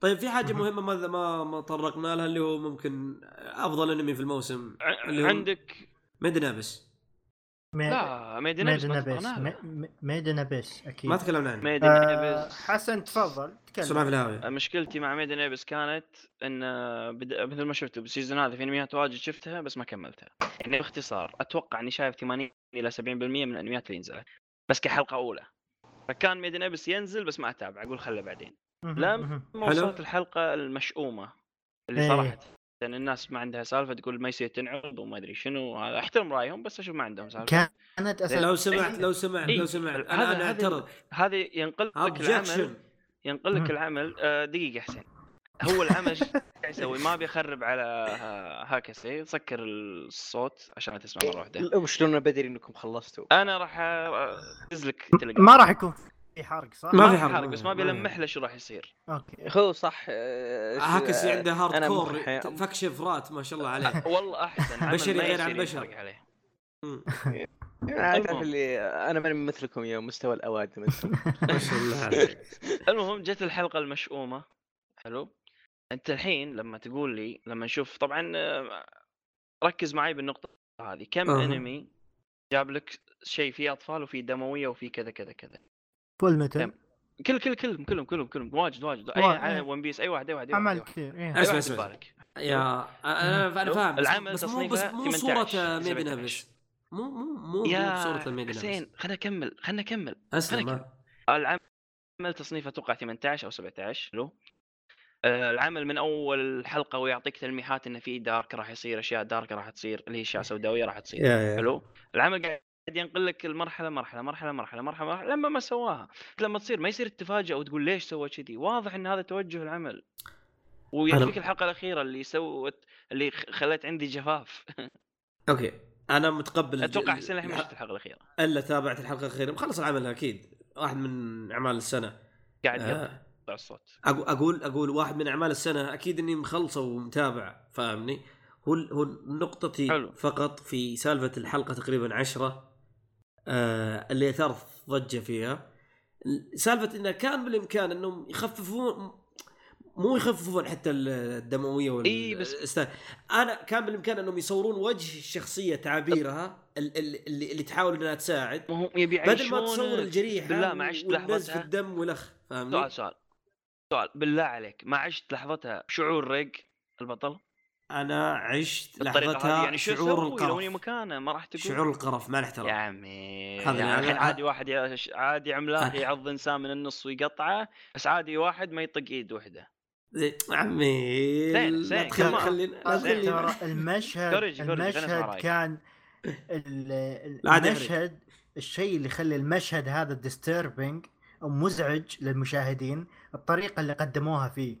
A: طيب في حاجه
D: مهم.
A: مهمه ما ما ما طرقنا لها اللي هو ممكن افضل انمي في الموسم
C: ع-
A: اللي هو-
C: عندك
A: ميدن ابس
C: لا ميدن ابيس
D: ميدن
C: ما
D: ابيس
C: تقارنها.
D: ميدن ابيس اكيد
A: ما تكلمنا عنه
C: ميدن
D: آه،
C: ابيس
D: حسن تفضل
A: سرعه في
D: تكلم
A: الهاويه
C: مشكلتي مع ميدن ابيس كانت ان آه، بد- مثل ما شفتوا بالسيزون هذا في انميات واجد شفتها بس ما كملتها يعني باختصار اتوقع اني شايف 80 الى 70% من الانميات اللي نزلت بس كحلقه اولى فكان ميدن ابيس ينزل بس ما اتابع اقول خله بعدين لا.
D: مهم.
C: ما
A: حلو.
C: وصلت الحلقه المشؤومه اللي
D: إيه.
C: صراحه لان الناس ما عندها سالفه تقول ما يصير تنعرض وما ادري شنو هذا احترم رايهم بس اشوف ما عندهم سالفه
D: كانت اساسا
A: لو سمعت لو سمعت لو
C: إيه.
A: سمعت انا
C: هذا-
A: انا
C: هذا-
A: اعترض
C: هذا ينقل لك العمل
A: اوبجكشن
C: ينقل لك
D: مم.
C: العمل آه، دقيقه يا حسين هو العمل ايش قاعد يسوي ما بيخرب على ها- هاكسي سكر الصوت عشان لا تسمع مره واحده
E: لا، وشلون أنا بدري انكم خلصتوا
C: انا راح انزل لك تلقى
D: ما راح يكون في حرق صح؟
A: ما
C: ما
A: في
C: في
A: حرق،
C: حرق بس ما
A: ما في
C: بيلمح له شو راح يصير
D: اوكي
E: هو صح آه،
A: هاكس يعني.
E: آه،
A: عنده هارد
E: أنا
A: كور
E: مضحي-
A: فك شفرات ما شاء الله عليه
C: والله احسن عمل
A: بشري
C: ما
A: غير عن
C: يصير
A: بشر.
C: يحرق عليه
A: مم.
E: عارف
C: المهم.
E: اللي انا ماني مثلكم يا مستوى الاوادم
A: ما شاء الله عليك
C: المهم جت الحلقه المشؤومه حلو انت الحين لما تقول لي لما نشوف طبعا آه، ركز معي بالنقطه هذه كم
A: أها.
C: انمي جاب لك شيء فيه اطفال وفيه دمويه وفيه كذا كذا كذا
D: فول متل
C: تمام. كل كل كلهم كلهم كلهم كلهم واجد واجد اي
D: واحد.
C: على ون بيس اي واحد اي واحد اي
D: عمل
C: واحد
D: كثير إيه.
C: أي
A: اسمع
C: واحد
A: اسمع
C: يبارك.
A: يا انا انا فاهم بس-
C: العمل
A: بس مو بس
C: تصنيفه
A: مو
C: 18.
A: صوره ميدن
C: 17.
A: ابس مو مو مو مو بصوره
C: يا
A: الميدن ابس
C: حسين خلنا اكمل خلنا اكمل
A: اسلم
C: خليك.
A: آه.
C: العمل تصنيفه اتوقع 18 او 17 لو آه، العمل من اول حلقه ويعطيك تلميحات ان في دارك راح يصير اشياء دارك راح تصير اللي هي اشياء سوداويه راح تصير حلو العمل قاعد ينقل لك المرحله مرحله مرحله مرحله مرحله, مرحلة لما ما سواها لما تصير ما يصير تتفاجئ وتقول ليش سوى كذي واضح ان هذا توجه العمل ويعطيك الحلقه الاخيره اللي سوت اللي خ- خلت عندي جفاف
A: اوكي انا متقبل
C: اتوقع
A: الج-
C: حسين الحين ما
A: الح-
C: شفت الحلقه الاخيره
A: الا تابعت الحلقه الاخيره مخلص العمل اكيد واحد من اعمال السنه
C: قاعد يقطع
A: آه.
C: الصوت
A: أقو- اقول اقول واحد من اعمال السنه اكيد اني مخلصه ومتابع فاهمني هو ال- هو نقطتي
C: حلو.
A: فقط في سالفه الحلقه تقريبا عشرة آه اللي اثار ضجه فيها سالفه انه كان بالامكان انهم يخففون مو يخففون حتى ال- الدمويه وال
C: إي بس-
A: است- انا كان بالامكان انهم يصورون وجه الشخصيه تعابيرها ال- ال- اللي, اللي تحاول انها تساعد
C: ما هم يبي
A: بدل ما
C: يعيشونك.
A: تصور الجريحه
C: بالله ما عشت طيب.
A: والنزف
C: لحظتها
A: الدم والخ فاهمني؟
C: سؤال سؤال سؤال بالله عليك ما عشت لحظتها شعور ريق البطل
A: انا عشت
C: بالطريقه
A: لحظتها
C: هذه يعني شو
A: شعور
C: اسوي لو اني
A: القرف
C: مكانه ما راح تقول
A: شعور القرف مع
C: يا
A: الاحترام
C: عمي
A: هذا
C: يعني
A: يعني
C: الحين
A: ع-
C: عادي واحد يعش- عادي عملاق
A: آه.
C: يعض انسان من النص ويقطعه بس عادي واحد ما يطق ايد واحده
A: زي- عمي
C: زين،
A: لا
C: زين،
A: تخلي-
C: كمان.
A: خلينا لا
C: زين.
A: تخلينا
D: ترى المشهد
C: كوريجي، كوريجي، خلينا نسمع
D: المشهد
C: رأيك.
D: كان ال- ال-
A: لا عاد يفرق.
D: المشهد الشيء اللي يخلي المشهد هذا ديستربنج او مزعج للمشاهدين الطريقه اللي قدموها فيه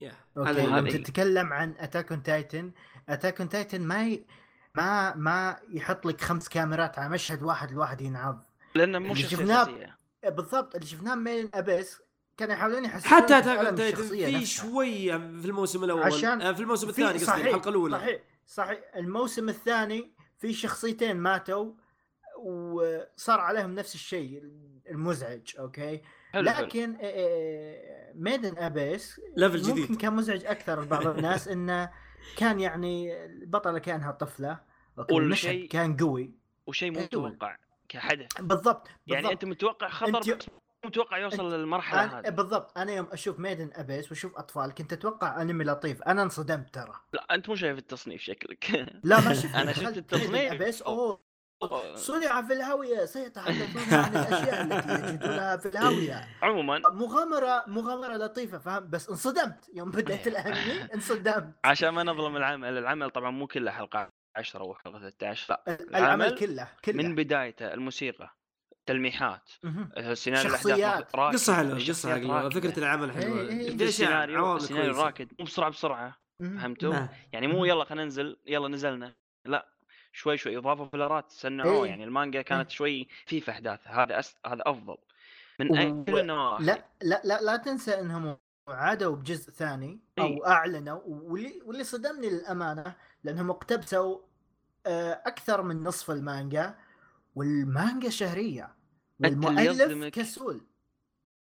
A: يا،
D: اوكي
A: هذا-
D: لما
C: هذه-
D: تتكلم عن اتاك اون تايتن اتاك اون تايتن ما ي... ما ما يحط لك خمس كاميرات على مشهد واحد الواحد ينعض
C: لانه مو
D: اللي
C: شخصيه
D: يعني شفناه
C: اساسيه
D: بالضبط اللي شفناه من ابيس كانوا يحاولون يحسسون
A: حتى أتاك أون
D: بالألم
A: تايتن
D: الشخصية
A: في
D: نفسها.
A: شويه في الموسم الاول
D: عشان-
A: آه، في الموسم
D: في-
A: الثاني قصدي
D: صحيح،
A: الحلقه الاولى
D: صحيح صحيح الموسم الثاني في شخصيتين ماتوا وصار عليهم نفس الشيء المزعج اوكي
C: حلو حلو
D: لكن إيه، ميدن ابيس
A: ليفل
D: ممكن
A: جديد
D: كان مزعج اكثر لبعض الناس انه كان يعني البطله كانها طفله اوكي
C: كل
D: المشهد
C: شيء-
D: كان قوي
C: وشيء مو
D: أيوة.
C: متوقع كحدث
D: بالضبط
C: يعني
D: بالضبط.
C: انت متوقع خطر
D: أنت-
C: بس مو متوقع يوصل للمرحله
D: أنا
C: هذه
D: بالضبط انا يوم اشوف ميدن ابيس واشوف اطفال كنت اتوقع انمي لطيف انا انصدمت ترى
C: لا انت مو شايف التصنيف شكلك
D: لا ما شفت
C: أنا شفت
D: دخلت
C: التصنيف.
D: ميدن ابيس اوه صنع في الهاوية سيتحدثون عن الأشياء التي يجدونها في الهاوية
C: عموما
D: مغامرة مغامرة لطيفة فاهم بس انصدمت يوم بدأت الأنمي انصدمت
C: عشان ما نظلم العمل العمل طبعا مو كله حلقه 10 او حلقه 13 لا
D: العمل كله كله
C: من بدايته الموسيقى تلميحات
D: مهم.
C: السيناريو
D: شخصيات.
C: الاحداث راكد،
A: قصه حلوه
C: الشخصيات
A: قصه حلوه
C: راكدة.
A: فكره العمل حلوه
D: إيه، إيه.
A: في
C: شفت
A: أشياء،
C: السيناريو
A: عوامل
C: السيناريو
A: كويسة.
C: راكد مو بسرعه بسرعه
D: مهم.
C: فهمتوا؟
A: نعم.
C: يعني مو يلا خلينا ننزل يلا نزلنا لا شوي شوي اضافوا فلرات صنعوه
D: إيه.
C: يعني المانجا كانت شوي في في احداثها هذا أس... هذا افضل من
D: و-
C: أي- كل النواحي
D: لا لا لا لا تنسى انهم عادوا بجزء ثاني
C: إي.
D: او اعلنوا واللي واللي صدمني للامانه لانهم اقتبسوا آه، اكثر من نصف المانجا والمانجا شهريه
C: أنت اللي
D: والمؤلف
C: يصدمك.
D: كسول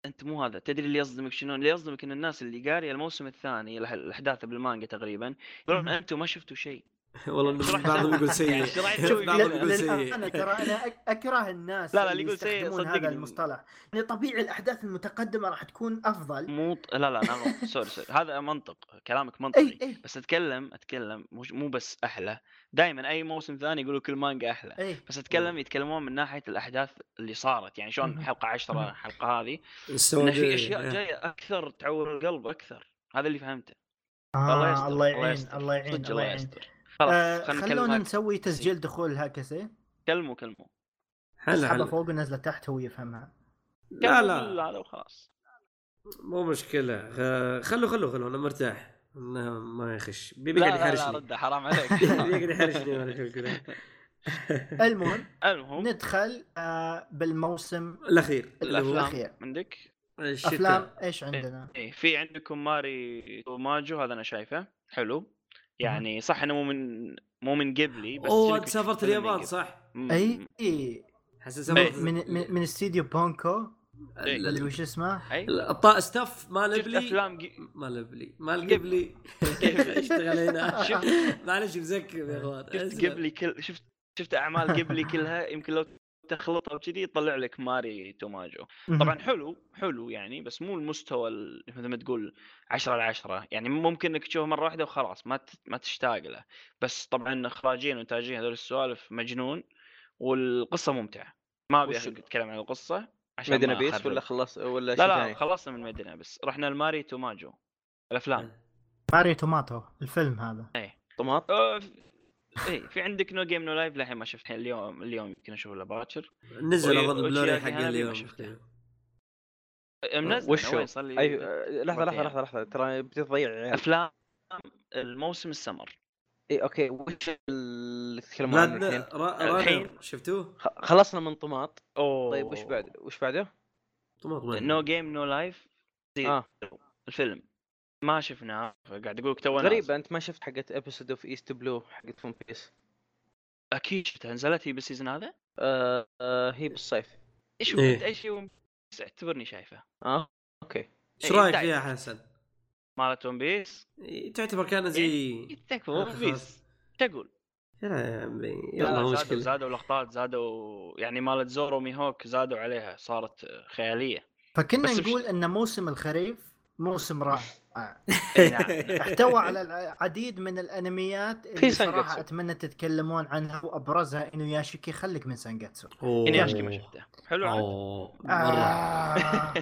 C: انت مو هذا تدري اللي يصدمك شنو اللي يصدمك ان الناس اللي قاريه الموسم الثاني الأح- الاحداث بالمانجا تقريبا يقولون
D: مهم.
C: انتم ما شفتوا شيء
A: والله
C: شو راح
A: بعضهم
C: تسوي؟
A: يقول سيء
C: يعني شو راح
A: شوف
C: تسوي؟
A: بعضهم
C: يقول-
A: يقول سيء
D: انا ترى انا أك- اكره الناس
C: إيه. لا، لا،
D: اللي
C: اللي يقول سيء،
D: يستخدمون هذا
C: صدقني.
D: المصطلح يعني طبيعي الاحداث المتقدمه راح تكون افضل
C: مو ط- لا لا انا غلط. سوري سوري هذا منطق كلامك منطقي
D: اي اي
C: بس اتكلم اتكلم مو مو بس احلى دائما اي موسم ثاني يقولوا كل مانجا احلى
D: اي
C: بس اتكلم يتكلمون من ناحيه الاحداث اللي صارت يعني شلون
D: إيه. مهم.
C: حلقه 10
D: مهم.
C: الحلقه هذه
A: السواد-
C: انه في اشياء
A: إيه.
C: جايه اكثر تعور القلب اكثر هذا اللي فهمته الله
D: آه
C: يستر
D: الله يعين
C: يستر.
D: الله يعين
C: صدق
D: الله
C: الله
D: يعين
C: يستر خلاص
D: آه،
C: خلينا نتكلم
D: خلونا
C: هاك-
D: نسوي تسجيل دخول هكذا
C: كلموا كلموا
A: حلو
D: اسحبها
A: حلو
D: فوق ونزله تحت هو يفهمها
A: لا
C: كلموا
A: لا
C: هذا وخلاص
A: مو مشكلة خ- خلو خلو خلو انا مرتاح انه ما يخش بي-
C: لا
A: بيقعد
C: لا لا
A: يحرشني
C: رده حرام عليك
A: بيقعد يحرشني وانا اشوف كذا
D: المهم
C: المهم
D: ندخل آه، بالموسم
A: الاخير اللي هو
C: الافلام
D: الأخير.
C: عندك
A: الشتاء.
D: افلام ايش عندنا؟
C: إيه في عندكم ماري وماجو هذا انا شايفه حلو يعني صح انه مو من مو من قبلي بس
A: اوه
C: شنو
A: انت
C: كنت
A: سافرت
C: فيلم من
A: اليابان
C: قبل.
A: صح؟
C: مم.
D: اي إي.
A: حسن
C: إيه.
A: سافرت
D: من من, من استديو بونكو
A: ال-
D: اللي
A: ال-
D: وش اسمه؟
C: اي
A: الطا ستاف مال
C: شفت
A: ابلي
C: افلام جي-
A: مال ابلي مال
C: قبل.
A: قبلي اشتغل هنا
C: شفت
A: معلش مزكم يا اخوان
C: شفت
A: أسلم.
C: قبلي كل شفت شفت اعمال قبلي كلها يمكن لو تخلطها بكذي يطلع لك ماري توماجو طبعا حلو حلو يعني بس مو المستوى ال- مثل ما تقول 10 على 10 يعني ممكن انك تشوفه مره واحده وخلاص ما ت- ما تشتاق له بس طبعا اخراجيا وانتاجيا هذول السوالف مجنون والقصه ممتعه ما ابي
E: وش-
C: اتكلم عن القصه عشان
E: مدينة
C: ما
E: بيس
C: أخرب.
E: ولا خلص ولا شيء
C: لا لا
E: ثاني؟
C: خلصنا من مدينه بس رحنا لماري توماجو الافلام
D: ماري توماتو الفيلم هذا
E: طماط
C: آه، ف- ايه في عندك نو جيم نو لايف للحين ما شفت اليوم اليوم يمكن اشوفه الا باكر
A: نزل
C: وي-
A: اظن بلوري
C: وتشياكي
A: حق
C: هانابي ما
A: اليوم
C: شفته. آه، منزل
E: أه، وش أيوه،
C: أنا وين
E: هو؟
C: صار لي
E: اي
C: ثلاث-
E: لحظه لحظه
C: مرتين.
E: لحظه لحظه ترى بتضيع عيال
C: افلام الموسم السمر
E: اي اوكي إيه، وش اللي تتكلمون عنه
A: بلاد
E: الحين؟
C: الحين.
A: رانر شفتوه؟
E: خ- خلصنا من طماط
C: اوه
E: طيب وش بعد وش بعده؟
A: طماط وين؟
C: نو جيم نو لايف
E: اه
C: الفيلم ما شفناه قاعد اقول لك تو
E: غريب انت ما شفت حقت ابيسود اوف ايست بلو حقت ون بيس
C: اكيد شفتها نزلت هي بالسيزون هذا
E: آه آه هي بالصيف
C: ايش
A: إيه.
C: إيه؟ اي شيء ون بيس اعتبرني شايفه
E: اه اوكي
A: ايش رايك
C: إيه،
A: فيها حسن؟
C: مالت ون بيس
A: إيه، تعتبر كان زي
C: تكفى ون بيس ايش اقول؟
A: يلا يا عمي
C: لا،
A: يلا
C: زادوا
A: مشكلة
C: زادوا لقطات زادوا يعني مالت زورو ميهوك زادوا عليها صارت خياليه
E: إيه.
D: فكنا
C: بس
D: نقول ان موسم الخريف موسم رائع
C: إي نعم
D: احتوى على العديد من الانميات اللي
E: في سانجاتسو.
D: صراحه اتمنى تتكلمون عنها وابرزها انه ياشكي خليك من سانجاتسو
A: أوه.
C: انياشكي ما شفته حلو عاد.
A: أوه. مرة.
D: آه.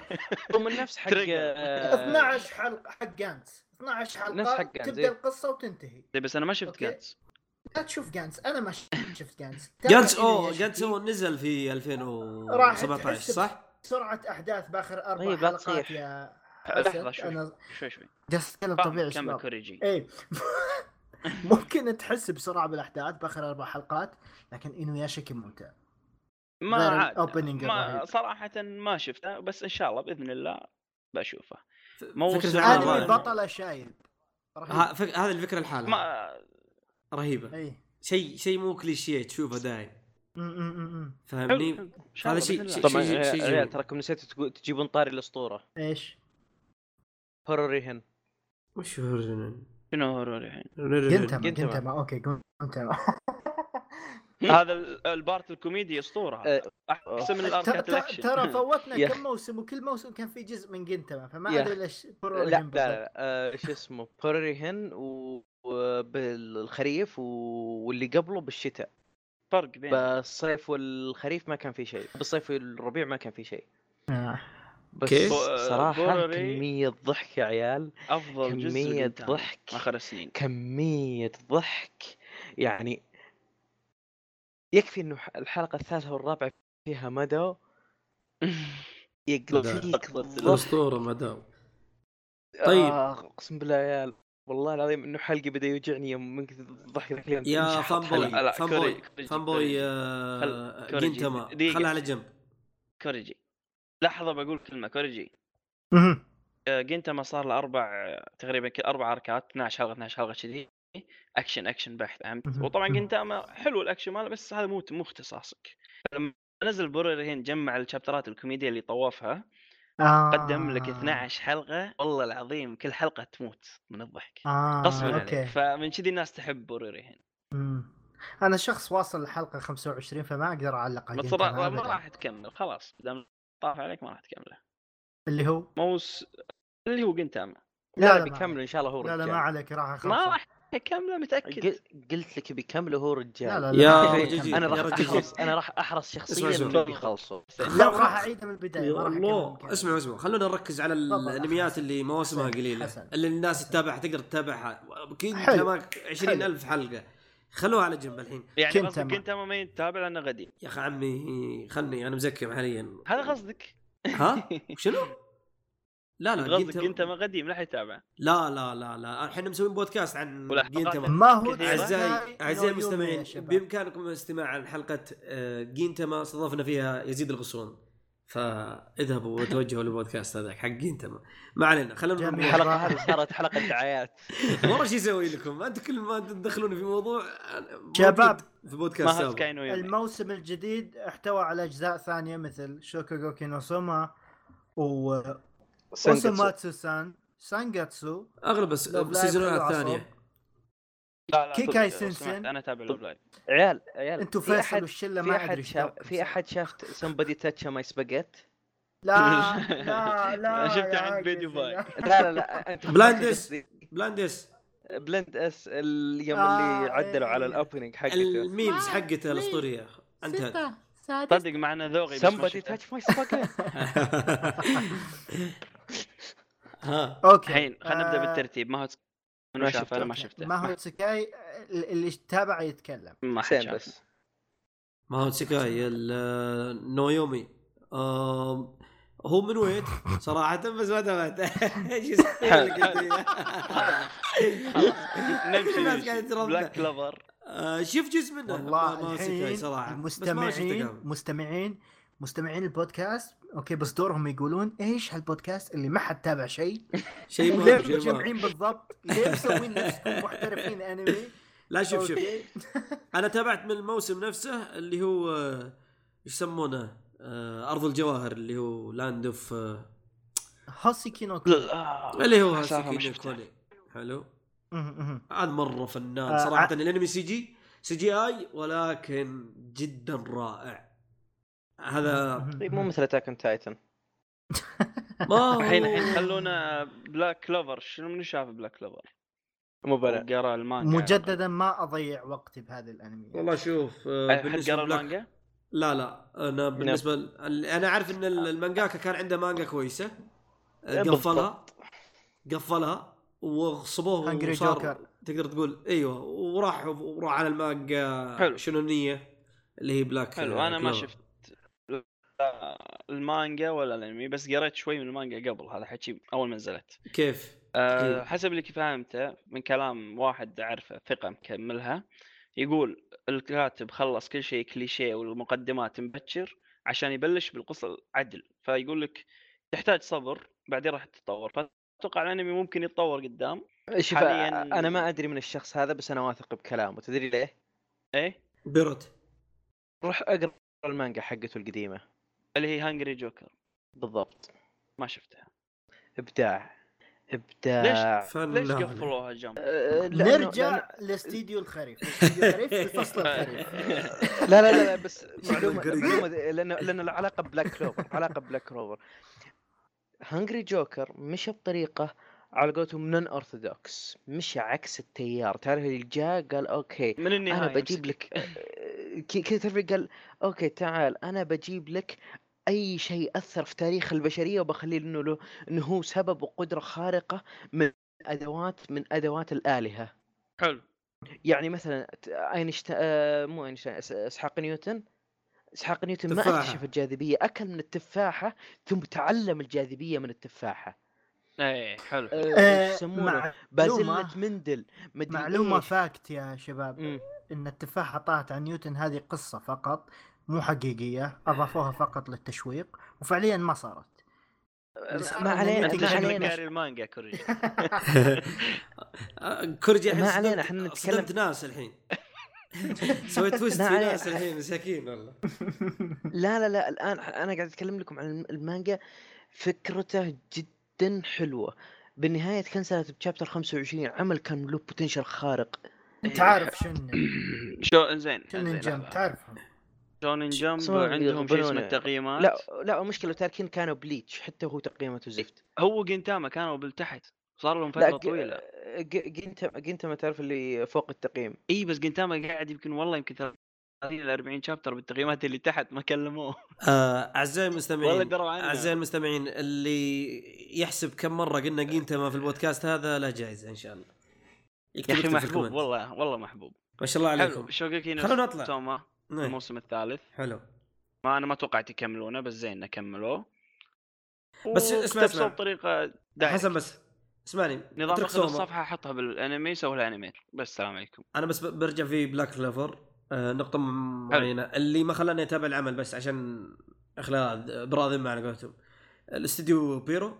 E: ومن نفس حق
C: Trigger.
E: آه
D: 12 حلقه حق جانس 12
E: نفس
D: حلقه
E: حق جانس، إيه.
D: تبدا القصه وتنتهي
C: طيب بس انا ما شفت
D: أوكي.
C: جانس
D: لا تشوف جانس انا ما ش- شفت جانس
A: جانس
D: تابع
A: اوه
D: إنه
A: جانس
D: يشتكي
A: هو نزل في
D: راح تحس
A: 2017
D: بس-
A: صح؟
D: سرعه احداث باخر اربع
E: طيب، لا
D: حلقات
E: تصيح.
D: يا
C: لحظه
D: حسن.
C: شوي
D: انا
C: شوي شوي
D: جالس اتكلم
C: فاهم،
D: طبيعي
C: كمل
D: شباب
C: كوريجي
D: ايه ممكن تحس بسرعه بالاحداث باخر اربع حلقات لكن انه يا شكل ممتع
C: ما
D: غير
C: عاد
D: الأوبننج
C: ما
D: الرهيب.
C: صراحة ما شفته بس إن شاء الله بإذن الله بشوفه موسم
A: فكرة
D: آه،
A: العمل
D: انمي
A: رائعة.
D: بطله شايب رهيب.
A: ها- فك- هذه الفكرة الحالة
C: ما
A: رهيبة
D: ايه
A: شيء شيء مو كليشيه تشوفه دايم
D: م- م- م- م.
A: فاهمني؟
C: حلو، إن شاء الله
A: هذا شيء-
C: بإذن الله.
A: شيء-
E: طبعا
A: شيء
E: آه،
A: جميل.
E: عيال تراكم نسيت تجيبون طاري الاسطوره
D: ايش؟
E: هوروري هن
A: وش هو الرنن؟
C: شنو هوروري الحين
A: الرنن؟
D: جنتما
E: جنتما.
D: جنتما اوكي جنتما
C: هذا ال- البارت الكوميدي أسطورة هذا. أحسن من
D: ت-
C: الأركات
D: ت-
C: الأكشن
D: ترى فوتنا
E: يا
D: كم موسم وكل موسم كان في جزء من جنتما فما
E: يا
D: ادري ليش
E: لا
D: برو
E: لا
D: رهيب بالضبط.
E: لا آه، شو اسمه بوري هن و- وبالخريف و- واللي قبله بالشتاء
C: فرق بين
B: بالصيف والخريف ما كان في شيء بالصيف والربيع ما كان في شيء
D: آه.
B: بس
F: كيف؟
B: صراحه
C: ضرري.
B: كميه ضحك يا عيال
C: افضل جزء
B: كمية
C: لقدام
B: ضحك.
C: اخر السنين
B: كميه ضحك يعني يكفي انه ح- الحلقه الثالثه والرابعه فيها مدى يقلب
F: لا.
B: فيك
A: طيب.
B: ضحك.
F: الاسطوره مدام طيب.
B: آه، اقسم بالله يا عيال والله العظيم انه حلقي بدا يوجعني يوم من كثر الضحك ذاك اليوم
A: يا
B: مش حاط
A: فان بوي
B: حلقة.
C: لا، لا،
A: فان
C: كوري،
A: بوي
C: كوري،
A: فان بوي
C: كوري.
A: آه،
C: خل- كوري.
A: جنتما
C: دقيقة.
A: خلها على جنب
C: كوريجي لحظه بقول كلمه كوريجي
D: مهم.
C: آه، جنتاما صار له اربع آه، تقريبا كذا اربع اركات 12 حلقه 12 حلقه كذي اكشن اكشن بحت فهمت
D: مهم.
C: وطبعا
D: مهم.
C: جنتاما حلو الاكشن ماله بس هذا مو مو اختصاصك لما نزل بوريرهين جمع الشابترات الكوميديا اللي طوفها
D: آه.
C: قدم لك 12 حلقه والله العظيم كل حلقه تموت من الضحك
D: آه.
C: غصبا عليك
D: أوكي.
C: فمن كذي الناس تحب بوريرهين
D: مم. انا شخص واصل الحلقه 25 فما اقدر اعلق على
C: بس
D: جنتاما
C: را- ما
D: أبداً.
C: راح تكمل خلاص دام طاف عليك ما راح تكمله
D: اللي هو
C: موس اللي هو جنتاما
B: لا
D: لا،
B: لا
D: ما
B: بيكملوا ان شاء الله هو
D: لا لا ما
B: رجال.
D: عليك راح اخلص
C: يعني. ما راح تكمله متاكد
B: قل- قلت لك بيكملوا هو رجال
D: لا لا لا
A: يا
D: ما راح
A: رجل
D: أكمل.
A: جديد،
B: انا
A: يا
B: راح
A: رجل
B: احرص انا راح احرص شخصيا
A: اسمع
B: انه
A: شوي.
B: بيخلصوا
D: لا راح اعيده من البدايه ما
A: يا
D: راح أكمل
A: الله
D: الكلام.
A: اسمعوا اسمعوا خلونا نركز على
D: تفضل،
A: الانميات
D: حسن.
A: اللي مواسمها
D: حسن،
A: قليله
D: حسن.
A: اللي الناس
D: حسن.
A: تتابعها تقدر تتابعها اكيد
D: حلو.
A: كلامك 20000 حلقه خلوها على جنب الحين
C: يعني
D: جنتاما.
C: قصدك جنتاما ما ينتابع لانه غدي
A: يا اخي عمي خلني انا مزكم حاليا
C: هذا قصدك
A: ها شنو؟ لا لا
C: قصدك
A: جنتما-
C: جنتاما غدي ما راح يتابع
A: لا لا لا لا احنا مسويين بودكاست عن
C: والأحلقات
A: جنتما
D: إيه، ما هو
C: كثيرة.
A: اعزائي
D: تسعة
A: اعزائي
D: يوم يوم يا
A: المستمعين
D: شباب.
A: بامكانكم الاستماع عن حلقه آه، جينتما استضفنا فيها يزيد الغصون فاذهبوا وتوجهوا للبودكاست هذاك حق جينتما ما علينا خلونا نروح.
D: جميل.
B: الحلقه هذه صارت حلقه دعايات
A: والله شو يسوي لكم انتم كل ما تدخلون في موضوع أنا موجود
D: شباب.
A: في
C: ما
A: بودكاست
C: هو
A: سابق
C: سكاي نو يومي.
D: الموسم الجديد احتوى على اجزاء ثانيه مثل شوكوغوكي نو سوما و اوسوماتسو سان سانجاتسو
A: اغلب الس-
D: لوب لايف خلوا
A: السيزونات
D: عصام.
A: الثانيه
C: لا لا
D: كيكاي
C: صدق،
D: سنسن.
C: سمعت، انا اتابع لوب لايف
B: عيال عيال
D: انتوا
B: في
D: فيصل
B: احد
D: والشله
B: في
D: ما ادري
B: احد
D: إيش
B: شاف
D: دعوكم
B: في احد شاف somebody touch my spaghetti
D: لا لا لا
C: أنا شفت
D: يا
C: عند
D: عاقل،
C: فيديو
D: يا
C: باي.
D: عاقل.
B: لا لا لا انت
A: بلاندس. بلاندس
B: بلند اس اليوم
D: آه،
B: اللي عدلوا على
D: إيه.
B: الاوبننج حقته
A: الميمز حقته الاسطوريه انتهت
C: صدق مع انه ذوقي بس ما
B: somebody
C: شفته.
B: touch my spaghetti
A: ها
D: اوكي
C: الحين خلينا نبدا
D: آه،
C: بالترتيب ما هو سكاي منو
B: ما
C: شافه
B: شفته.
C: انا ما
D: أوكي.
C: شفته
D: ما هو سكاي اللي تابع يتكلم
C: ما حد
B: حسين
C: شافه
B: بس
A: ما هو سكاي ال- نويومي آم، هو من ويت صراحة بس ما تابعت ايش يسوي لك أنت؟ الناس
C: نمشي نمشي
A: قاعدة تربى.
C: بلاك كلوفر
A: آه، شوف جزء منه ما- ما
D: والله
A: هو سكاي صراحة
D: الحين
A: بس ما شفته
D: مستمعين
A: كامل.
D: مستمعين مستمعين البودكاست اوكي بس دورهم يقولون ايش هالبودكاست اللي ما حد تابع شيء
A: شيء
D: ليه
A: مهم، شيء مهم
D: متجمعين بالضبط ليه مسوين نفسكم محترفين انمي
A: لا شوف شوف
D: أوكي.
A: انا تابعت من الموسم نفسه اللي هو آه، ايش يسمونه آه، ارض الجواهر اللي هو لاند اوف
D: هوسيكي نو كو.
A: اللي هو
C: حسافة ما
A: هاسوكي
C: شفتها.
A: نيكولي حلو
D: مهم، مهم.
A: هذا مره فنان
D: آه،
A: صراحه
D: ع-
A: الانمي سي جي سي جي اي ولكن جدا رائع هذا
B: طيب مو مثل اتاك اون تايتن
A: ما هو
C: الحين الحين خلونا بلاك كلوفر شنو منو شاف بلاك كلوفر؟
B: مو بلا
C: قرا المانجا
D: مجددا ما اضيع وقتي بهذا الانمي
A: والله شوف آه،
C: حق
A: بالنسبه
C: قرا
A: لك
C: المانجا؟ نعم.
A: لا لا انا بالنسبه ل... انا اعرف ان
C: آه.
A: ال- المانجاكا كان عنده مانجا كويسه آه،
B: بالضبط.
A: قفلها قفلها وغصبوه
D: Hungry
A: وصار
D: Joker.
A: تقدر تقول ايوه وراح وراح على المانجا
C: حلو.
A: شنونيه اللي هي بلاك
C: حلو
A: آه،
C: انا ما
A: كلوفر.
C: شفت لا المانجا ولا الانمي بس قريت شوي من المانجا قبل هذا حكي اول ما نزلت
A: كيف؟
C: أه
A: إيه.
C: حسب اللي فهمته من كلام واحد اعرفه ثقه مكملها يقول الكاتب خلص كل شيء كليشيه والمقدمات مبكر عشان يبلش بالقصه العدل فيقول لك تحتاج صبر بعدين راح تتطور فاتوقع الانمي ممكن يتطور قدام
B: شوف
C: حالياً-
B: انا ما ادري من الشخص هذا بس انا واثق بكلامه تدري ليه؟
C: ايه
A: بيروت
B: روح اقرا المانجا حقته القديمه
C: اللي هي هانجري جوكر
B: بالضبط
C: ما شفتها
B: ابداع ابداع
C: ليش
A: فنان
C: قفلوها جنب
B: أه، لأنه- لأنه-
D: نرجع لاستديو الخريف استديو الخريف في فصل الخريف
B: لا لا لا, لا بس معلومه
A: قريب.
B: معلومه لان لان العلاقه ببلاك كلوفر علاقه ببلاك كلوفر هنجري جوكر مشى بطريقه على قولتهم نون اورثودوكس مشى عكس التيار تعرف اللي جاء قال اوكي
C: من النهايه
B: انا بجيب
C: أمسك.
B: لك آه، كذا تعرف قال اوكي تعال انا بجيب لك اي شيء اثر في تاريخ البشريه وبخليه انه له انه هو سبب وقدره خارقه من ادوات من ادوات الالهه
C: حلو
B: يعني مثلا اينشتاين آه، مو اينشتاين إس- اسحاق نيوتن اسحاق نيوتن ما
A: تفاحة.
B: اكتشف الجاذبيه اكل من التفاحه ثم تعلم الجاذبيه من التفاحه
C: اي إيه، حلو
B: آه،
D: آه،
B: إيش يسمونه
D: مع-
B: بازلة
D: معلومة-
B: مندل مدري
D: معلومه
B: إيش.
D: فاكت يا شباب
B: مم.
D: ان التفاحه طاحت عن نيوتن هذه قصه فقط مو حقيقيه اضافوها فقط للتشويق وفعليا ما صارت اللي صار
B: ما
D: إن
B: علينا،
D: نيوتن
C: انت
B: ما
D: كان
C: شكلك
B: علينا. إيه.
C: قاري المانجا كوري
A: كورجي الحين
B: ما علينا،
A: صدمت-
B: احنا نتكلم-
A: صدمت ناس الحين سويت تويست
B: ما
A: في
B: علينا.
A: ناس الحين مساكين والله
B: لا لا لا الان انا قاعد اتكلم لكم عن الم- المانجا فكرته جدا حلوه بالنهايه تكنسلت بشابتر 25 عمل كان له بوتنشل خارق
D: تعرف شنن
C: شو زين
D: شنن جنب تعرفهم
C: شونن جمب
B: صار
C: عندهم شيء اسمه
B: يقبلونه.
C: التقييمات
B: لا لا المشكله تاركين كانوا بليتش حتى هو
C: إيه،
B: تقييمته زفت
C: هو جنتاما كانوا بالتحت صار لهم
B: لا آه،
C: فتره طويله
B: جنت جنت ما تعرف اللي فوق التقييم
C: اي بس جنتاما قاعد يمكن والله يمكن 30 ل 40 شابتر بالتقييمات اللي تحت ما كلموه
A: آه، اعزائي
C: والله
A: المستمعين
C: دروا
A: اعزائي
C: عنه
A: المستمعين اللي يحسب كم مره قلنا قيمته في البودكاست هذا له جائزه ان شاء الله
C: يا اخي
A: اكتب في
C: محبوب
A: الكومنت.
C: والله والله محبوب
A: ما شاء الله عليكم
C: حلو شوقي
A: خلونا نطلع.
C: توما
A: نعم.
C: الموسم الثالث
A: حلو
C: ما انا ما توقعت يكملونه بس زين إنه كملوه
A: بس اسمع-
C: واقتبسوه
A: اسمع.
C: بطريقه دايركت.
A: حسن بس اسمعني
C: نظام
A: اترك
C: اخذ
A: سوما.
C: الصفحه حطها بالانمي سوي لها انيميت بس السلام عليكم
A: انا بس ب- برجع في بلاك كلوفر آه، نقطة م- معينة اللي ما خلاني اتابع العمل بس عشان اخلاء براذم مع قولتهم الاستديو بيرو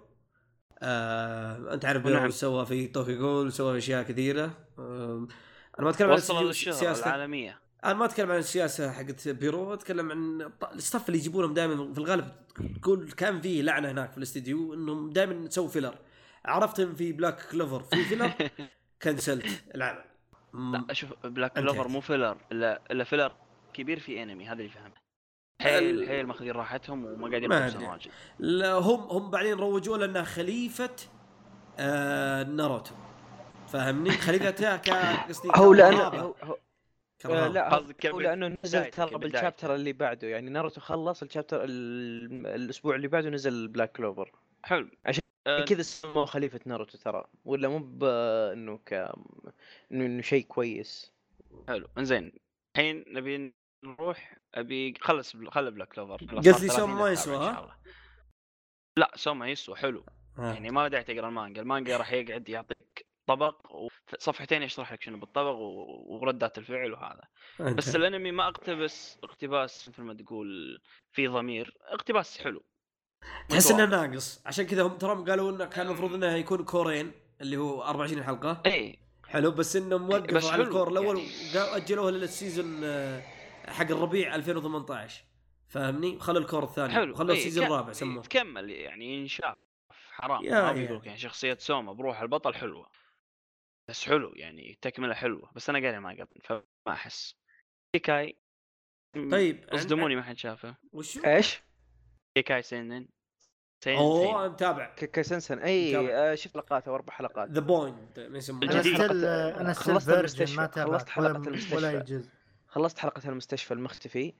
A: آه، انت عارف بيرو
C: نعم.
A: سوى في طوكيو جول سوى اشياء كثيرة آه، انا ما اتكلم عن
C: وصل
A: الاستديو-
C: للشهرة
A: سياسته
C: العالميه
A: انا ما اتكلم عن السياسة حقت بيرو اتكلم عن الط- الستاف اللي يجيبونهم دائما في الغالب تقول كان في لعنة هناك في الاستديو انهم دائما سووا فيلر عرفتهم في بلاك كلوفر في فيلر كنسلت العمل
C: لا اشوف بلاك
A: انتهت.
C: كلوفر مو فيلر الا الا فيلر كبير في انمي هذا اللي فهمته حيل
A: ال-
C: حيل ماخذين راحتهم وما قاعدين
A: ما
C: يلبسون
A: أدري.
C: واجد
A: لا هم هم بعدين روجوا لنا خليفه آه ناروتو فاهمني خليفتها ك قصدي
B: هو لانه
A: كرهابة.
B: هو- هو- آه،
A: كرهابة.
B: لا هو-
C: قصدك
B: هو
C: قبل
B: لانه نزل
C: بدايته،
B: ترى
C: قبل
B: بالشابتر اللي بعده يعني ناروتو خلص الشابتر ال- الاسبوع اللي بعده نزل بلاك كلوفر
C: حلو
B: عشان
C: آه،
B: كذا سموه خليفة ناروتو ترى ولا مو ب انه ك انه انه شيء كويس
C: حلو انزين الحين نبي نروح ابي خلص بل... خلى بلاك كلوفر
A: قلت لي سوما ما يسوى، ها؟
C: لا سوما يسوى حلو
A: آه.
C: يعني ما داعي تقرا المانجا المانجا راح يقعد يعطيك طبق وصفحتين يشرح لك شنو بالطبق و... وردات الفعل وهذا
A: آه، أنت.
C: بس الانمي ما اقتبس اقتباس مثل ما تقول في ضمير اقتباس حلو
A: تحس
C: متواضع.
A: انه ناقص عشان كذا هم ترى قالوا انه كان المفروض انه يكون كورين اللي هو 24 حلقه
C: اي
A: حلو بس انهم
C: إيه، بس
A: وقفوا على
C: حلو،
A: الكور الاول
C: يعني.
A: وقا- واجلوها للسيزون آه، حق الربيع 2018 فاهمني خلوا الكور الثاني
C: حلو
A: خلوا
C: إيه،
A: السيزون
C: ك-
A: الرابع سموه
C: تكمل يعني ينشاف حرام
A: يا-
C: ما
A: يا.
C: بيقولك يعني شخصيه سوما بروح البطل حلوه بس حلو يعني تكمله حلوه بس انا قاري ما قبل فما احس كيكاي م-
A: طيب عن-
C: إيه، اصدموني ما حد شافه
A: وشو؟
B: ايش؟
C: كيكاي سينن سينن
A: اوه
C: سينن.
A: متابع
B: كسنسن اي
A: متابع.
B: آه، شفت لقاته او اربع حلقات
A: ذا بوينت ما يسمونه
D: انا
C: جديد.
D: ستيل انا ستيل
B: خلصت
D: فيرجن ما
B: المستشفى
D: تابعت
B: خلصت
D: ولا,
B: حلقة
D: ولا
B: المستشفى
D: يجوز
B: خلصت حلقة المستشفى المختفي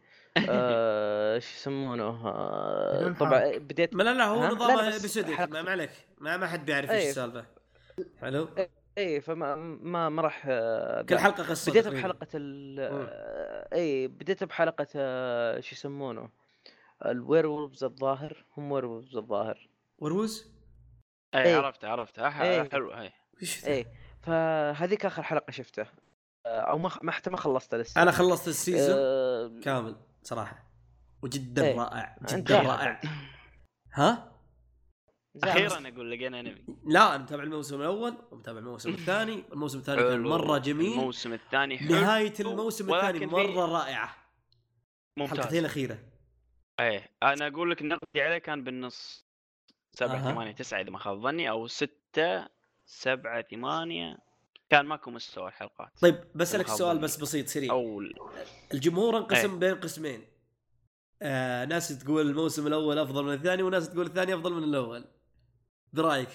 B: آه، شو يسمونه آه،
D: بدون
B: طبعا
D: حرق.
B: بديت
A: ما لا لا هو
B: ها؟
A: نظام
B: لا، لا، بس
A: ابيسوديك ما
B: حلقة.
A: ما عليك ما ما حد بيعرف ايش
B: أيه.
A: السالفه حلو
B: إيه. اي فما ما ما راح آه،
A: كل حلقه قصه
B: بديت
A: تقريباً.
B: بحلقة ال
A: مم.
B: آه، اي بديت بحلقة آه، شو يسمونه الوير وولفز الظاهر هم وير وولفز الظاهر
A: وروز
C: اي
B: إيه.
C: عرفته عرفته أح-
B: إيه.
C: حلو هي
A: وش ذا؟
B: ايه فهذيك اخر حلقه شفتها آه، او ما ما حتى ما خلصتها لسه
A: انا خلصت السيزون
B: آه،
A: كامل صراحه وجدا
B: إيه.
A: رائع
B: أنت
A: جدا رائع ها
B: زعل.
C: اخيرا اقول لقينا انمي
A: لا انا متابع الموسم الاول ومتابع الموسم الثاني الموسم الثاني كان
C: حلو.
A: مره جميل
C: الموسم الثاني حلو
A: نهايه الموسم الثاني
C: ولكن في-
A: مره رائعه الحلقتين
C: ممتاز
A: الاخيره
C: ايه انا اقول لك نقدي عليه كان بالنص سبعة
A: أها.
C: ثمانية تسعة اذا ما خاب ظني او ستة سبعة ثمانية كان ماكو مستوى الحلقات
A: طيب بسالك
C: بالخبر.
A: سؤال بس بسيط سريع
C: او
A: الجمهور
C: إيه.
A: انقسم بين قسمين آه ناس تقول الموسم الاول افضل من الثاني وناس تقول الثاني افضل من الاول برايك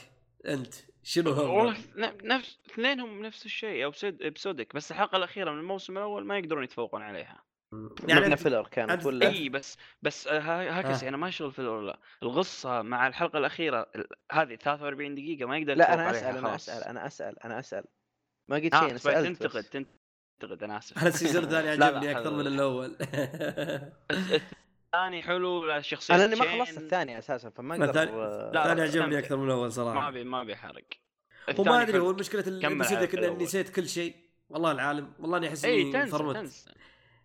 A: انت شنو هو
C: والله ن- نفس اثنينهم نفس الشيء او بسودك بس الحلقه الاخيره من الموسم الاول ما يقدرون يتفوقون عليها
A: يعني
B: يعني
A: أنت-
B: فيلر كانت
A: أنت-
B: ولا
C: اي بس بس ها- هاكس
A: آه.
C: يعني ما شغل في ولا القصه مع الحلقه الاخيره ال- هذه 43 دقيقه ما يقدر
B: لا
C: يتفوق
B: انا
C: عليها
B: اسال انا
C: خلاص.
B: اسال انا اسال انا اسال ما قلت شيء
C: آه
B: انا
C: بس بعد
B: سالت
C: تنتقد
B: بس.
C: تنتقد انا اسف
A: انا السيزون الثاني
C: لا، لا،
A: عجبني اكثر
C: حلو.
A: من الاول
C: الثاني حلو لا الشخصيه
B: انا اني ما
C: تشين.
B: خلصت الثاني اساسا فما
A: الثاني-
B: اقدر
C: لا،
A: الثاني
C: لا،
A: عجبني
C: لا.
A: اكثر من الاول
C: ما
A: صراحه
C: ابي ما ابي احرق
A: وما
C: الثاني
A: ادري
C: حلو.
A: هو المشكله
C: كمل إيه،
A: الابيسود
C: على
A: ذاك اني
C: الأول.
A: نسيت كل شيء والله العالم والله اني احس
C: اي
A: اني
C: تنسى
A: فرمت
C: تنسى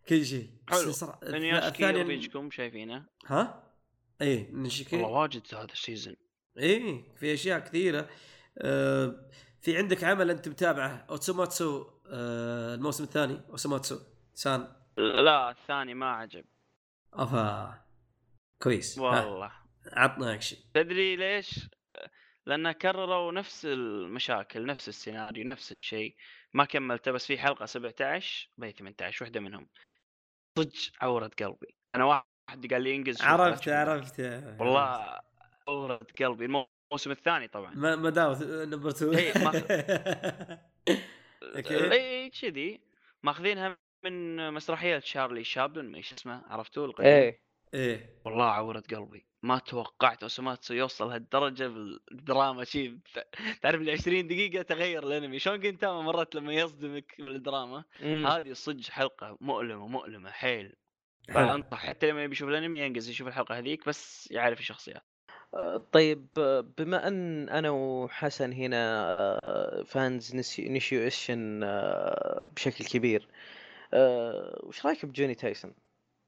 A: كل شيء
C: حلو.
A: بس صراحة-
C: انيوشكي
A: الثاني
C: وبيجكم شايفينه
A: ها؟ ايه
C: والله
A: نشكي
C: واجد هذا السيزون
A: ايه في اشياء كثيره آه في عندك عمل انت متابعه اوتسوماتسو آه الموسم الثاني اوتسوماتسو سان
C: لا الثاني ما عجب
A: افا كويس ها،
C: والله
A: عطنا اكشن
C: تدري ليش؟ لأن كرروا نفس المشاكل نفس السيناريو نفس الشيء ما كملته بس في حلقة 17 باي 18 واحدة منهم صدق عورة قلبي أنا واحد قال لي انجز شوف، لا
A: عرفت
C: تشوف.
A: عرفت
C: والله عورة قلبي المو- الموسم الثاني طبعا
A: ما ما داوت نمبر 2
C: إيه،
A: أوكي.
C: اي كذي ماخذينها من مسرحية شارلي شابلن ايش اسمه عرفتوه القديم
B: ايه
A: ايه
C: والله عورة قلبي ما توقعت اوسوماتسو يوصل هالدرجة بالدراما شي تعرف لي 20 دقيقة تغير الانمي شلون جنتاما مرات لما يصدمك بالدراما
B: مم.
C: هذه صدق حلقة مؤلمة مؤلمة حيل
A: حلو.
C: فانصح حتى لما يبي يشوف الانمي ينقز يشوف الحلقة هذيك بس يعرف الشخصيات
B: آه، طيب آه، بما ان انا وحسن هنا آه، فانز نيشيو اشن آه، بشكل كبير آه، وش رايك بجوني تايسون؟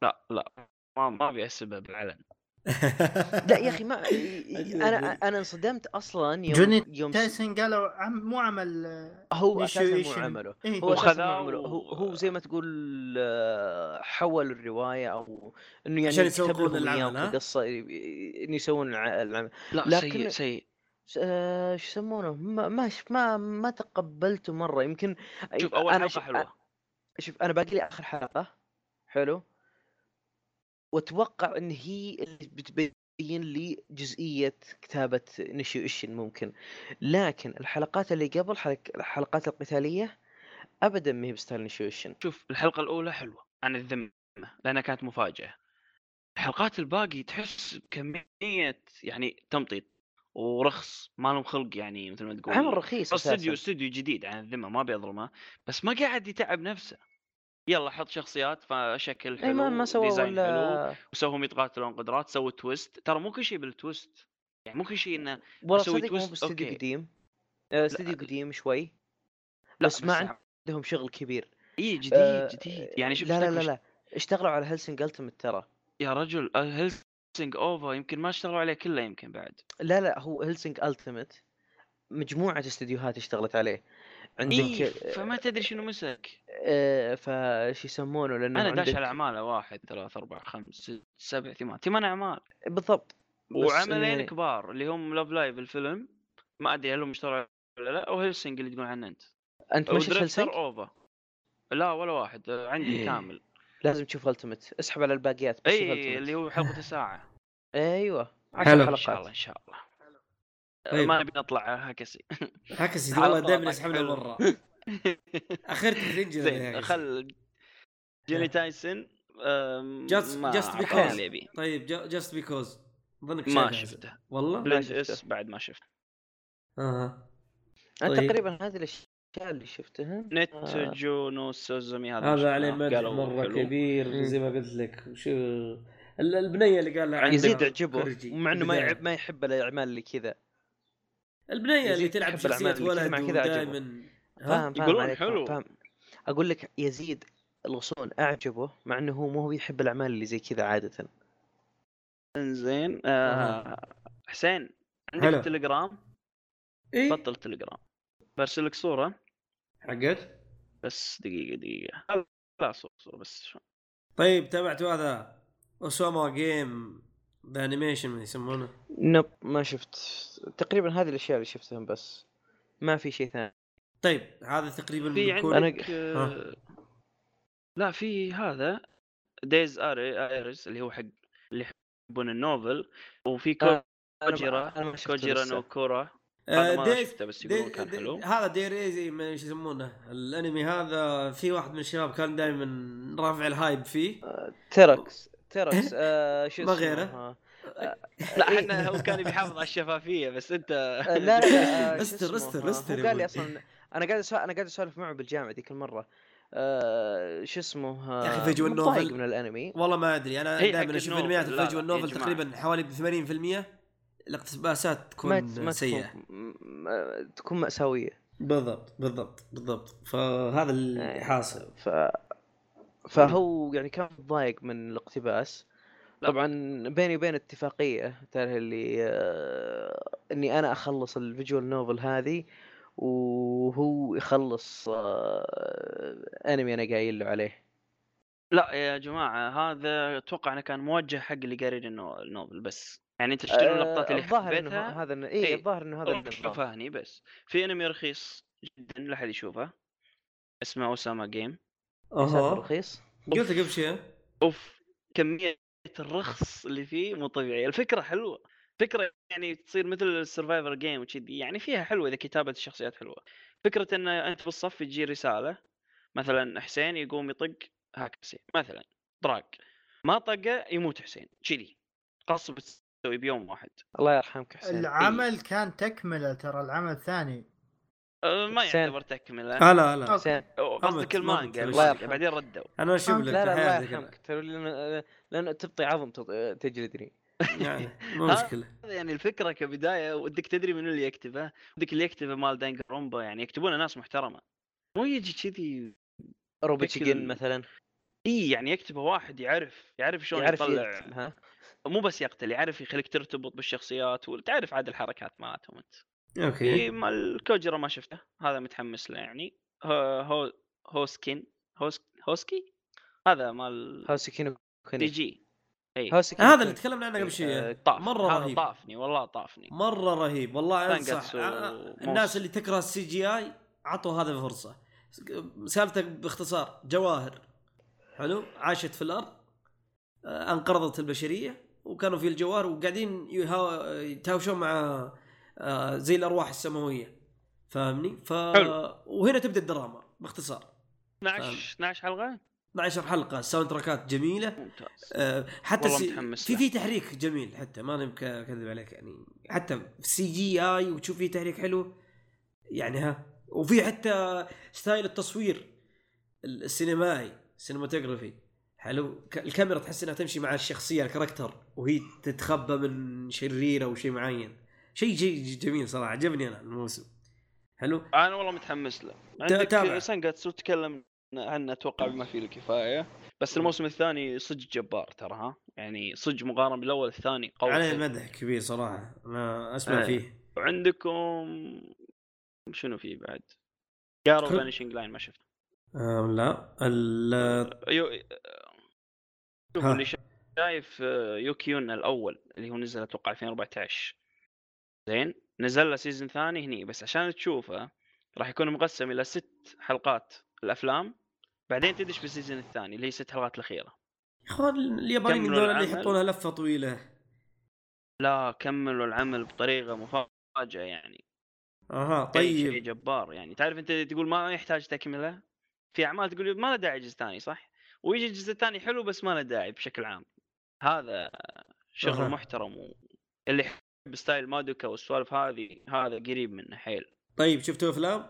C: لا لا ما ما ابي اسبها بالعلن
B: لا يا اخي ما انا انا انصدمت اصلا يوم
D: جوني
B: يوم
D: تايسون قالوا عم مو عمل آه،
B: هو اساسا مو
D: نيشيويشن.
B: عمله
D: إيه.
B: هو اساسا مو
C: وخذاه
B: عمله
C: و-
B: هو هو زي ما تقول آه، حول الروايه او انه يعني
A: عشان
B: يكتب
A: يسوقون
B: لهم إياه
A: العمل، ها؟
B: كقصه ي- ي- انه يسوون الع- العمل
C: لا
B: لكن-
C: سيء سيء
B: س- آه، شو يسمونه ما ما ش- ما, ما تقبلته مره يمكن
C: شوف اول
B: أيوة، أنا
C: حلقة
B: ش-
C: حلوة
B: شوف انا باقي لي اخر حلقه حلو واتوقع ان هي اللي بتبين لي جزئيه كتابه نشيو إشن ممكن لكن الحلقات اللي قبل حلق... الحلقات القتاليه ابدا ما هي بستايل نشيو إشن
C: شوف الحلقة الأولى حلوة عن الذمة لأنها كانت مفاجأة الحلقات الباقي تحس بكمية يعني تمطيط ورخص ما لهم خلق يعني مثل ما تقول
B: عمل رخيص اساسا
C: استوديو استوديو جديد عن الذمة ما بيظلمه بس ما قاعد يتعب نفسه يلا حط شخصيات فشكل
B: اي
C: حلو
B: ما ما سوى
C: ديزاين حلو
B: ولا
C: وسوهم يتقاتلون قدرات سووا تويست ترى مو كل شيء بالتويست يعني مو كل شيء انه
B: ولا
C: مسوي
B: صدق مو
C: تويست،
B: باستوديو
C: أوكي.
B: قديم آه، استوديو قديم شوي
C: لا
B: بس ما عن- عندهم شغل كبير
C: اي جديد
B: آه،
C: جديد يعني شوف
B: لا لا
C: اشتكوا-
B: لا لا اشتغلوا على هلسنج التمت ترى
C: يا رجل آه، هيلسنج اوفر يمكن ما اشتغلوا عليه كله يمكن بعد
B: لا لا هو هلسنج التمت مجموعه استديوهات اشتغلت عليه عندك
C: اي
B: آه،
C: إيه، فما تدري شنو مسك
B: آه، فش يسمونه لانه
C: انا داش
B: عندك-
C: على اعماله واحد ثلاث اربع خمس ست سبع ثمان ثمان اعمال
B: بالضبط بس إنه
C: وعملين
B: يعني-
C: كبار اللي هم لاف لايف الفيلم ما ادري هل هم اشتغلوا ولا لا او هيلسنج اللي تقول عنه انت
B: انت ما شفت
C: ودريفتر
B: هلسنج
C: اوفا لا ولا واحد آه، عندي
B: إيه.
C: كامل
B: لازم تشوف التمت اسحب على الباقيات بس شوف
C: اي
B: Ultimate.
C: إيه، اللي هو حلقه الساعه
B: ايوه
A: حلو.
B: عشر
C: ان شاء الله ان
B: حلقات
C: شاء الله
A: طيب.
C: ما نبي نطلع هكسي
A: عكس
C: على
A: والله
C: طول
A: دائما
C: طق
A: يسحبنا
C: حلو.
A: برا اخرتك تنجز
C: زين خل جيلي تايسون آم،
A: Just-
C: ما
A: just
C: أعطاني
A: because.
C: اللي يبي.
A: طيب جاست بيكوز اظنك
C: ما
A: شايفها.
C: شفته
A: والله
C: بليز
B: شفته.
C: اس بعد ما شفته
A: اها
B: انا
A: طيب.
B: تقريبا هذه الاشياء اللي شفتها آه.
C: نتجو نو سوزومي هذا ما
A: هذا
C: شفناه.
A: عليه مدح
C: قالوا إيه.
A: مره
C: حلو.
A: كبير
B: مم.
A: زي ما قلت لك وشو ال- البنيه اللي قال لها
B: يزيد
A: عندها
B: عجبه
A: كرجي
B: مع انه ما
A: بالبداية.
B: يعب ما يحب الاعمال اللي كذا
A: البنيه اللي
B: يزيد
A: تلعب
B: يحب الأعمال
A: شخصيه
B: اللي كذا
A: ولد
B: مع كذا عجبه.
A: ودائما
B: فاهم فاهم
C: يقولون
B: عليك
C: حلو.
B: فاهم اقول لك يزيد الغصون اعجبه مع انه هو مو هو يحب الاعمال اللي زي كذا عاده
C: انزين آه حسين عندك
A: هلا.
C: تليجرام
A: اي
C: بطل تليجرام برسل لك صوره
A: حقت
C: بس دقيقه دقيقه لا، لا صوره صوره بس
A: طيب تابعت هذا اسوما جيم ذا انيميشن ما يسمونه
B: نب ما شفت تقريبا هذه الاشياء اللي شفتهم بس ما في شيء ثاني
A: طيب هذا تقريبا
C: في
A: بيكون
C: عندك
B: أنا-
C: آه، لا في هذا دايز ايرس اللي هو حق اللي يحبون النوفل وفي
B: آه، أنا ما-
C: كوجيرا
B: أنا ما شفته
C: كوجيرا
B: لسه.
C: نو كورا
A: آه،
C: هذا ما شفته بس يقولون كان
A: دي-
C: حلو
A: هذا ديريزي من شو يسمونه الانمي هذا في واحد من الشباب كان دائما رافع الهايب فيه
B: تيركس تيركس آه شو
A: ما
B: اسمه؟
A: غيره.
B: آه،
C: لا احنا هو كان بيحافظ على الشفافيه بس انت
B: لا لا آه، شو
A: استر-
B: اسمه؟
A: استر-
B: آه،
A: استر
B: هو
A: يا
B: قال لي
A: ولد.
B: اصلا انا قاعد أسا- انا قاعد اسولف معه بالجامعه ذيك المره آه، شو اسمه آه،
A: يا أخي فيجوال
B: متضايق
A: نوفل.
B: من الانمي
A: والله ما ادري انا
C: هي
A: دائما
C: إيه، حق
A: اشوف
C: النوفل.
A: انميات
C: لا لا،
A: الفيجوال
C: يا
A: النوفل
C: جماعة.
A: تقريبا حوالي ب 80% الاقتباسات
B: ما
A: تكون
B: ما
A: سيئه
B: تكون م- تكون ماساويه
A: بالضبط بالضبط بالضبط فهذا اللي
B: إيه.
A: حاصل
B: ف فهو يعني كان متضايق من الاقتباس طبعا بيني وبين اتفاقيه تعرف اللي آه، اني انا اخلص الفيجوال نوفل هذه وهو يخلص آه، انمي انا قايل له عليه
C: لا يا جماعه هذا اتوقع انه كان موجه حق اللي قارين النو- النوفل بس يعني انت تشترون اللقطات اللي
B: آه، الظاهر انه
C: حبيتها
B: هذا الن-
C: إيه.
B: اي الظاهر انه هذا النظام
C: فهني بس في انمي رخيص جدا لا احد يشوفه اسمه اوساما جيم
B: سعر
A: اها
B: رخيص
A: قلت قبل شيء
C: اوف كميه الرخص اللي فيه مو طبيعي الفكره حلوه فكره يعني تصير مثل السرفايفر جيم وكذي يعني فيها حلوه اذا كتابه الشخصيات حلوه فكره ان انت في الصف تجي رساله مثلا حسين يقوم يطق هاك حسين مثلا طراق ما طقه يموت حسين كذي قصب تسوي بيوم واحد
B: الله يرحمك حسين
D: العمل كان تكمله ترى العمل الثاني
C: أه، ما
B: حسين.
C: يعتبر تكمله
A: آه لا لا
D: أوكي.
B: حسين
C: أو قصدك
A: أمت- أمت.
C: المانجا
B: الله
C: المانجا
B: يرحمه.
C: بعدين ردوا
A: انا اشوف لك
B: لا لا الله
A: حياتك
B: يرحمك ترى لأن- لان تبطي عظم تط- تجلدني
A: يعني مو مشكله
C: هذا يعني الفكره كبدايه ودك تدري من اللي يكتبه ودك اللي يكتبه مال دانج رومبا يعني يكتبونه ناس محترمه مو يجي كذي
B: روبوتشيجن مثلا
C: اي يعني يكتبه واحد يعرف يعرف شلون
B: يعرف
C: يطلع
B: يقتل، ها
C: مو بس يقتل يعرف يخليك ترتبط بالشخصيات وتعرف عاد الحركات مالتهم انت
A: اوكي
B: إيه.
C: في مال كوجرا ما شفته هذا متحمس له يعني هو هو هوسكين هوس هوسكي هذا مال
B: هاوسكينو
C: دي
B: كوني
C: جي اي
B: هاوسكينو
A: هذا
B: كوني.
A: اللي تكلمنا عنه قبل
B: آه،
A: شيء
C: طاف
A: مرة
C: هذا
A: رهيب.
C: طافني والله طافني
A: مره رهيب والله انصح
C: تانجاتسو
A: آه،
C: موس.
A: الناس اللي تكره السي جي اي عطوا هذا فرصه سالفتك باختصار جواهر حلو عاشت في الارض آه، انقرضت البشريه وكانوا في الجوار وقاعدين يها- يتهاوشون مع آه، زي الارواح السماويه فاهمني؟ ف
C: حلو.
A: وهنا تبدا الدراما باختصار
C: 12 12 حلقه
A: 12 حلقه ساوند تراكات جميله
C: ممتاز
A: آه، حتى
C: والله
A: سي-
C: متحمس
A: في
C: له.
A: في تحريك جميل حتى ما انا مك- اكذب عليك يعني حتى في سي جي اي وتشوف فيه تحريك حلو يعني ها وفي حتى ستايل التصوير ال- السينمائي سينماتوجرافي حلو ك- الكاميرا تحس انها تمشي مع الشخصيه الكاركتر وهي تتخبى من شرير او شيء معين شيء شيء جميل صراحه عجبني انا الموسم حلو
C: انا والله متحمس له
A: تابع.
C: عندك سانجاتسو تكلم عنه اتوقع بما فيه الكفايه بس الموسم الثاني صدق جبار ترى ها يعني صدق مقارنه بالاول الثاني قوي
A: عليه
C: حيل.
A: مدح كبير صراحه انا اسمع
C: آه.
A: فيه
C: وعندكم شنو في بعد؟ جارو
A: كل-
C: فانيشنج لاين ما شفت
A: آه لا ال-
C: يو... شوف
A: ها.
C: اللي شا- شايف آه، يوكيون الاول اللي هو نزل اتوقع 2014 زين نزل له سيزون ثاني هني بس عشان تشوفه راح يكون مقسم الى ست حلقات الافلام بعدين تدش بالسيزون الثاني اللي هي ست حلقات الاخيره
A: يا اخوان اليابانيين
C: كملوا
A: دول اللي
C: العمل.
A: يحطونها لفه طويله
C: لا كملوا العمل بطريقه مفاجئه يعني
A: اها
C: شيء- شيء
A: طيب
C: جبار يعني تعرف انت تقول ما يحتاج تكمله في اعمال تقول ما له داعي جزء ثاني صح؟ ويجي الجزء الثاني حلو بس ما له داعي بشكل عام هذا شغل
A: أها.
C: محترم و... اللي يحب ستايل مادوكا والسوالف هذه هذا قريب منه حيل
A: طيب شفتوا افلام؟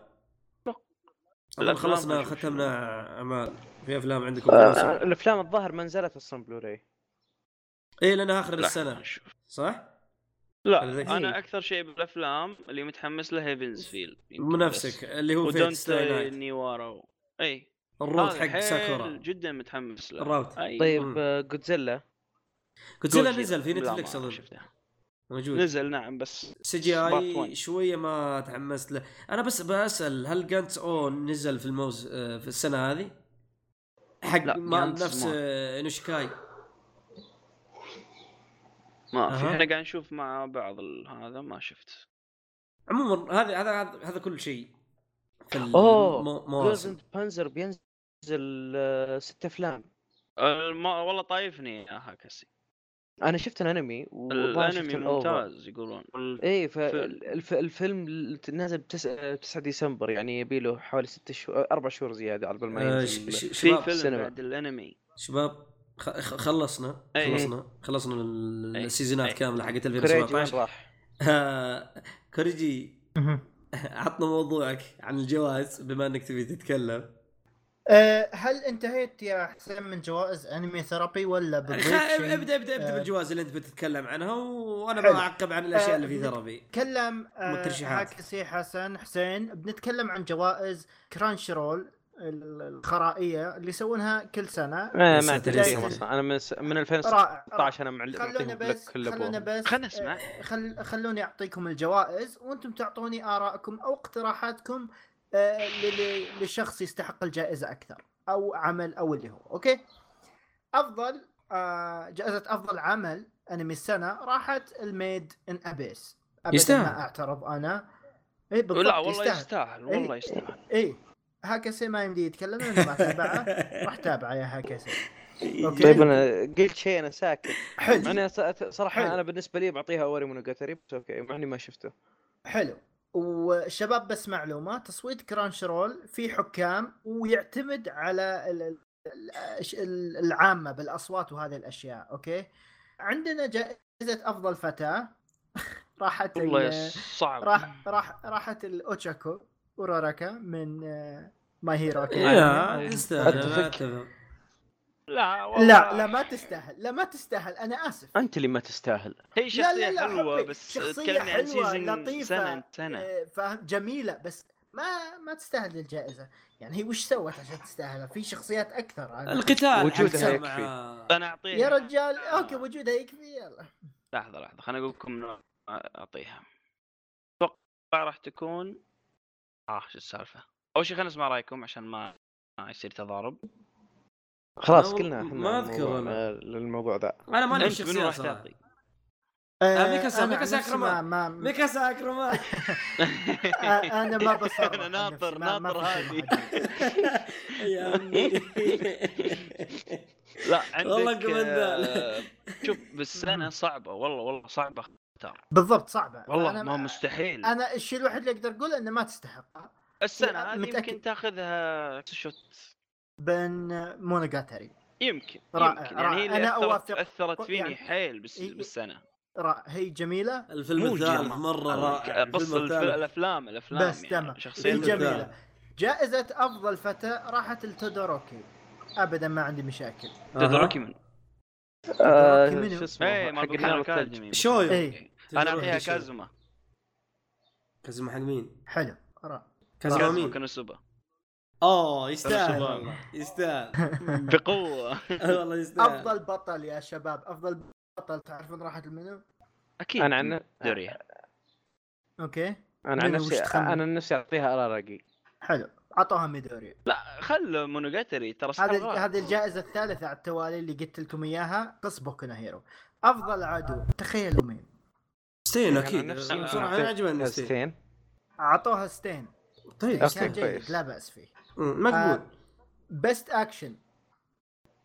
A: لا
C: الأفلام
A: خلصنا
C: بنشوف
A: ختمنا اعمال في افلام عندكم
B: آه،
A: آه
B: الافلام الظاهر ما نزلت اصلا بلوراي
C: إيه.
A: اي لانها اخر
C: لا،
A: السنه
C: نشوف.
A: صح؟
C: لا
A: خلينا نشوف.
C: انا اكثر شيء بالافلام اللي متحمس له هيفنز فيل
A: منافسك اللي هو فيت
C: ودونت
A: ستاي نايت
C: نيوارو اي
A: الروت
C: هذا
A: حق
C: حيل
A: ساكورا
C: جدا متحمس له
A: الراوت.
C: أي.
A: مم.
B: طيب آه، جودزيلا
A: كنت لا
C: Godzilla.
A: نزل في
C: لا، ما
A: نتفلكس اظن
C: شفته.
A: موجود
C: نزل نعم بس
A: سي جي
C: Part one.
A: اي شويه ما تحمست له انا بس بسال هل جانتس او نزل في الموز آه، في السنه هذه؟ حق
C: لا،
A: ما
C: Gantz
A: نفس
C: ما.
A: آه، نوشكاي
C: ما في
A: أها.
C: احنا قاعد نشوف مع بعض ال- هذا ما شفت
A: عموما هذا هذا هذا- هذا كل شيء في
B: أوه،
A: المو-
B: جوز
A: مواسم
B: اند بانزر بينزل آه، ست افلام
C: أه، ما والله طايفني يا هاكسي
B: انا شفت الانمي والله شفت
C: الانمي
B: الأوفا.
C: ممتاز يقولون وال-
B: ايه
C: فيلم.
B: فالفيلم نازل بتس... 9 ديسمبر يعني يبي له حوالي ست شهور اربع شهور زياده على بال ما
A: آه،
B: ينزل
A: ش- ش-
C: في
A: شباب
C: فيلم
B: السينما.
C: بعد الانمي
A: شباب خ- خ- خلصنا
C: أي.
A: خلصنا خلصنا ال-
C: أي.
A: السيزونات
C: أي.
A: كامله حقت
B: كريجي وين
A: 2017
B: راح؟
A: آه، كوريجي
D: مهم.
A: عطنا موضوعك عن الجوائز بما انك تبي تتكلم
D: أه، هل انتهيت يا حسين من جوائز انمي ثيرابي ولا
A: خ-
D: بتضيف شيء؟
A: ابدا ابدا ابدا
D: آه.
A: بالجوائز اللي انت بتتكلم عنها وانا
D: حلو.
A: بعقب عن الاشياء
D: آه،
A: اللي في
D: بت-
A: ثربي
D: نتكلم آه،
A: والترشيحات.
D: هاكسي حسن حسين بنتكلم عن جوائز كرانش رول ال- الخرائيه اللي يسوونها كل سنه
B: ما
A: لسه
B: ما
A: تدريسي.
B: ادري اصلا انا من, س... من 2016
D: رائع
B: انا مع
D: خلونا بس خلونا بس
C: خلنا نسمع.
D: آه، خل خلوني اعطيكم الجوائز وانتم تعطوني ارائكم او اقتراحاتكم آه، ل- ل- لشخص يستحق الجائزه اكثر او عمل او اللي هو اوكي افضل آه، جائزه افضل عمل انمي السنه راحت الميد ان ابيس ابدا
A: يستاهل.
D: ما اعترض انا اي بالضبط
C: لا
B: طيب.
C: والله
D: يستاهل
C: يستاهل
D: إيه،
C: والله يستاهل
D: اي هاكسي ما يمدي يتكلم لانه ما تابعه راح تابعه يا هاكسي أوكي.
B: طيب انا قلت شيء انا ساكت
D: حلو
B: مع اني أس- صراحه
D: حلو.
B: انا بالنسبه لي بعطيها اوري مونوجاتري بس اوكي مع اني ما شفته
D: حلو والشباب بس معلومه تصويت كرانش رول في حكام ويعتمد على ال- ال- الأش- ال- العامه بالاصوات وهذه الاشياء اوكي عندنا جائزه افضل فتاه راحت ال-
C: والله صعب
D: راح راح راحت الاوتشاكو اوراراكا من ماي هيرو
A: إيه. يا
B: أتفق.
A: يستاهل
C: لا والله
D: لا لا ما تستاهل لا ما تستاهل انا اسف
B: انت اللي ما تستاهل
C: هي
D: لا، لا،
C: شخصية
D: لا،
C: حلوة
D: حبي.
C: بس
D: شخصية
C: تكلمني عن
D: حلوة،
C: سيزون
D: لطيفة.
C: سنة سنة
D: آه، فاهم جميله بس ما ما تستاهل الجائزه يعني هي وش سوت عشان تستاهلها في شخصيات اكثر أنا-
A: القتال
B: وجودها
A: حقها
B: يكفي.
A: مع
C: انا اعطيها
D: يا رجال اوكي وجودها يكفي يلا
C: لحظة لحظة خليني اقول لكم إنه اعطيها اتوقع راح تكون اه شو السالفة اول شيء خلينا نسمع رايكم عشان ما ما يصير تضارب
B: خلاص
A: ما-
B: كلنا
A: ما
B: احنا
A: أذكر
B: الموضوع-
A: أنا.
B: آه، للموضوع ذا
A: انا ماني
C: أنت منو
A: بالشخصيه
C: راح
A: صراحه
C: تعطي؟
A: آه، ميكاسا-
D: أنا عن
A: ميكاسا
D: نفسي
A: أكرمها.
D: ما ما
A: ميكا ساكرما
D: آه، انا ما بصرح
C: أنا
D: عن
C: ناطر-
D: نفسي، ما- ما
C: ناطر
D: في شيء
C: هذه.
D: محدد.
A: يا عمي
C: لا عندك
A: والله قمندال.
C: آه، شوف بالسنة صعبة والله والله صعبة اختار
D: بالضبط صعبه
C: والله
D: فأنا
C: ما مستحيل
D: انا الشيء الوحيد اللي اقدر اقوله انه ما تستحق
C: السنة
D: أنا
C: هذه
D: متأكد.
C: يمكن تاخذها شوت
D: بين مونوجاتري
C: يمكن
D: رائع،
C: يمكن يعني هي
D: رائع.
C: اللي
D: أنا
C: اثرت
D: أوافق.
C: اثرت
D: يعني-
C: فيني حيل بس
D: إي- إي.
C: بالسنة
D: رائع هي جميله
A: الفيلم
C: مو
A: الثالث
C: جمع.
A: مره رائع
C: أنا- بص
A: الفيلم
C: الف-
A: الثالث
C: الافلام الافلام
D: بس
C: يعني
D: تمام
C: شخصية
D: هي
A: الفيلم
D: جميله
A: الثالث.
D: جائزه افضل فتاه راحت لتودوروكي ابدا ما عندي مشاكل
C: تدركي من
B: آه،
D: إيه، منو؟
B: شو اسمه
C: اي ما
B: حق الحرب الثلج
C: اكاديمي
A: شويو.
C: إيه.
D: إي.
C: انا اعطيها كازما
A: كازما حق مين؟
D: حلو رائع
A: كازما
C: كازما
A: مين؟
C: كانوسوبا
A: اوه
C: كان
A: يستاهل
C: شباب.
A: والله يستاهل
C: بقوة
A: والله يستاهل
D: افضل بطل يا شباب افضل بطل تعرفون راحت لمنو؟
C: اكيد
B: انا عن
C: دوري
D: اوكي
B: انا عن
D: منو وش
B: نفسي
D: تخمن؟
B: انا عن نفسي اعطيها اراراجي
D: حلو عطوها ميدوري
C: خل مونوجاتري ترى
D: هذه
C: استمرار.
D: هذه الجائزه الثالثه على التوالي اللي قلت لكم اياها قص بوكو نو هيرو افضل عدو تخيلوا مين
A: ستين
B: أنا
A: اكيد
B: عن نفسي-
A: بصراحه انا عجبني ستين
B: ستين
D: اعطوها ستين
A: طيب
B: أوكي،
D: كان جيد
B: كويس.
D: لا باس فيه
A: مم، مقبول
D: بست اكشن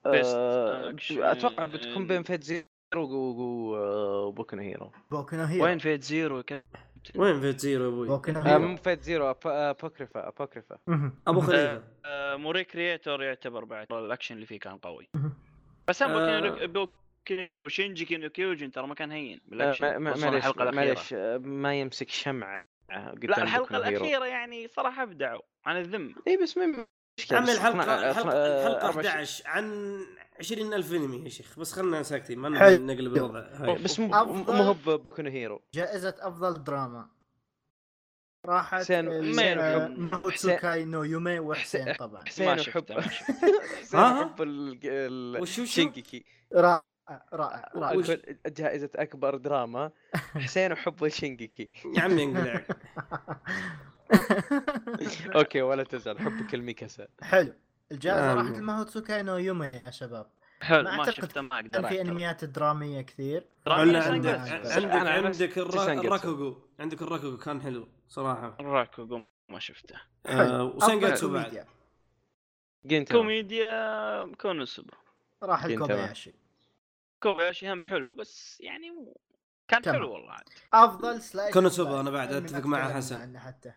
C: Best
B: آه،
C: Action.
B: اتوقع بتكون بين فيت زيرو و- و- وبوكو نو هيرو
D: بوكو نو هيرو
C: وين فيت
A: Um.
C: زيرو كان-
A: وين فيت زيرو يا ابوي؟
D: بوكو نو
B: آه،
D: هيرو
B: مو فيت زيرو أب- ابوكريفا ابوكريفا
D: مهم.
A: ابو خليفه
C: آه، موري كريتور يعتبر بعد الاكشن اللي فيه كان قوي
D: مهم.
C: بس هم
A: آه.
C: بوكين- بوكين- وشينجي كينو كيوجن ترى ما كان هين
B: آه،
C: بالاكشن
B: ما- ما-
C: خصوصاً
B: معليش
C: الحلقة الأخيرة.
B: معليش آه، ما يمسك شمعة قدام
C: لا الحلقه
B: بوكو نو هيرو.
C: الاخيره يعني صراحه ابدعوا عن الذم
B: اي إيه، بس ما مشكله
A: عمي
B: بس
A: الحلقه
B: اقنع-
A: الحلقه
B: آه،
A: الحلقه
B: أربع-
A: 11 عن 20000 انمي يا شيخ بس خلنا ساكتين ما
D: حلو.
A: نقلب الوضع هاي.
B: إيه، بس مو
D: أفضل-
B: مو هو بوكو نو هيرو
D: جائزه افضل دراما راحت
B: حسين-
C: حسين وحب-
D: موتسوكاي نو يومي وحسين طبعا
C: ما
B: حسين
C: شفته، ما
B: وحب
C: شفته.
B: حسين
A: ها؟
B: وحب ال- ال-
A: وشو شو؟
B: شينكيكي
D: رائع رائع رائع
B: أقول جائزة أكبر دراما حسين وحب شينكيكي
A: يا عمي انقلع
B: أوكي ولا تزعل حبك الميكاسا
D: حلو الجائزه
A: آمين.
D: راحت لماهوتسوكاي نو يومي يا شباب
C: حلو
D: ما
C: ما
D: أعتقد
C: شفته ما اقدر
D: كان في
C: أعترف.
D: انميات دراميه كثير
C: ترى
A: ولا
C: أنا
A: عندك
C: سنجل.
D: عندك-
A: عندك
B: أنا عن نفسي
A: عندك الر-
B: سانجيتسو.
A: الراكوغو عندك الراكوغو كان حلو صراحه
C: راكوغو ما شفته
A: آه، وسانجاتسو
D: أفضل
A: بعد
D: كوميديا.
B: جنتما
C: كوميديا كونوسوبا
D: راح
B: ينتبه.
D: الكوباياشي
C: كوباياشي هم حلو بس يعني مو- كان
D: تمام.
C: حلو والله عاد
D: افضل سلاش
A: كونوسوبا أنا بعد
D: أنمي ما
A: أتفق مع
D: تكلمنا
A: حسن.
D: عنه حتى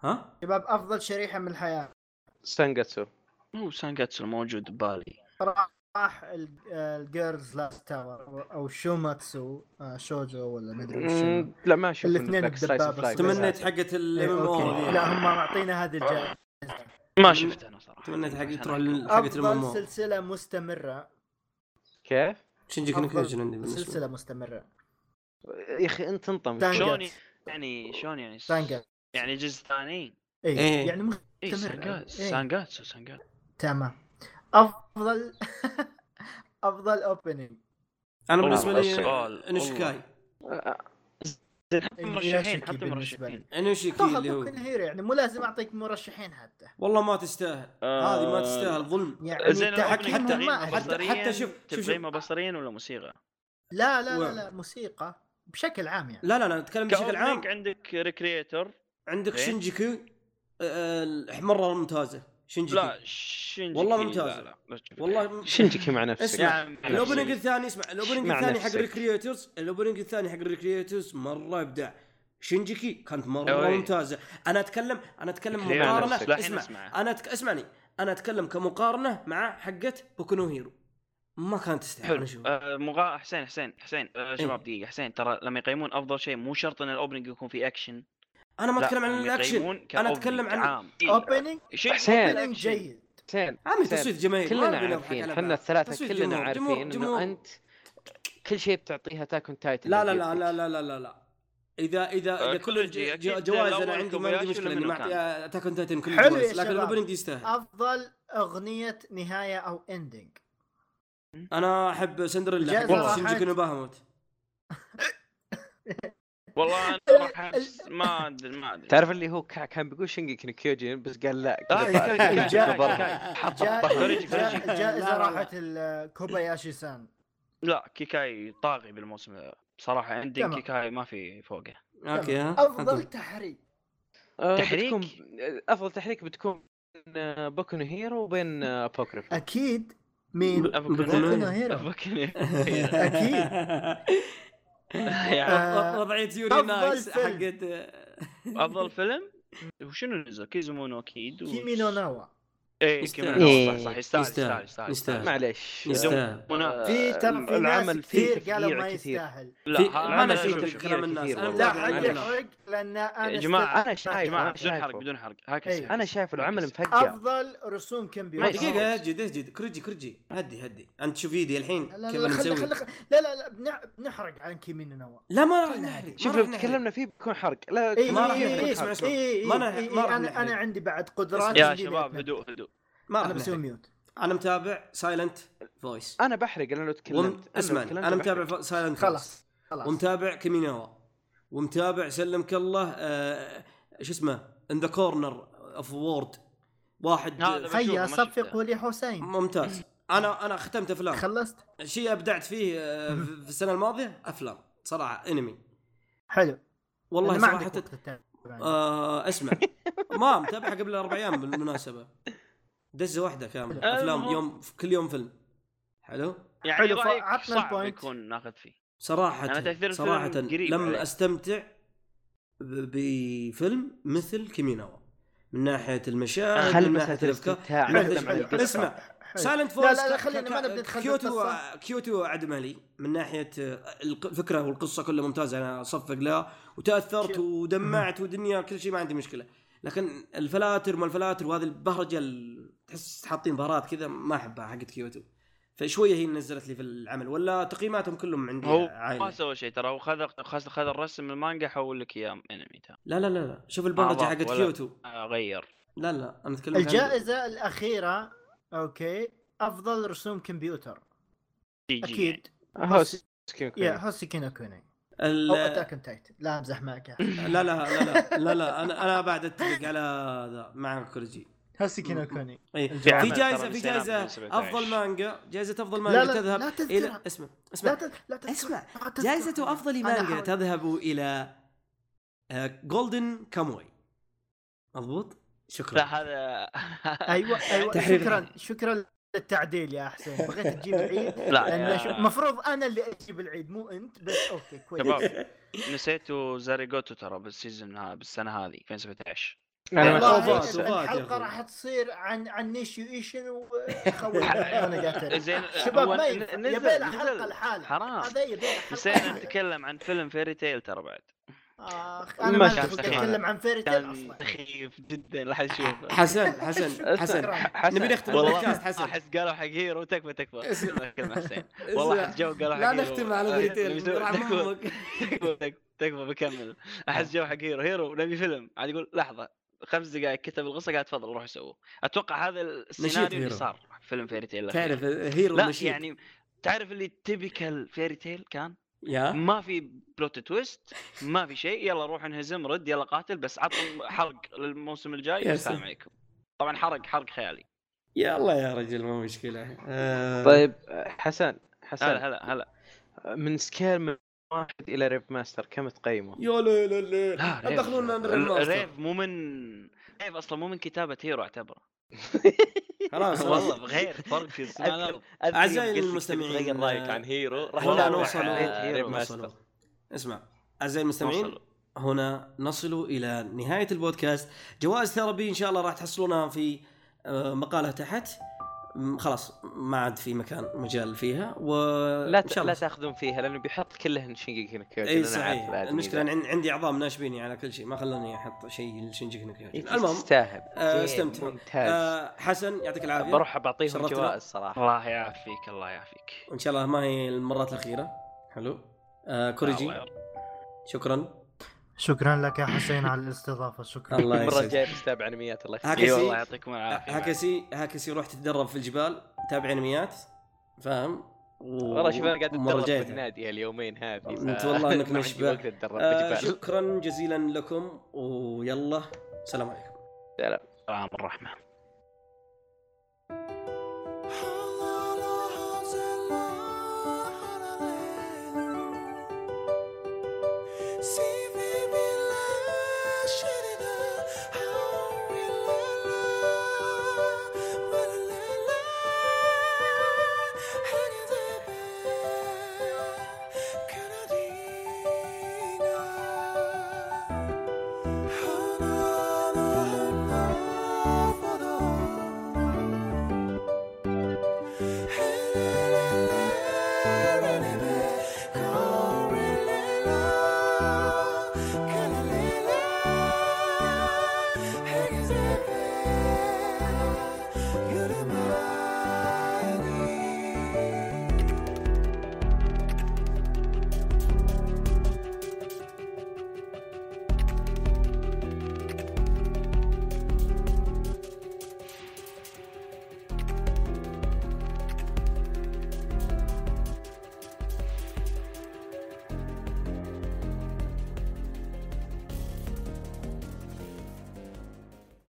A: ها
D: شباب افضل شريحه من الحياه
E: سانجاتسو
C: هو سانجاتسو موجود ببالي
D: راح ال- الجيرلز لاست تاور او شوماتسو آه، شوجو ولا مدري وش
E: لا ما اشوف
D: الاثنين
E: إنه Black Slice
D: بدبابة.
E: and Slice.
A: تمنيت حقت الام ام او
D: إيه، أوكي. لا هم معطينا هذه الجائزه
C: ما شفته انا صراحه
A: تمنيت حق
C: عشان
A: تروح
C: أكون-
A: لل- حقت الام
D: افضل
A: ام
D: سلسله مستمره
E: كيف؟
A: شنجي كونكشن عندي
D: افضل
A: بالنسبه
D: سلسله
A: لي.
D: مستمره
E: يا اخي انت انطم
D: Thank you.
C: شلون يعني شلون يعني س-
D: سانجا
C: يعني جزء ثاني
A: إيه.
D: اي يعني مستمر
C: اي سانجاتسو
D: إيه.
C: سانجاتسو سانجاتسو
D: تمام افضل افضل اوبننج
A: انا
C: والله
A: بالنسبه لي
C: السؤال،
A: انوشكاي
C: مرشحين حتى مرشحين
A: انوشكي اللي
D: خذ
A: هو
D: كنهير يعني مو لازم اعطيك مرشحين حتى
A: والله ما تستاهل
C: آه،
A: هذه ما تستاهل ظلم
D: يعني
C: زين
A: حتى-
C: حتى
D: تحكيمهم
A: حتى-
D: ما
C: حتى
D: أدري.
A: حتى حتى شوف شوف- شوف
C: تبغى بصريا ولا موسيقى؟
D: لا لا لا,
A: و-
D: لا موسيقى بشكل عام يعني
A: لا لا لا نتكلم بشكل عام
C: كاوبننج عندك ريكريتور
A: عندك آه،
C: إيه؟
A: شنجيكي مره ممتازه شنجيكي
C: لا شنجي
A: والله
C: كي،
A: ممتاز.
C: لا لا لا تشوف.
A: والله م-
E: شنجكي مع نفسك
A: اسمع.
C: يا
E: يا
C: عمي،
A: الاوبننج الثاني اسمع الاوبننج
E: مع
A: الثاني حق
E: نفسك.
A: الريكريتورز الاوبننج الثاني حق الريكريتورز مره ابداع شنجيكي كانت مره
C: أوي.
A: ممتازه انا اتكلم انا اتكلم
C: ليه مع
A: مقارنه
C: نفسك؟ لحين
A: اسمع
C: اسمع.
A: انا أتك... اسمعني انا اتكلم كمقارنه مع حقت بوكونو هيرو ما كانت تستحق
C: حلو
A: انا اشوف
C: آه، مغا حسين حسين حسين
A: إيه.
C: آه، شباب دقيقه حسين ترى لما يقيمون افضل شيء مو شرط ان الاوبننج يكون فيه اكشن
A: انا ما
C: لا،
A: اتكلم عن
C: هم
A: الاكشن
C: يقيمون
A: انا
C: كأوبننج
A: اتكلم عن
C: عام إيه،
D: اوبننج
C: شيء
E: حسين.
D: اوبننج جيد
E: حسين
A: عامل
E: حسين،
A: تصويت جماهيري طيب، ما
E: كلنا
A: أبي نضحك
E: عارفين
A: على
E: احنا
A: بعض.
E: الثلاثه
A: تصويت
E: كلنا
A: جمهور، جمهور،
E: عارفين
A: جمهور.
E: انه انت كل شيء بتعطيها تاكون تايتن
A: لا لا لا لا لا لا لا لا اذا اذا اذا كل
C: كولوجي
A: ج-
C: أكيد
A: ج- جوائز
C: الأول
A: انا عندي ما
C: كوبياشي
A: عندي مشكله
C: ولا
A: اني ما
C: منو
A: اعطي
C: كان؟
A: اتاك اون تايتن كل
D: حلو يا
A: الجوائز لكن
D: شباب.
A: الاوبننج يستاهل
D: افضل اغنيه نهايه او اندنج
A: انا احب سندريلا
D: جائزة
A: حق
C: راحت.
A: شينجيكو نوباهاموت
C: والله انا راح أحس- ما ادري ما ادري
E: تعرف اللي هو كا- كان بيقول شنجكي كيوجين بس قال
A: آه،
E: لا
C: لا،
E: كذا
C: كاي-
E: بعد.
C: كاي-
E: جيب
C: كاي-
E: برا.
C: كاي. فرجي- فرجي.
D: الجائزه
A: لا، لا، لا.
D: راحت كوباياشي سان
C: لا كيكاي طاغي بالموسم ده بصراحه عندي
D: تمام.
C: كيكاي ما في فوقه
A: اوكي ها
D: افضل
A: أنتم.
D: تحريك
E: آه،
C: تحريك؟
E: بتكون افضل تحريك بتكون بين آه، بوكو نو هيرو وبين آه، بوكريف
D: اكيد مين
A: بوكو
D: بوكو هيرو
C: أفكر-
E: يعني
C: يا
A: وض- وضعيه يوري
D: آه، أفضل
A: نايكس
D: فيلم.
A: حقت آه،
C: افضل فيلم وشنو نزل كيزومونو اكيد و...
D: كيمي نو نوا
C: ايه
A: يستاهل.
C: كيمي نو نوا، صح
E: إيه.
C: صح يستاهل
A: يستاهل.
C: يستاهل يستاهل
A: يستاهل.
E: معليش
C: يستاهل. آه،
A: يستاهل
C: هنا-
D: في ترى في
E: العمل
D: ناس
E: فيه
D: كثير قالوا
E: تفريع
D: ما
E: كثير.
D: يستاهل
C: لا
A: في-
C: هذا
A: ما
E: أنا
A: انا
E: أشوف
A: شفت
E: كثير
A: كلام الناس
E: كثير
A: انا
E: والله.
D: لا
A: متابع
E: عندك
D: حقي
A: الكلام.
D: حرق لان انا
C: يا جماعه
E: أنا شايف-
C: جماعه
E: أنا
C: بدون حرق
E: شايفه.
C: بدون حرق هاكس
D: إيه.
E: انا شايف العمل مفقع
D: افضل رسوم كمبيوتر
A: دقيقه اسجد اسجد كرجي كرجي هدي هدي انت شوف ايدي الحين
D: لا لا
A: كيف
D: لا
A: انا
D: خل
A: مسوي
D: خل خل- لا لا لا بنع- بنحرق عن كيمي نو نوا
A: لا ما راح
D: خلنا
A: نحرق
D: هذه.
A: ما
E: شوف
A: راح
E: لو
A: نحرق.
E: تكلمنا فيه بيكون حرق لا
D: إيه،
A: ما
E: ما
A: راح
E: راح
D: إيه،
A: يحرق
D: إيه،
A: اسمع
E: يكون
A: اسمع
D: إيه، إيه،
A: ما أنا-
D: إيه،
A: ما راح
D: انا
A: نحرق.
D: انا عندي بعد قدرات
C: يا
D: عندي
C: شباب
D: لأتمنى.
C: هدوء هدوء
A: ما
D: انا
A: راح
D: بسوي
A: نحرق.
D: ميوت
A: انا متابع سايلنت فويس
E: انا بحرق انا لو تكلمت لو
A: اسمعني
E: تكلمت
A: انا
E: بحرق.
A: متابع سايلنت
D: خلاص خلاص
A: ومتابع كيمينوا ومتابع سلمك الله آه، شو اسمه ان ذا كورنر اوف وورد واحد
C: هذا بشوفه،
D: هيا
C: ما
D: صفق
C: شفته.
D: ولي حسين
A: ممتاز انا انا ختمت افلام
D: خلصت
A: شيء ابدعت فيه آه، في السنه الماضيه افلام صراحه انمي
D: حلو
A: والله
D: أنا ما عندك
A: صراحه
D: وقت تتابع.
A: آه اسمع ما متابع قبل اربع ايام بالمناسبه دزه واحده كامله
D: حلو.
A: افلام
C: المهم.
A: يوم كل يوم فيلم حلو
C: يعني
D: حلو،
C: حلو رايك
D: فعطنا
C: صعب
D: البوينت.
C: يكون ناخذ فيه
A: صراحة
C: أنا يعني تأثير الفيلم
A: صراحة
C: قريب
A: لم
C: عليه.
A: استمتع ب- بفيلم مثل كيميناوا من ناحية المشاهد
C: آه،
E: خل
A: من
E: بس
A: ناحية الافكار
E: الاستمتاع
A: حلو،
E: نتكلم عن
A: حلو،
E: القصة.
A: اسمع.
D: حلو.
A: سايلنت فويس
D: لا لا لا خلينا ما نبي ندخل
A: كيوتو
D: بالقصة.
A: كيوتو عدمها لي من ناحيه آه، الق- الفكره والقصه كلها ممتازه انا اصفق لها وتاثرت
D: شو-
A: ودمعت ودنيا كل شيء ما عندي مشكله لكن الفلاتر ما الفلاتر وهذه البهرجه ال- تحس حاطين بهارات كذا ما احبها حقت كيوتو فشويه هي نزلت لي في العمل ولا تقييماتهم كلهم عندي
C: هو ما
A: عاليه
C: سوى شيء ترى هو خذ خذ خذ الرسم من المانجا حول لك اياه انمي ترى
A: لا لا لا لا شوف البهرجه
C: ضاف
A: حقت
C: ولا-
A: كيوتو
C: آه، غير
A: لا لا انا اتكلم عن-
D: الجائزة الأخيرة أوكي أفضل رسوم كمبيوتر
C: سي جي يعني.
D: أكيد
E: هو سكين كوني.
D: يا هوسي كينو كوني
A: ال-
D: أو أتاك أون تايتن لا يعني. أمزح معك
A: لا لا لا لا لا انا انا بعد اتفق على ذا مع كورجي
D: هوسي كينو كوني
A: اي في
D: الجواب.
A: جائزه
C: ترى
A: في
C: نسيناها
A: جائزه
C: بالنسبة لتعيش.
A: افضل مانجا جائزه افضل
D: لا،
A: مانجا
D: لا،
A: تذهب
D: لا
A: الى
D: تذكرها.
A: اسمع
D: لا
A: اسمع
D: تذ- لا تذكر-
A: اسمع.
D: لا تذكر.
A: جائزه افضل
D: أنا
A: مانجا
D: حاول-
A: تذهب الى جولدن كاموي مضبوط
C: لا
A: شكرا
C: هذا
D: أيوه أيوه
A: تحرير.
D: شكرا شكرا التعديل يا حسين بغيت تجيب العيد
C: لا، يا-
D: المفروض انا اللي اجيب العيد مو انت بس اوكي كويس
C: شباب نسيتوا آه، زاريجوتو ترى بالسيزون ها بالسنه هذه 2017
G: انا
H: والله.
G: ما
H: أوفات،
D: والله
H: أوفات يا
D: الحلقه
H: أخوي.
D: راح تصير عن عن نيشيو ايشن وخوي انا قاتل
C: زين
D: آه، شباب
C: هو
D: ما
C: ن-
D: ينفع
C: نزل-
D: يبي له
C: نزل.
D: حلقه لحاله
C: حرام
D: هذا يبي له حلقه
C: نسينا
D: لحاله.
C: نتكلم عن فيلم فيري تيل ترى بعد
D: اخ انا
G: ما
D: آه، ما
G: كان
D: أعرف
C: صحيح.
D: اتكلم عن فيري تيل
C: كان
D: اصلا
C: سخيف جدا لا حد يشوفه
A: حسن حسن حسن
D: شكراً.
C: حسن
A: نبي نختم
C: والله
A: البودكاست، حسن.
C: احس قالوا حق هيرو تكفى تكفى
A: اسمع.
C: كلمة حسين والله احس جو قالوا حق
A: لا
C: هيرو.
A: نختم على
C: آه،
A: بريتيل
C: تكفى-
A: رحم امك
C: تكفى تكفى- تكفى بكمل احس
A: آه.
C: جو حق هيرو هيرو نبي فيلم عاد يقول لحظه خمس دقائق كتب القصه قاعد تفضل روح سووه اتوقع هذا السيناريو اللي
A: هيرو.
C: صار في فيلم فيري تيل الأخير.
A: تعرف هيرو
C: لا
A: نشيط
C: يعني تعرف اللي تيبيكال فيري تيل كان
A: يا
C: ما في بلوت تويست ما في شيء يلا روح انهزم رد يلا قاتل بس عطوا حرق للموسم الجاي
A: يا
C: والسلام
A: سلام.
C: عليكم طبعا حرق حرق خيالي
A: يا الله يا رجل ما مشكله آه،
B: طيب حسن حسن
C: هلا هلا هلا
B: من سكيل من واحد الى ريب ماستر كم تقيمه؟
A: يا لا لا لا
C: لا ريف-
A: دخلونا
C: ال- ريف مو من ريف اصلا مو من كتابه هيرو اعتبره
A: خلاص
C: والله غير فرق في صناعه الارض
A: أعزائي
B: قصدك تبي
A: المستمعين، آه،
B: تغير رايك عن هيرو راح
A: هنا
C: والله
B: تروح
A: نوصل
B: على
C: آه،
B: ريب
C: هيرو
B: ماستر.
A: نوصل اسمع اعزائي المستمعين
C: وصلوا.
A: هنا نصل الى نهايه البودكاست جوائز ثيرابي ان شاء الله راح تحصلونها في آه، مقاله تحت م- خلاص ما عاد في مكان مجال فيها و
B: لا
A: إن
B: ت-
A: شاء
B: لا
A: الله.
B: تاخذون فيها لانه بيحط كلهن شينجيكي نو كيوجن
A: اي
B: أنا عارف
A: صحيح
B: الآدمي
A: المشكله
B: ذا.
A: عن- عندي اعضاء مناشبيني على كل شيء ما خلاني احط شيء لشنجيكي نو كيوجن.
B: إيه،
A: المهم
B: تستاهل
A: آه،
B: زين،
A: استمتعوا.
B: إيه، ممتاز
A: آه حسن يعطيك العافيه
B: بروح بعطيهم
A: شرفتنا.
B: جوائز صراحه
C: الله يعافيك الله يعافيك
A: وان شاء الله ما هي المرات الاخيره حلو آه كوريجي
C: الله يرحمه.
A: شكرا
D: شكرا لك يا حسين على الاستضافه شكرا
A: الله
B: المره
A: يسعدك
B: الجايه بستاب انميات الله
A: هكذا
B: يخليك
C: اي
A: هاكسي.
C: والله يعطيكم العافيه
A: هاكسي هاكسي روح تتدرب في الجبال تابع انميات فاهم و-
B: والله شوف انا قاعد
A: ومرة
B: اتدرب
A: جاية.
B: في النادي هاليومين هذه
A: أنت والله إنك مشبع. آه
B: مشبه
A: شكرا جزيلا لكم ويلا سلام عليكم
C: السلام والرحمه